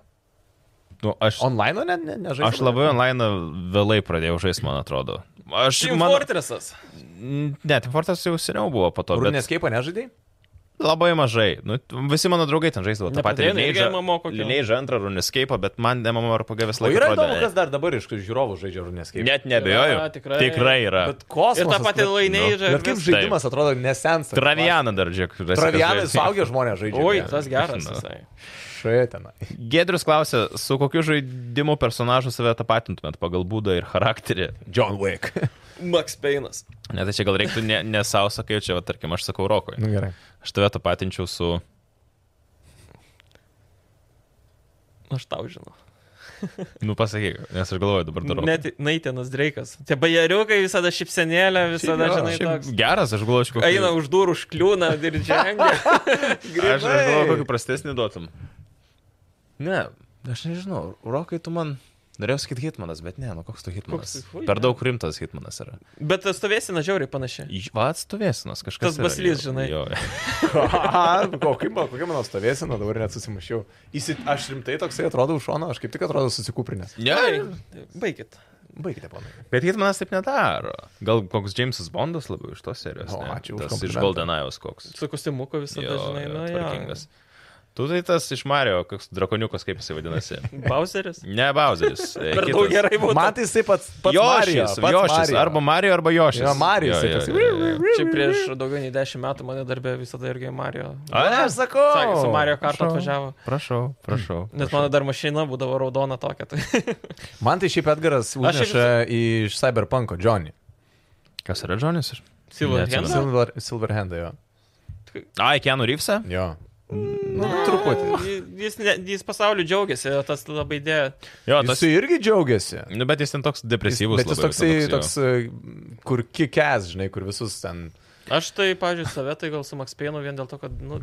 [SPEAKER 1] Nu, aš,
[SPEAKER 3] Online ne, ne, nežaidžiu.
[SPEAKER 1] aš labai online vėlai pradėjau žaisti, man atrodo. Aš
[SPEAKER 2] Team
[SPEAKER 1] man...
[SPEAKER 2] Fortressas.
[SPEAKER 1] Ne, Team Fortress jau seniau buvo po to, bet
[SPEAKER 3] Runės keipą nežaidai?
[SPEAKER 1] labai mažai. Nu, visi mano draugai ten žaisdavo tą patį
[SPEAKER 2] Nepradėjo nei MMO kokio.
[SPEAKER 1] Liniai žantrą, Runescape, bet man MMORPG vis
[SPEAKER 3] O
[SPEAKER 1] laiką
[SPEAKER 3] yra
[SPEAKER 1] atrodė,
[SPEAKER 3] įdomu,
[SPEAKER 1] "Ei,
[SPEAKER 3] kas dar dabar iš žiūrovų žaidžia Runės keipą.
[SPEAKER 1] Net nebejoju.
[SPEAKER 2] Yra, tikrai.
[SPEAKER 1] tikrai yra.
[SPEAKER 3] Bet kosmosas.
[SPEAKER 2] Ir tą patį
[SPEAKER 3] bet-
[SPEAKER 2] lainėjai
[SPEAKER 1] nu.
[SPEAKER 3] Bet kaip
[SPEAKER 2] žaidžiu.
[SPEAKER 3] žaidimas atrodo nesensa.
[SPEAKER 1] Travianą dar džiak.
[SPEAKER 3] Travianai saugia žmonės žaidžia.
[SPEAKER 2] Oi,
[SPEAKER 3] ne?
[SPEAKER 2] tas geras
[SPEAKER 1] Nu.
[SPEAKER 2] visai.
[SPEAKER 3] Šioje tenai.
[SPEAKER 1] Gedrius klausė, su kokiu žaidimu personažu save tapatintumėt pagal būdą ir charakterį.
[SPEAKER 3] John Wick.
[SPEAKER 2] Max Payne'as.
[SPEAKER 1] Ne, tai čia gal reiktų ne, ne savo sakai, čia, va, tarkim, aš sakau Rokui.
[SPEAKER 3] nu gerai.
[SPEAKER 1] Aš tave tapatinčiau su...
[SPEAKER 2] Aš tau žinau.
[SPEAKER 1] Nu, pasakyk, nes aš galvoju dabar darau.
[SPEAKER 2] Net Naitenas Dreikas. Tie bajariukai visada šipsenėlė, visada, žinai, toks.
[SPEAKER 1] geras, aš galvoju, aš kokį...
[SPEAKER 2] Eina už durų, užkliūna ir žengia.
[SPEAKER 1] aš, aš galvoju, kokį prastesnį duotum. Ne, aš nežinau, Rokai, tu man... Norėjau sakyti hitmanas, bet ne, nu koks tu hitmanas.
[SPEAKER 2] Koks tu- fui,
[SPEAKER 1] Per
[SPEAKER 2] ne.
[SPEAKER 1] daug rimtas hitmanas yra.
[SPEAKER 2] Bet stovėsina žiauriai panašiai.
[SPEAKER 1] J- Va, atstovėsinas kažkas.
[SPEAKER 2] Tas baslys,
[SPEAKER 1] jo,
[SPEAKER 2] žinai.
[SPEAKER 1] Jo.
[SPEAKER 3] Kokia mano stovėsena, dabar net susimušiau. Įsit, aš rimtai toksai atrodau už šono, aš kaip tik atrodau susikūprinęs.
[SPEAKER 1] Ne,
[SPEAKER 2] Baigit.
[SPEAKER 3] Baigite, ponai.
[SPEAKER 1] Bet Hitmanas taip nedaro. Gal koks Jamesas Bondas labiau iš tos serijos.
[SPEAKER 3] O,
[SPEAKER 1] ne?
[SPEAKER 3] ačiū už
[SPEAKER 1] Tas iš
[SPEAKER 3] komplimentą.
[SPEAKER 1] Goldenajos koks.
[SPEAKER 2] Su kostimuku visada, žinai, nu, jo.
[SPEAKER 1] tvarkingas. Tu tai tas iš Mario, koks drakoniukas, kaip jisai vadinasi.
[SPEAKER 2] Bowseris.
[SPEAKER 1] Ne Bowseris. e,
[SPEAKER 2] Per
[SPEAKER 1] kitas.
[SPEAKER 3] Nu,
[SPEAKER 2] daug gerai būtų.
[SPEAKER 3] Matai, tai jisai pats pats Mario,
[SPEAKER 1] Jošis,
[SPEAKER 3] pats
[SPEAKER 1] Jošis.
[SPEAKER 3] Mario.
[SPEAKER 1] Arba Mario, arba Jošis.
[SPEAKER 3] Jo, Mario
[SPEAKER 1] Jo,
[SPEAKER 3] jisai
[SPEAKER 1] jo,
[SPEAKER 3] toks.
[SPEAKER 1] jo, jo.
[SPEAKER 2] Čia prieš daugiau nei 10 metų mane darbė visada irgi Mario.
[SPEAKER 1] A, ne?
[SPEAKER 3] Aš sakau.
[SPEAKER 2] Sakė, su Mario kartu
[SPEAKER 1] prašau.
[SPEAKER 2] atvažiavo.
[SPEAKER 1] Prašau, prašau.
[SPEAKER 2] Nes mano dar mašina būdavo raudona tokia. Tai.
[SPEAKER 3] Man tai šiaip Edgaras užneša iš Cyberpunko Johnny.
[SPEAKER 1] Kas yra Džonis? Aš-
[SPEAKER 2] Silver
[SPEAKER 1] Neatsimenu.
[SPEAKER 2] Hand.
[SPEAKER 3] Silver, Silverhandą jo.
[SPEAKER 1] Ai, Kenu Reevesą?
[SPEAKER 3] Jo. Nu, truputį.
[SPEAKER 2] Jis, ne- jis pasauliu džiaugiasi, tas labai dėja.
[SPEAKER 1] Jo, tas.
[SPEAKER 3] Jis irgi džiaugiasi.
[SPEAKER 1] Nu, bet jis ten toks
[SPEAKER 3] Jis-
[SPEAKER 1] depresyvus.
[SPEAKER 3] Bet jis
[SPEAKER 1] labai,
[SPEAKER 3] toksai,
[SPEAKER 1] jo.
[SPEAKER 3] toks, e, kur kikes, žinai, kur visus ten
[SPEAKER 2] Aš tai, pažiūrėjau, save tai gal su Max Payne'u vien dėl to, kad, nu,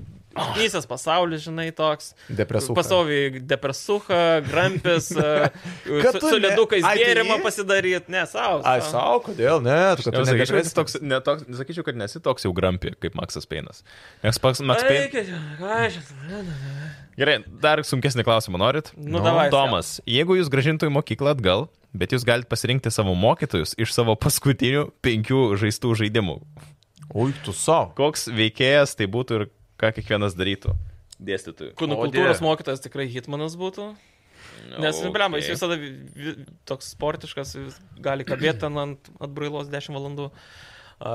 [SPEAKER 2] visas pasaulis, žinai, toks.
[SPEAKER 3] Depresuoju.
[SPEAKER 2] Pastovi depresucha, grampis, e,
[SPEAKER 3] Kad
[SPEAKER 2] su,
[SPEAKER 3] tu
[SPEAKER 2] su
[SPEAKER 3] ne-
[SPEAKER 2] ledukais
[SPEAKER 3] Ai, tai
[SPEAKER 2] gėrimą
[SPEAKER 3] jį?
[SPEAKER 2] pasidaryti, ne, savo.
[SPEAKER 3] Ai, savo, kodėl ne? Tu, kad tu
[SPEAKER 1] Sakyčiau,
[SPEAKER 3] nedepresuoji.
[SPEAKER 1] kad toks, ne, toks, sakyčiau, kad nesi toks jau grampi, kaip Maksas Peinas. Nes Max, Max Payne...
[SPEAKER 2] Eikit, ai, aš-
[SPEAKER 1] Gerai, dar sunkesnį klausimą norit?
[SPEAKER 2] Nu, davai,
[SPEAKER 1] Tomas, jeigu jūs gražintų į mokyklą atgal, bet jūs galite pasirinkti savo mokytojus iš savo paskutinių penkių žaistų žaidimų.
[SPEAKER 3] Oi, tu savo.
[SPEAKER 1] Koks veikėjas tai būtų ir ką kiekvienas darytų? Dėstytojų.
[SPEAKER 2] Kūno
[SPEAKER 3] O,
[SPEAKER 2] kultūros
[SPEAKER 3] dieve.
[SPEAKER 2] mokytojas tikrai hitmanas būtų. Nes, okay. blem, jis visada vi- vi- toks sportiškas, jis gali kabėti ten ant atbrailos 10 valandų. Uh,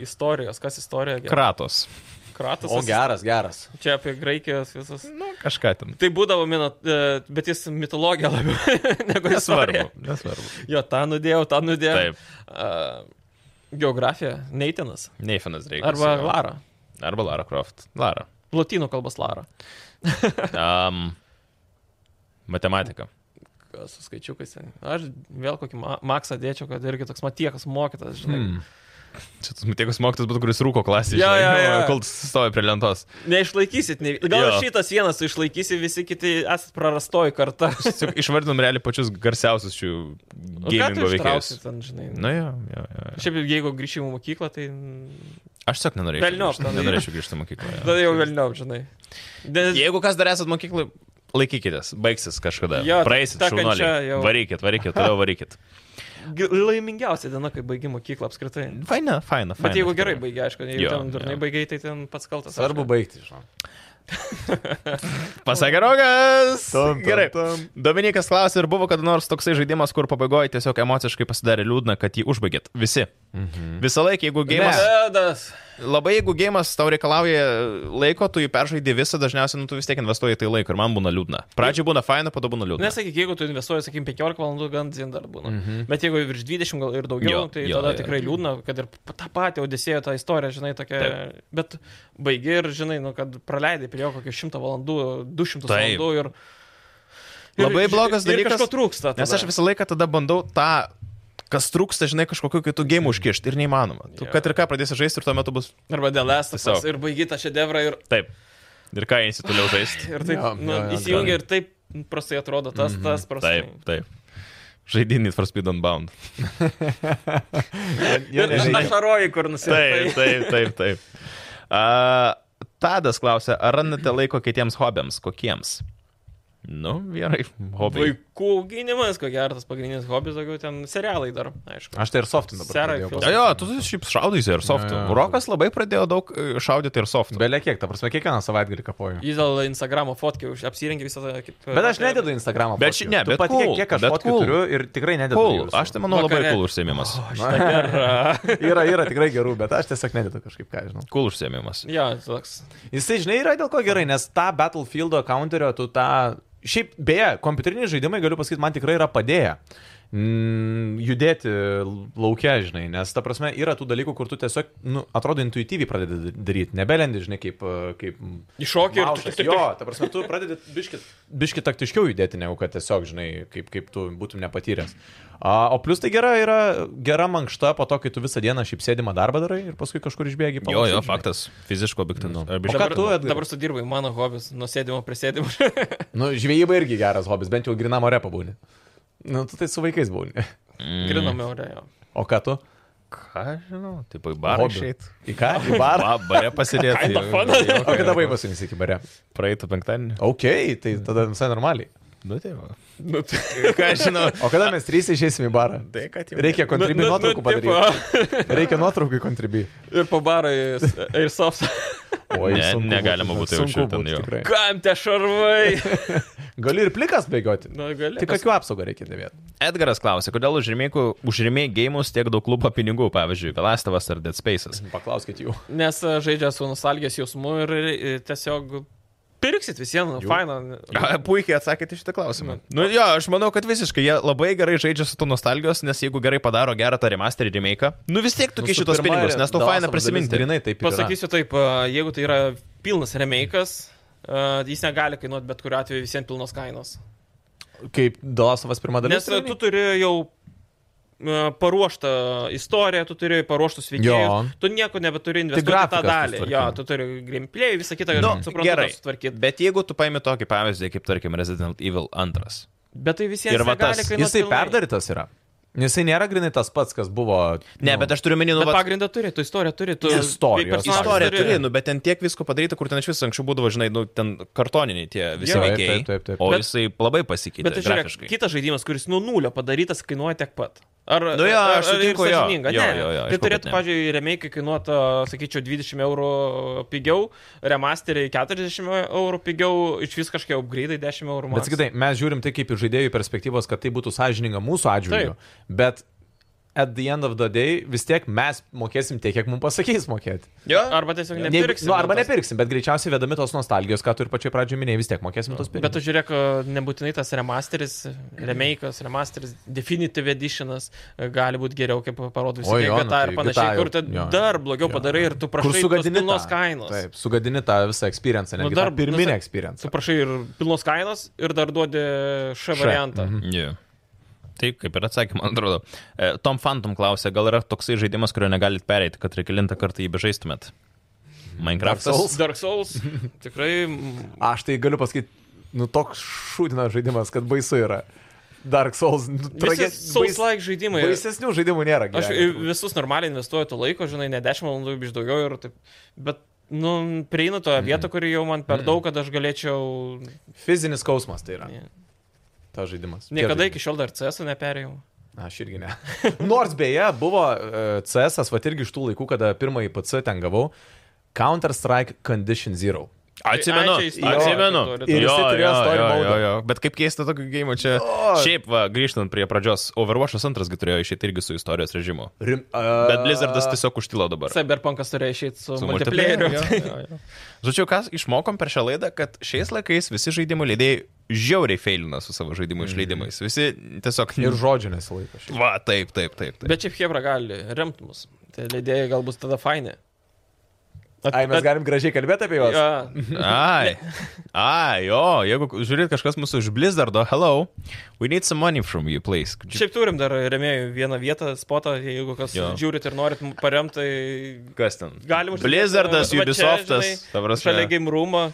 [SPEAKER 2] istorijos, kas istorija? Gerai.
[SPEAKER 1] Kratos.
[SPEAKER 2] Kratas.
[SPEAKER 3] O geras, geras.
[SPEAKER 2] Čia apie Graikijos visas.
[SPEAKER 1] Nu, kažką ten.
[SPEAKER 2] Tai būdavo, mino, e, bet jis mitologija labiau negu istorija.
[SPEAKER 1] Nesvarbu. Nesvarbu.
[SPEAKER 2] Jo, tą nudėjau, tą nudėjau.
[SPEAKER 1] Taip.
[SPEAKER 2] Uh, geografija, Neitinas.
[SPEAKER 1] Neifenas reikia.
[SPEAKER 2] Arba Lara.
[SPEAKER 1] Arba Lara Croft. Lara.
[SPEAKER 2] Latinų kalbos Lara.
[SPEAKER 1] Um, matematika.
[SPEAKER 2] Kas Su skaičiukais. ten. Aš vėl kokį ma maksą dėčiau, kad irgi toks matiekas mokytas, žinai. Hmm.
[SPEAKER 1] Čia tas matėkus mokytas būtų, kuris rūko klasėje,
[SPEAKER 2] Jo,
[SPEAKER 1] žinai, nu,
[SPEAKER 2] jo, jo.
[SPEAKER 1] kol stovi prie lentos.
[SPEAKER 2] Neišlaikysit, nei... gal
[SPEAKER 1] Jo.
[SPEAKER 2] jo. šitas vienas tu išlaikysi, visi kiti esat prarastoji karta.
[SPEAKER 1] Tiesiog išvardinom realiai pačius garsiausius šių
[SPEAKER 2] O ką tu
[SPEAKER 1] gamingo veikėjus.
[SPEAKER 2] ištrauksi ten, žinai?
[SPEAKER 1] Na, jo, jo, jo. jo.
[SPEAKER 2] Šiaip jeigu grįšim į mokyklą, tai... mm,
[SPEAKER 1] Aš tiesiog nenorėčiau.
[SPEAKER 2] Velniop,
[SPEAKER 1] grįžti-
[SPEAKER 2] ten-
[SPEAKER 1] nenorėčiau grįžti į mokyklą. jo.
[SPEAKER 2] Tada jau vėliau, žinai. Nes...
[SPEAKER 1] Jeigu kas dar esat mokykloje, laikykitės, baigsis kažkada.
[SPEAKER 2] Jo,
[SPEAKER 1] Praeisit,
[SPEAKER 2] ta kančia
[SPEAKER 1] šaunuoliai.
[SPEAKER 2] jau.
[SPEAKER 1] Varykit, varykit, toliau varykit.
[SPEAKER 2] Gi- Laimingiausia diena, kai baigi mokyklą apskritai.
[SPEAKER 1] Faina, faina, faina.
[SPEAKER 2] Bet jeigu gerai baigi, aišku, jeigu
[SPEAKER 1] Jo,
[SPEAKER 2] ten durnai
[SPEAKER 1] jo.
[SPEAKER 2] baigiai, tai ten pats kaltas.
[SPEAKER 3] Svarbu
[SPEAKER 2] aišku.
[SPEAKER 3] baigti, žinau.
[SPEAKER 1] Pasakė Rogas.
[SPEAKER 3] Tam, tam,
[SPEAKER 1] Gerai.
[SPEAKER 3] tam.
[SPEAKER 1] Dominikas klausė, ar buvo kada nors toksai žaidimas, kur pabaigoje tiesiog emociškai pasidarė liūdna, kad jį užbaigėt. Visi. Mhm. Visą laiką, jeigu gėjimas...
[SPEAKER 2] Edas.
[SPEAKER 1] Labai jeigu gėjimas tau reikalauja laiko, tu jį peržaidai visą, dažniausiai nu, tu vis tiek investuoji į tai laiko ir man būna liūdna. Pradžioje būna faina, po to būna liūdna.
[SPEAKER 2] Nesakyk, jeigu tu investuoji, sakykim, 15 valandų, gan zin dar būna. Mm -hmm. Bet jeigu virš 20 gal ir daugiau,
[SPEAKER 1] Jo,
[SPEAKER 2] jo, tai
[SPEAKER 1] jo,
[SPEAKER 2] jo, tada
[SPEAKER 1] jo.
[SPEAKER 2] jo. tikrai liūdna, kad ir p- tą patį Odisėjo tą istoriją, žinai, tokia.
[SPEAKER 1] Taip.
[SPEAKER 2] Taip. Bet baigi ir, žinai, nu, kad praleidai prie jo kokį 100 valandų, 200
[SPEAKER 1] Taip.
[SPEAKER 2] Taip. valandų ir...
[SPEAKER 1] Labai blogas
[SPEAKER 2] ir
[SPEAKER 1] dalykas,
[SPEAKER 2] Kažko trūksta.
[SPEAKER 1] Nes aš visą laiką tada bandau tą, kas trūksta, žinai, kažkokiu kitų gėjimų užkišti ir neįmanoma. Tu,
[SPEAKER 2] Jo.
[SPEAKER 1] kad ir ką pradėsi žaisti ir tuo metu bus.
[SPEAKER 2] Arba dėl esas.
[SPEAKER 1] Tiesiog.
[SPEAKER 2] Ir baigi tą šedevrą ir...
[SPEAKER 1] Taip. Ir ką eisi toliau žaisti?
[SPEAKER 2] Ir taip,
[SPEAKER 3] Jo,
[SPEAKER 2] jo, nu,
[SPEAKER 3] jo, jo,
[SPEAKER 2] įsijungia ir taip prastai atrodo tas, mm -hmm. tas prastai.
[SPEAKER 1] Mhm, Taip, taip. Žaidinį for speed unbound.
[SPEAKER 3] Jo,
[SPEAKER 2] Ir
[SPEAKER 3] nežaidžiu.
[SPEAKER 2] ašaroji, kur nusipirkai.
[SPEAKER 1] Taip, taip, taip, taip. Uh, Tadas klausia, ar randate laiko kitiems hobiams? Kokiems? Nu, gerai, hobiai.
[SPEAKER 2] Vaikų auginimas, ko gero, tas pagrindinis hobis, daugiau ten serialai dar, aišku.
[SPEAKER 3] Aš tai ir softinu
[SPEAKER 2] Serai
[SPEAKER 3] dabar.
[SPEAKER 2] filmas.
[SPEAKER 1] Jo, jo, tu šiaip šaudysi ir softų.
[SPEAKER 3] Jo, jo.
[SPEAKER 1] Rokas labai pradėjo daug e, šaudyti ir softų.
[SPEAKER 3] Belė kiek, ta prasme, kiekvieną savaitgalį kapoju.
[SPEAKER 2] Jis dėl Instagramo fotkė, apsirengė visą tą kaip...
[SPEAKER 3] Bet aš nededu Instagramą.
[SPEAKER 1] Bet ši- ne, bet
[SPEAKER 3] pat
[SPEAKER 1] cool,
[SPEAKER 3] kiek, kiek aš
[SPEAKER 1] bet
[SPEAKER 3] fotkių
[SPEAKER 1] cool.
[SPEAKER 3] turiu ir tikrai nededu.
[SPEAKER 1] Cool.
[SPEAKER 3] jų visų.
[SPEAKER 1] Aš tai manau labai
[SPEAKER 2] Vakare.
[SPEAKER 1] cool užsiemimas.
[SPEAKER 3] Oh, Yra, yra tikrai gerų, bet aš tiesiog nededu kažkaip, ką žinau.
[SPEAKER 1] Cool užsiemimas.
[SPEAKER 2] Jo, toks.
[SPEAKER 3] Jisai, žinai, yra dėl ko gerai, nes tą Battlefield counterio, tu tą... Šiaip, beje, kompiuteriniai žaidimai, galiu pasakyti, man tikrai yra padėję mm, judėti laukia, žinai, nes, ta prasme, yra tų dalykų, kur tu tiesiog, nu, atrodo, intuityviai pradedi daryti, nebelendi, žinai, kaip... e, kaip
[SPEAKER 2] Iššokį ir...
[SPEAKER 3] Maušas, jo, ta prasme, tu pradedi biškit, biškit taktiškiau judėti, negu kad tiesiog, žinai, kaip, kaip tu būtum nepatyręs. A, o plus tai gera yra gera mankšta po to, kai tu visą dieną šiaip sėdimą darbą darai ir paskui kažkur išbėgi
[SPEAKER 1] Jo, jo,
[SPEAKER 3] pailsėt, žinai.
[SPEAKER 1] faktas. Fiziško objektivno.
[SPEAKER 3] Nu.
[SPEAKER 1] Arba
[SPEAKER 3] O
[SPEAKER 1] iš-
[SPEAKER 3] ką tu, Edgarai?
[SPEAKER 2] Dabar sudirbai mano hobis, nusėdimo prie sėdimo.
[SPEAKER 3] Nu, žvejyba irgi geras hobis, bent jau grinam ore pabūni. Nu, tu tai su vaikais būni.
[SPEAKER 2] Grinome orėjo.
[SPEAKER 3] O ką tu?
[SPEAKER 1] Ką aš žinau, taip, į barą
[SPEAKER 3] Hobį.
[SPEAKER 1] išeit.
[SPEAKER 3] Į ką? Į barą.
[SPEAKER 1] Ba- Bare pasidėti.
[SPEAKER 2] Kinda fun.
[SPEAKER 1] Jo,
[SPEAKER 3] O kada baigas jums iki bare?
[SPEAKER 1] Praeitų penktadienį.
[SPEAKER 3] Ok, tai tada visai normaliai.
[SPEAKER 1] Nu, tai va. Nu, tai ką aš žinau.
[SPEAKER 3] O kada mes trys išeisim į barą?
[SPEAKER 1] Tai, kad jau.
[SPEAKER 3] Reikia
[SPEAKER 2] Nu,
[SPEAKER 3] kontribį
[SPEAKER 1] nu,
[SPEAKER 3] nuotraukų padaryti. Reikia nuotraukų į kontribį.
[SPEAKER 2] Ir po barą ir soft.
[SPEAKER 3] Oi,
[SPEAKER 1] Ne,
[SPEAKER 3] sunku
[SPEAKER 1] negalima būtų jau
[SPEAKER 3] sunku
[SPEAKER 1] šiaip ten
[SPEAKER 3] būtų
[SPEAKER 1] jau.
[SPEAKER 3] tikrai.
[SPEAKER 2] Kam te šarvai?
[SPEAKER 3] Gali ir plikas bėgioti.
[SPEAKER 1] Nu,
[SPEAKER 2] Na, gali.
[SPEAKER 3] Tik akių apsaugą reikia dėvėti.
[SPEAKER 1] Edgaras klausė, kodėl užrėmėjai gėjimus tiek daug klubo pinigų, pavyzdžiui, Velastovas ar Dead Spaces.
[SPEAKER 3] Paklauskit jų.
[SPEAKER 2] Nes e, žaidžia su nostalgijos jausmu ir e, tiesiog pirksit nu, visieną,
[SPEAKER 3] Jų.
[SPEAKER 2] fainą.
[SPEAKER 1] A, Puikiai atsakėte į šitą klausimą. Nu jo, aš manau, kad visiškai jie labai gerai žaidžia su to nostalgijos, nes jeigu gerai padaro gerą tą remasterį remake, nu vis tiek tu kiši tos pinigus, nes tau faina prisiminti.
[SPEAKER 3] Grinai taip. ir yra.
[SPEAKER 2] Pasakysiu taip, a, jeigu tai yra pilnas remake'as, a, jis negali kainuoti bet kuriu atveju visiems pilnos kainos.
[SPEAKER 3] Kaip Dalasovas pirmą dalį.
[SPEAKER 2] Nes a, tu turi jau e, paruoštą istoriją, tu turi paruoštus
[SPEAKER 3] Jo.
[SPEAKER 2] veikėjus, tu nieko
[SPEAKER 1] Tai
[SPEAKER 2] nebeturi investuoti į tą
[SPEAKER 3] grafiką
[SPEAKER 2] dalį.
[SPEAKER 3] susitvarkyt.
[SPEAKER 2] Jo, tu turi gameplay, visą kitą,
[SPEAKER 1] Nu,
[SPEAKER 2] no, suprantu,
[SPEAKER 1] gerai.
[SPEAKER 2] gerai sutvarkyti.
[SPEAKER 1] Bet jeigu tu paimi tokį pavyzdį, kaip tarkim Resident Evil 2.
[SPEAKER 2] Bet tai visiems
[SPEAKER 1] Ir va tas,
[SPEAKER 2] negali kainuot
[SPEAKER 3] Jisai
[SPEAKER 2] pilnai.
[SPEAKER 3] perdarytas yra. Jisai nėra grinai tas pats, kas buvo.
[SPEAKER 1] Ne, bet aš turiu menį, nu,
[SPEAKER 2] Bet
[SPEAKER 1] vat,
[SPEAKER 2] pagrindą turi, tu istoriją turi, tu
[SPEAKER 3] Ne, istorijos.
[SPEAKER 2] personažą
[SPEAKER 1] istoriją turi, nu, bet ten tiek visko padaryta, kur ten iš viso anksčiau būdavo, žinai, nu, ten kartoniniai tie visi
[SPEAKER 3] Jo, taip,
[SPEAKER 1] veikėjai.
[SPEAKER 3] taip, taip, taip.
[SPEAKER 1] O
[SPEAKER 2] Bet-
[SPEAKER 1] jisai labai pasikeitė.
[SPEAKER 2] Bet
[SPEAKER 1] Bet
[SPEAKER 2] tai žiūrėk,
[SPEAKER 1] žiūrėk,
[SPEAKER 2] kitas žaidimas, kuris nuo nulio padarytas, kainuoja tiek pat. Ar,
[SPEAKER 1] Nu jo,
[SPEAKER 2] ar-
[SPEAKER 1] aš
[SPEAKER 2] ar
[SPEAKER 1] sutinku,
[SPEAKER 2] jums
[SPEAKER 1] jo.
[SPEAKER 2] sąžininga?
[SPEAKER 1] Jo,
[SPEAKER 2] Ne.
[SPEAKER 1] jo, jo,
[SPEAKER 2] Tai
[SPEAKER 1] aišku,
[SPEAKER 2] turėtų,
[SPEAKER 1] kad ne.
[SPEAKER 2] pavyzdžiui, remake kainuoti, sakyčiau, 20 eurų pigiau, remasteriai 40 eurų pigiau, iš vis kažkiek upgraidai 10 eurų
[SPEAKER 3] Bet
[SPEAKER 2] mažiau.
[SPEAKER 3] sakytai, mes žiūrim tai kaip iš žaidėjų perspektyvos, kad tai būtų sąžininga mūsų atžvilgiu.
[SPEAKER 2] Taip.
[SPEAKER 3] Bet at the end of the day vis tiek mes mokėsim tiek, kiek mums pasakys mokėti.
[SPEAKER 1] jo,
[SPEAKER 2] Arba tiesiog
[SPEAKER 3] Jeigu-
[SPEAKER 2] nepirksim.
[SPEAKER 3] nu, arba
[SPEAKER 2] tos-
[SPEAKER 3] nepirksim, bet greičiausiai vedami tos nostalgijos, ką tu ir pačioj pradžioje minėjai, vis tiek mokėsim tos
[SPEAKER 2] Bet tu
[SPEAKER 3] pinigus.
[SPEAKER 2] žiūrėk, e, nebūtinai tas remasteris, remake'as, remasteris, definitive editionas e, gali būti geriau, kaip parodys
[SPEAKER 3] O
[SPEAKER 2] GTA
[SPEAKER 3] jo,
[SPEAKER 2] nu,
[SPEAKER 3] nu
[SPEAKER 2] ir
[SPEAKER 3] tai
[SPEAKER 2] panašiai,
[SPEAKER 3] GTA
[SPEAKER 2] kur tu
[SPEAKER 3] jau- jo.
[SPEAKER 2] dar blogiau
[SPEAKER 3] Jo.
[SPEAKER 2] padarai ir tu
[SPEAKER 3] Kur
[SPEAKER 2] prašai tos
[SPEAKER 3] sugadini
[SPEAKER 2] pilnos
[SPEAKER 3] tą-
[SPEAKER 2] kainos.
[SPEAKER 3] Taip, sugadini tą visą experienciją, netgi nu,
[SPEAKER 2] dar-
[SPEAKER 3] dar,
[SPEAKER 2] nu,
[SPEAKER 3] pirminę
[SPEAKER 2] tai-
[SPEAKER 3] experienciją.
[SPEAKER 2] Suprašai ir pilnos kainos ir dar duodi Š
[SPEAKER 3] Š,
[SPEAKER 2] variantą.
[SPEAKER 3] mhm.
[SPEAKER 1] Yeah. Taip, kaip ir atsakė, man atrodo. E, Tom Phantom klausė, gal yra toksai žaidimas, kurio negalit pereiti, kad reikalintą kartą jį bežaistumėt. Minecraftas.
[SPEAKER 3] Souls?
[SPEAKER 2] Dark Souls tikrai mm,
[SPEAKER 3] Aš tai galiu pasakyti, nu toks šūdinas žaidimas, kad baisu yra. Dark Souls, nu,
[SPEAKER 2] visi Souls-like žaidimai.
[SPEAKER 3] Baisesnių žaidimų nėra.
[SPEAKER 2] Aš
[SPEAKER 3] gyvenime.
[SPEAKER 2] į visus normaliai investuoju to laiko, žinai, ne 10 valandų, biš daugiau ir taip. Bet, nu, prieinu
[SPEAKER 3] Mhm.
[SPEAKER 2] toje vietoje, kuri jau man per daug, kad aš galėčiau...
[SPEAKER 3] Fizinis skausmas tai yra.
[SPEAKER 2] Ne.
[SPEAKER 3] Ta žaidimas.
[SPEAKER 2] Niekada
[SPEAKER 3] Tie
[SPEAKER 2] iki šiol dar CS neperėjau.
[SPEAKER 3] žaidimai. Aš irgi ne. Nors beje, buvo e, CS, va irgi iš tų laikų, kada pirmąjį PC ten gavau. Counter-Strike Condition Zero.
[SPEAKER 1] Atsimenu,
[SPEAKER 2] Ai, čia istorija
[SPEAKER 1] atsimenu.
[SPEAKER 2] turi,
[SPEAKER 3] turi. Ir jisai turėjo story mode.
[SPEAKER 1] Bet kaip keista tokio gėjimo čia. Šiaip, va, grįžtant prie pradžios, Overwatch'as antrasgi turėjo išeiti irgi su istorijos režimu.
[SPEAKER 3] Rim, uh,
[SPEAKER 1] Bet Blizzardas tiesiog užtilo dabar.
[SPEAKER 2] Cyberpunkas turėjo išeiti su, su
[SPEAKER 1] Su
[SPEAKER 2] multiplayeriu.
[SPEAKER 1] multiplayeriu, jo, jo, jo. Žodžiu, ką išmokom per šią laidą, kad šiais laikais visi žaidimų leidėjai žiauriai feilina su savo
[SPEAKER 2] Mhm.
[SPEAKER 1] žaidimų išleidimais. Visi tiesiog...
[SPEAKER 3] Ir žodžių nesilaiko. šiaip.
[SPEAKER 1] Va, taip, taip, taip. taip.
[SPEAKER 2] Bet šiaip Hebra gali remt mus. Tai leidėjai galbūt tada faini. At-
[SPEAKER 3] Ai, mes
[SPEAKER 2] at-
[SPEAKER 3] galim gražiai kalbėti apie juos.
[SPEAKER 2] Ja,
[SPEAKER 1] Ai. Ai, jo, jeigu žiūrėt kažkas mūsų iš Blizzardo, hello, we need some money from you, please. Could you-
[SPEAKER 2] Šiaip turim dar remėjų vieną vietą, spotą, jeigu kas jo.
[SPEAKER 1] Jo.
[SPEAKER 2] žiūrit ir norit m- paremt, tai
[SPEAKER 1] Kas ten?
[SPEAKER 2] galim užsidėti,
[SPEAKER 1] Blizzardas,
[SPEAKER 2] va- va čia,
[SPEAKER 1] Ubisoftas.
[SPEAKER 2] žinai,
[SPEAKER 1] ta prasme.
[SPEAKER 2] Šalia game roomą.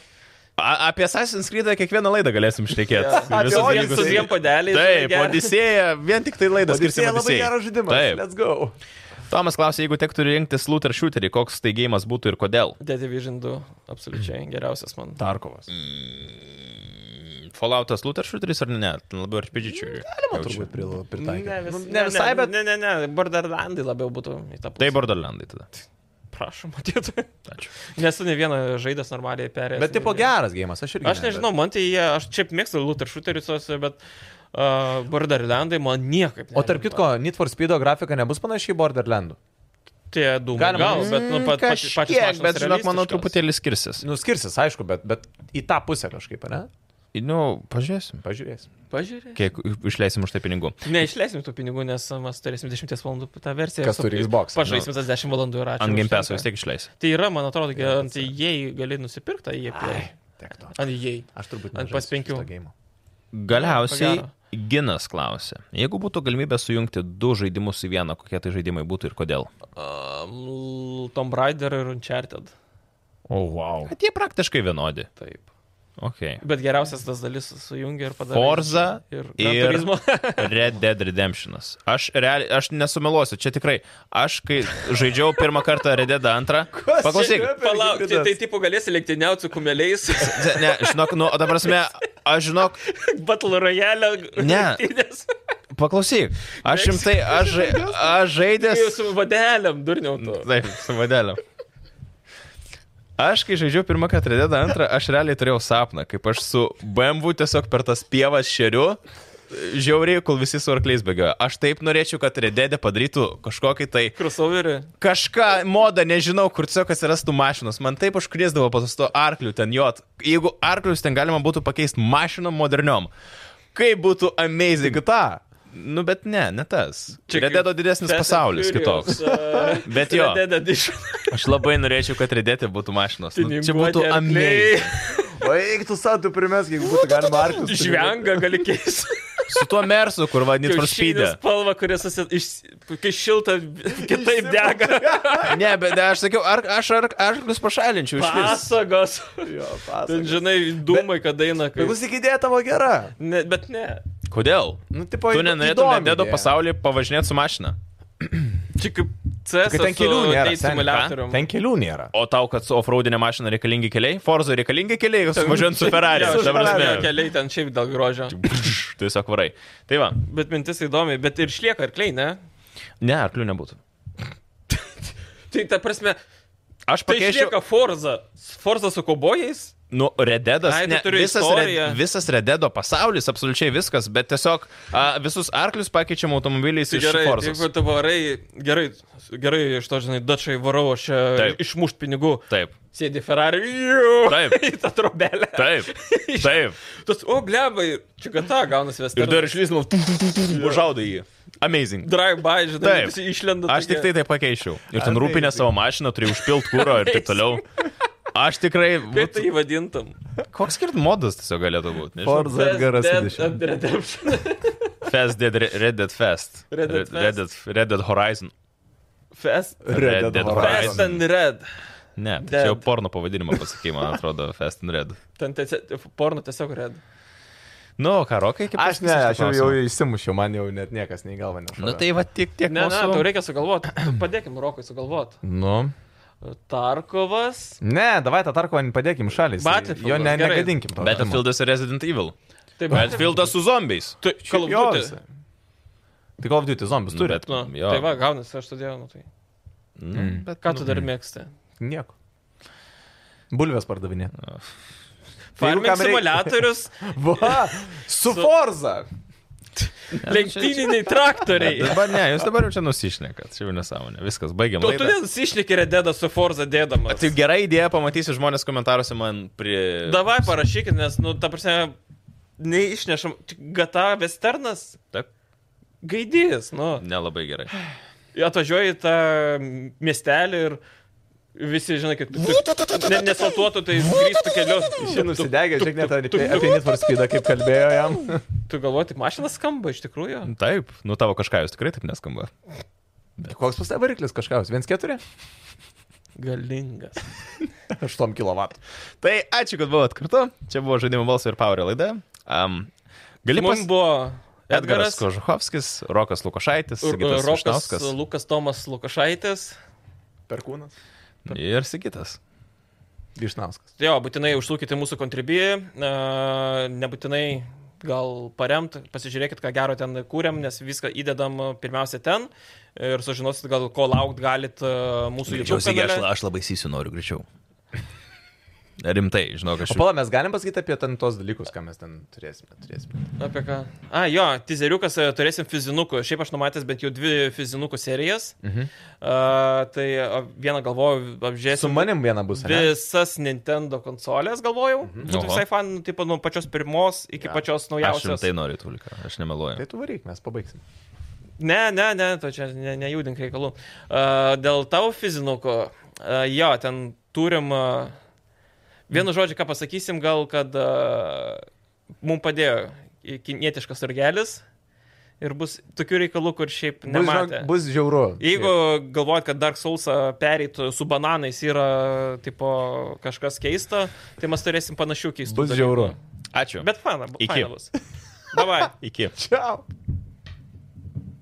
[SPEAKER 1] A- Apie Assassin's Creed kiekvieną laidą galėsim šnekėti.
[SPEAKER 2] Jo.
[SPEAKER 3] Apie
[SPEAKER 1] Visus
[SPEAKER 3] Odyssey.
[SPEAKER 1] dalykus.
[SPEAKER 2] Su dviem padeliais.
[SPEAKER 1] Taip,
[SPEAKER 2] žinai, geras.
[SPEAKER 1] Odisėja, vien tik tai laidas
[SPEAKER 3] Odyssey
[SPEAKER 1] skirsim
[SPEAKER 3] labai
[SPEAKER 1] Odisėjai.
[SPEAKER 3] geras žaidimas.
[SPEAKER 1] Taip.
[SPEAKER 3] Let's go.
[SPEAKER 1] Tomas klausė, jeigu tektų rinktis looter shooterį, koks tai gėjimas būtų ir kodėl?
[SPEAKER 2] The Division 2, absoliučiai geriausias man.
[SPEAKER 3] Tarkovas.
[SPEAKER 1] Falloutas looter shooteris ar ne? Ten labiau ir pidžičiui.
[SPEAKER 3] Galima turbūt pril- pritaikyt.
[SPEAKER 2] Ne, vis,
[SPEAKER 3] Nu, ne visai, bet...
[SPEAKER 2] Ne, ne, ne, Borderlandai labiau būtų į tą pusę.
[SPEAKER 1] Tai Borderlandai tada.
[SPEAKER 2] prašom, matyti.
[SPEAKER 1] Ačiū.
[SPEAKER 2] Nesu ne vieną žaidęs normaliai perėjęs.
[SPEAKER 3] Bet tipo geras gėjimas, aš irgi.
[SPEAKER 2] Aš nežinau, man tai jie, aš čia mėgstu looter shooterius, bet uh, Borderlandai man niekaip.
[SPEAKER 3] O tarp
[SPEAKER 2] nelimpa.
[SPEAKER 3] kitko, Need for Speed grafika nebus panašiai į Borderlandų.
[SPEAKER 2] Tie dūmai.
[SPEAKER 3] Galima.
[SPEAKER 2] Gal, bet, nu, pat, pat, pačios
[SPEAKER 1] Kiek,
[SPEAKER 2] mašinos
[SPEAKER 1] Mm, bet žinok, manau,
[SPEAKER 2] realistiškos.
[SPEAKER 1] truputėlį skirsis.
[SPEAKER 3] Nu, skirsis, aišku, bet, bet į tą pusę kažkaip, ne?
[SPEAKER 1] Nu, pažiūrėsim.
[SPEAKER 3] Pažiūrėsim.
[SPEAKER 2] Pažiūrėk.
[SPEAKER 1] Kiek išleisim už tai pinigų.
[SPEAKER 2] Neišleisim tų pinigų, nes mes turėsim 10 valandų tą versiją.
[SPEAKER 3] Kas turi Xbox?
[SPEAKER 2] Pažaisim tas 10 valandų ir ačiū.
[SPEAKER 1] Ant gimpesų
[SPEAKER 2] užtenka.
[SPEAKER 1] vis tiek išleis.
[SPEAKER 2] Tai yra, man atrodo, kad ant jei gali nusipirkti, jei play.
[SPEAKER 3] Tiek to.
[SPEAKER 2] Ant E jei.
[SPEAKER 3] Aš turbūt
[SPEAKER 2] Ant pas penkių.
[SPEAKER 1] Galiausiai
[SPEAKER 2] Ko gero.
[SPEAKER 1] Ginas klausė, jeigu būtų galimybė sujungti du žaidimus į vieną, kokie tai žaidimai būtų ir kodėl.
[SPEAKER 2] Um, Tomb Raider ir Uncharted.
[SPEAKER 3] O, oh, wow.
[SPEAKER 1] Bet jie praktiškai vienodi.
[SPEAKER 2] Taip.
[SPEAKER 1] Okay.
[SPEAKER 2] Bet geriausias tas dalis sujungia ir padaro.
[SPEAKER 1] Forza
[SPEAKER 2] ir,
[SPEAKER 1] ir-
[SPEAKER 2] ir...
[SPEAKER 1] Red Dead Redemptionas. Aš realiai, aš nesumeluosiu, čia tikrai. Aš kai žaidžiau pirmą kartą Red Dead 2,
[SPEAKER 3] čia
[SPEAKER 1] paklausyk.
[SPEAKER 3] yra?
[SPEAKER 2] Palauk, tai,
[SPEAKER 3] Hibridas. tai
[SPEAKER 2] tai tipo galėsi lektiniauti su kumeliais,
[SPEAKER 1] Ne, žinok, nu, o dabar prasme, aš žinok,
[SPEAKER 2] Battle Royale.
[SPEAKER 1] Ne. paklausyk. Aš rimtai, aš, žai- aš
[SPEAKER 2] Jau
[SPEAKER 1] žaidęs.
[SPEAKER 2] su vadeliam, durniau tu.
[SPEAKER 1] Taip, su vadeliu. Aš, kai žaidžiau pirmą kartą Red Dead 2, aš realiai turėjau sapną, kaip aš su BMW tiesiog per tas pievas šeriu. Žiauriai, kol visi su arkliais bėgioja. Aš taip norėčiau, kad Red Dead padarytų kažkokį tai
[SPEAKER 2] Crossoverį.
[SPEAKER 1] kažką modą, nežinau, kur tiesiog atsirastų mašinos. Man taip užkrėsdavo pasusto arklių ten jot. Jeigu arklius ten galima būtų pakeisti mašinom moderniom. Kaip būtų amazing.
[SPEAKER 3] Ta.
[SPEAKER 1] Nu, bet ne, ne tas.
[SPEAKER 2] Čia
[SPEAKER 1] Čia redėdo didesnis pasaulis kitoks. Bet jo.
[SPEAKER 2] Redėda iš
[SPEAKER 1] Aš labai norėčiau, kad redėti būtų mašinos. Nu, čia būtų
[SPEAKER 2] Tinguoti arkliai.
[SPEAKER 1] amazing.
[SPEAKER 3] O eik tu satu primes, jeigu būtų galima arklius.
[SPEAKER 2] žvengą gali keisti.
[SPEAKER 1] Su tuo mersu, kur vadinit
[SPEAKER 2] Kiaušinio
[SPEAKER 1] praspydė.
[SPEAKER 2] spalva, kuris susi... iš... kai šilta, kitaip dega.
[SPEAKER 1] Ne, bet ne, aš sakiau, ar aš ar, ar jūs pašalinčiau iš viso.
[SPEAKER 2] Pasagos.
[SPEAKER 3] Jo,
[SPEAKER 2] Ten,
[SPEAKER 3] pasakai.
[SPEAKER 2] žinai, dūmai, kad eina. Kai...
[SPEAKER 3] Bet klausykit, idėja tavo gera.
[SPEAKER 2] Ne, bet ne.
[SPEAKER 1] Kodėl?
[SPEAKER 3] Nu, tipo,
[SPEAKER 1] Tu
[SPEAKER 3] įdo-
[SPEAKER 1] nenorėtum
[SPEAKER 3] įdomi
[SPEAKER 1] nedėdo
[SPEAKER 3] idėja.
[SPEAKER 1] pasaulį pavažinėti su mašina.
[SPEAKER 2] Čia kaip CS.
[SPEAKER 3] Kad ten kelių nėra. seni,
[SPEAKER 2] simuliatorium.
[SPEAKER 3] ką? Ten kelių nėra.
[SPEAKER 1] O tau, kad su offroadinė mašina reikalingi keliai? Forza reikalingi keliai, kad važiuojant su Ferrari.
[SPEAKER 2] Jo,
[SPEAKER 3] su
[SPEAKER 1] ta prasme.
[SPEAKER 3] Ferrari
[SPEAKER 2] Keliai ten šiaip dėl grožio.
[SPEAKER 1] Pš, Tiesiog varai. Tai va,
[SPEAKER 2] Bet mintis įdomi, bet ir išlieka arkliai, ne?
[SPEAKER 1] ne, arklių nebūtų.
[SPEAKER 2] Tai ta prasme,
[SPEAKER 1] Aš
[SPEAKER 2] tai
[SPEAKER 1] pakeičiau.
[SPEAKER 2] išlieka Forza. Forza su kobojais?
[SPEAKER 1] Nu, Rededas,
[SPEAKER 2] Ai, tu
[SPEAKER 1] ne,
[SPEAKER 2] turi
[SPEAKER 1] visas,
[SPEAKER 2] istoriją.
[SPEAKER 1] Red, visas Rededo pasaulis, absoliučiai viskas, bet tiesiog a, visus arklius pakeičiam automobiliais
[SPEAKER 2] Tai
[SPEAKER 1] iš
[SPEAKER 2] gerai,
[SPEAKER 1] Forzos.
[SPEAKER 2] jeigu tu varai, gerai, gerai, iš to, žinai, dačiai varau, aš
[SPEAKER 1] Taip.
[SPEAKER 2] Taip. išmušt pinigų.
[SPEAKER 1] Taip,
[SPEAKER 2] Sėdi Ferrari.
[SPEAKER 1] Taip.
[SPEAKER 2] Į tą trobelę.
[SPEAKER 1] taip, taip.
[SPEAKER 2] Tas, o, blebai, čia gata gaunasi vesti.
[SPEAKER 1] Ir dar išlysinau, užaudai jį. Amazing.
[SPEAKER 2] Drive-by, žinai,
[SPEAKER 1] Taip.
[SPEAKER 2] visi išlenda.
[SPEAKER 1] Aš tik tai tai pakeičiau. Ir ten rūpinę
[SPEAKER 3] Amazing.
[SPEAKER 1] savo mašiną, turi užpilt kūro ir taip toliau. Aš tikrai...
[SPEAKER 2] Kaip
[SPEAKER 1] Būt,
[SPEAKER 2] tai vadintam?
[SPEAKER 1] koks skirt modas tiesiog galėtų būti? Nežinau.
[SPEAKER 3] Forza Edgaras 20.
[SPEAKER 2] Redemption.
[SPEAKER 1] Fest Dead, Re- Red Dead Fest.
[SPEAKER 2] Red Dead
[SPEAKER 1] Re- Red Dead, Red Dead Horizon.
[SPEAKER 2] Fest.
[SPEAKER 1] Red Dead Horizon.
[SPEAKER 2] Fest and Red.
[SPEAKER 1] Ne, tai
[SPEAKER 2] Dead.
[SPEAKER 1] čia jau porno pavadinimą pasakai, man atrodo, Fest and Red.
[SPEAKER 2] Ten tiesiog, porno tiesiog Red.
[SPEAKER 1] Nu, o ką, rokai kaip
[SPEAKER 3] Aš ne,
[SPEAKER 1] pasakys šitą
[SPEAKER 3] aš jau,
[SPEAKER 1] klausimą?
[SPEAKER 3] jau įsimušiau, man jau net niekas nei galva nešovė.
[SPEAKER 1] Nu tai va tik tiek.
[SPEAKER 2] Ne, ne,
[SPEAKER 1] mūsų-
[SPEAKER 2] tau reikia sugalvoti. Padėkim Rokui sugalvoti.
[SPEAKER 3] Nu.
[SPEAKER 2] Tarkovas.
[SPEAKER 3] Ne, davai tą tarkovą padėkim šaliai.
[SPEAKER 2] Battlefield,
[SPEAKER 3] Jo ne,
[SPEAKER 2] gerai.
[SPEAKER 3] negadinkim. to žaidimo.
[SPEAKER 1] Battlefieldas ir Resident Evil.
[SPEAKER 2] Taip,
[SPEAKER 1] Battlefieldas su zombiais.
[SPEAKER 2] Tu,
[SPEAKER 3] Šiaip jo visai. Tai Call of Duty zombius
[SPEAKER 1] Nu, bet-
[SPEAKER 3] turit.
[SPEAKER 2] Nu,
[SPEAKER 1] Jo.
[SPEAKER 2] tai va, gaunasi, aš todėl, nu tai.
[SPEAKER 1] Mm. Bet
[SPEAKER 2] Ką tu dar mėgsti?
[SPEAKER 3] Nieko. Bulvės pardavinė.
[SPEAKER 2] Nu. Farming
[SPEAKER 3] kam reikia.
[SPEAKER 2] simuliatorius,
[SPEAKER 3] Va, su Forza.
[SPEAKER 2] lenktyniniai traktoriai.
[SPEAKER 1] Dabar ne, tai jūs dabar jau čia nusišnekat, čia jau nesąmonė. Viskas, baigiam.
[SPEAKER 2] Nu, Tu
[SPEAKER 1] laidą.
[SPEAKER 2] todėl išlikė redėdą su Forza dėdamas.
[SPEAKER 1] Tai gera idėja, pamatysiu žmonės komentaruose man prie...
[SPEAKER 2] Davai parašykit, nes, nu, ta prasme, neišnešam. Gata Westernas
[SPEAKER 1] Taip,
[SPEAKER 2] gaidys, nu.
[SPEAKER 1] nelabai gerai.
[SPEAKER 2] Atvažiuoji į tą miestelį ir visi, žinai, kad... Ne, nesaltuotų, tai grįžtų
[SPEAKER 3] Čia
[SPEAKER 2] keliu. nu, Tu,
[SPEAKER 3] nusidegė, žiūrėk, net apie, apie Nitvarskaidą, kaip kalbėjo jam.
[SPEAKER 2] tu galvoji, tai mašina skamba iš tikrųjų.
[SPEAKER 1] Taip, nu tavo kažką jūs tikrai taip neskamba.
[SPEAKER 3] Koks pas tai variklis kažkas? 1,4?
[SPEAKER 2] Galingas.
[SPEAKER 3] 8 kW.
[SPEAKER 1] Tai ačiū, kad buvot kartu. Čia buvo žaidimo balsai ir Power laida. Um, gali
[SPEAKER 2] Mums
[SPEAKER 1] pas...
[SPEAKER 2] buvo
[SPEAKER 1] Edgaras
[SPEAKER 2] Edgaras,
[SPEAKER 1] Kožuhovskis, Rokas Lukošaitis,
[SPEAKER 2] Ur-
[SPEAKER 1] Sigitas
[SPEAKER 2] Rokas, um,
[SPEAKER 1] Rošnauskas
[SPEAKER 2] Lukas Tomas Lukašaitis.
[SPEAKER 3] Perkūnas.
[SPEAKER 1] ir Sigitas.
[SPEAKER 3] Višnauskas.
[SPEAKER 2] Jo, būtinai užsukite mūsų kontribį, e, nebūtinai gal paremt, pasižiūrėkit, ką gero ten kūrėm, nes viską įdedam e, pirmiausia ten ir sužinosit, gal ko laukt galit e, mūsų YouTube kanale.
[SPEAKER 1] aš labai sysiu noriu greičiau. Rimtai, žinau,
[SPEAKER 3] O
[SPEAKER 1] kažkaip.
[SPEAKER 3] pala, mes galim pasakyti apie ten tos dalykus, ką mes ten turėsime. turėsime.
[SPEAKER 2] Apie ką? A, jo, tizeriukas, e, turėsim fizinukų. Šiaip aš numatęs bent jau dvi fizinukų serijas. Mhm. Uh, tai a, vieną galvoju, apžiūrėsiu.
[SPEAKER 3] Su manim viena bus. ane?
[SPEAKER 2] Visas Nintendo konsolės, galvojau. Mhm. Būtų
[SPEAKER 1] Oho. tai
[SPEAKER 2] visai fan, nu, tipo, nuo pačios pirmos iki
[SPEAKER 3] Ja.
[SPEAKER 2] ja. pačios
[SPEAKER 1] Aš
[SPEAKER 2] naujausios.
[SPEAKER 1] rimtai noriu, Tulika, aš nemeluoju.
[SPEAKER 3] Tai tu varyk, mes pabaigsim.
[SPEAKER 2] Ne, ne, ne, to čia ne- nejudink reikalų. Uh, dėl tavo fizinuko, uh, jo, ten turim. Uh, vienu žodžiu, ką pasakysim, gal, kad uh, mums padėjo i- kinietiškas urgelis ir bus tokių reikalų, kur šiaip
[SPEAKER 3] Bus,
[SPEAKER 2] nematė.
[SPEAKER 3] žinok, bus žiauru.
[SPEAKER 2] Jeigu galvojat, kad Dark Souls pereitų su bananais yra tipo, kažkas keista, tai mes turėsim panašių keistų.
[SPEAKER 3] Bus
[SPEAKER 2] dalykų.
[SPEAKER 3] žiauru.
[SPEAKER 1] Ačiū.
[SPEAKER 2] Bet fana,
[SPEAKER 1] Iki.
[SPEAKER 2] fana bus. Davai.
[SPEAKER 1] Iki.
[SPEAKER 3] Čiau.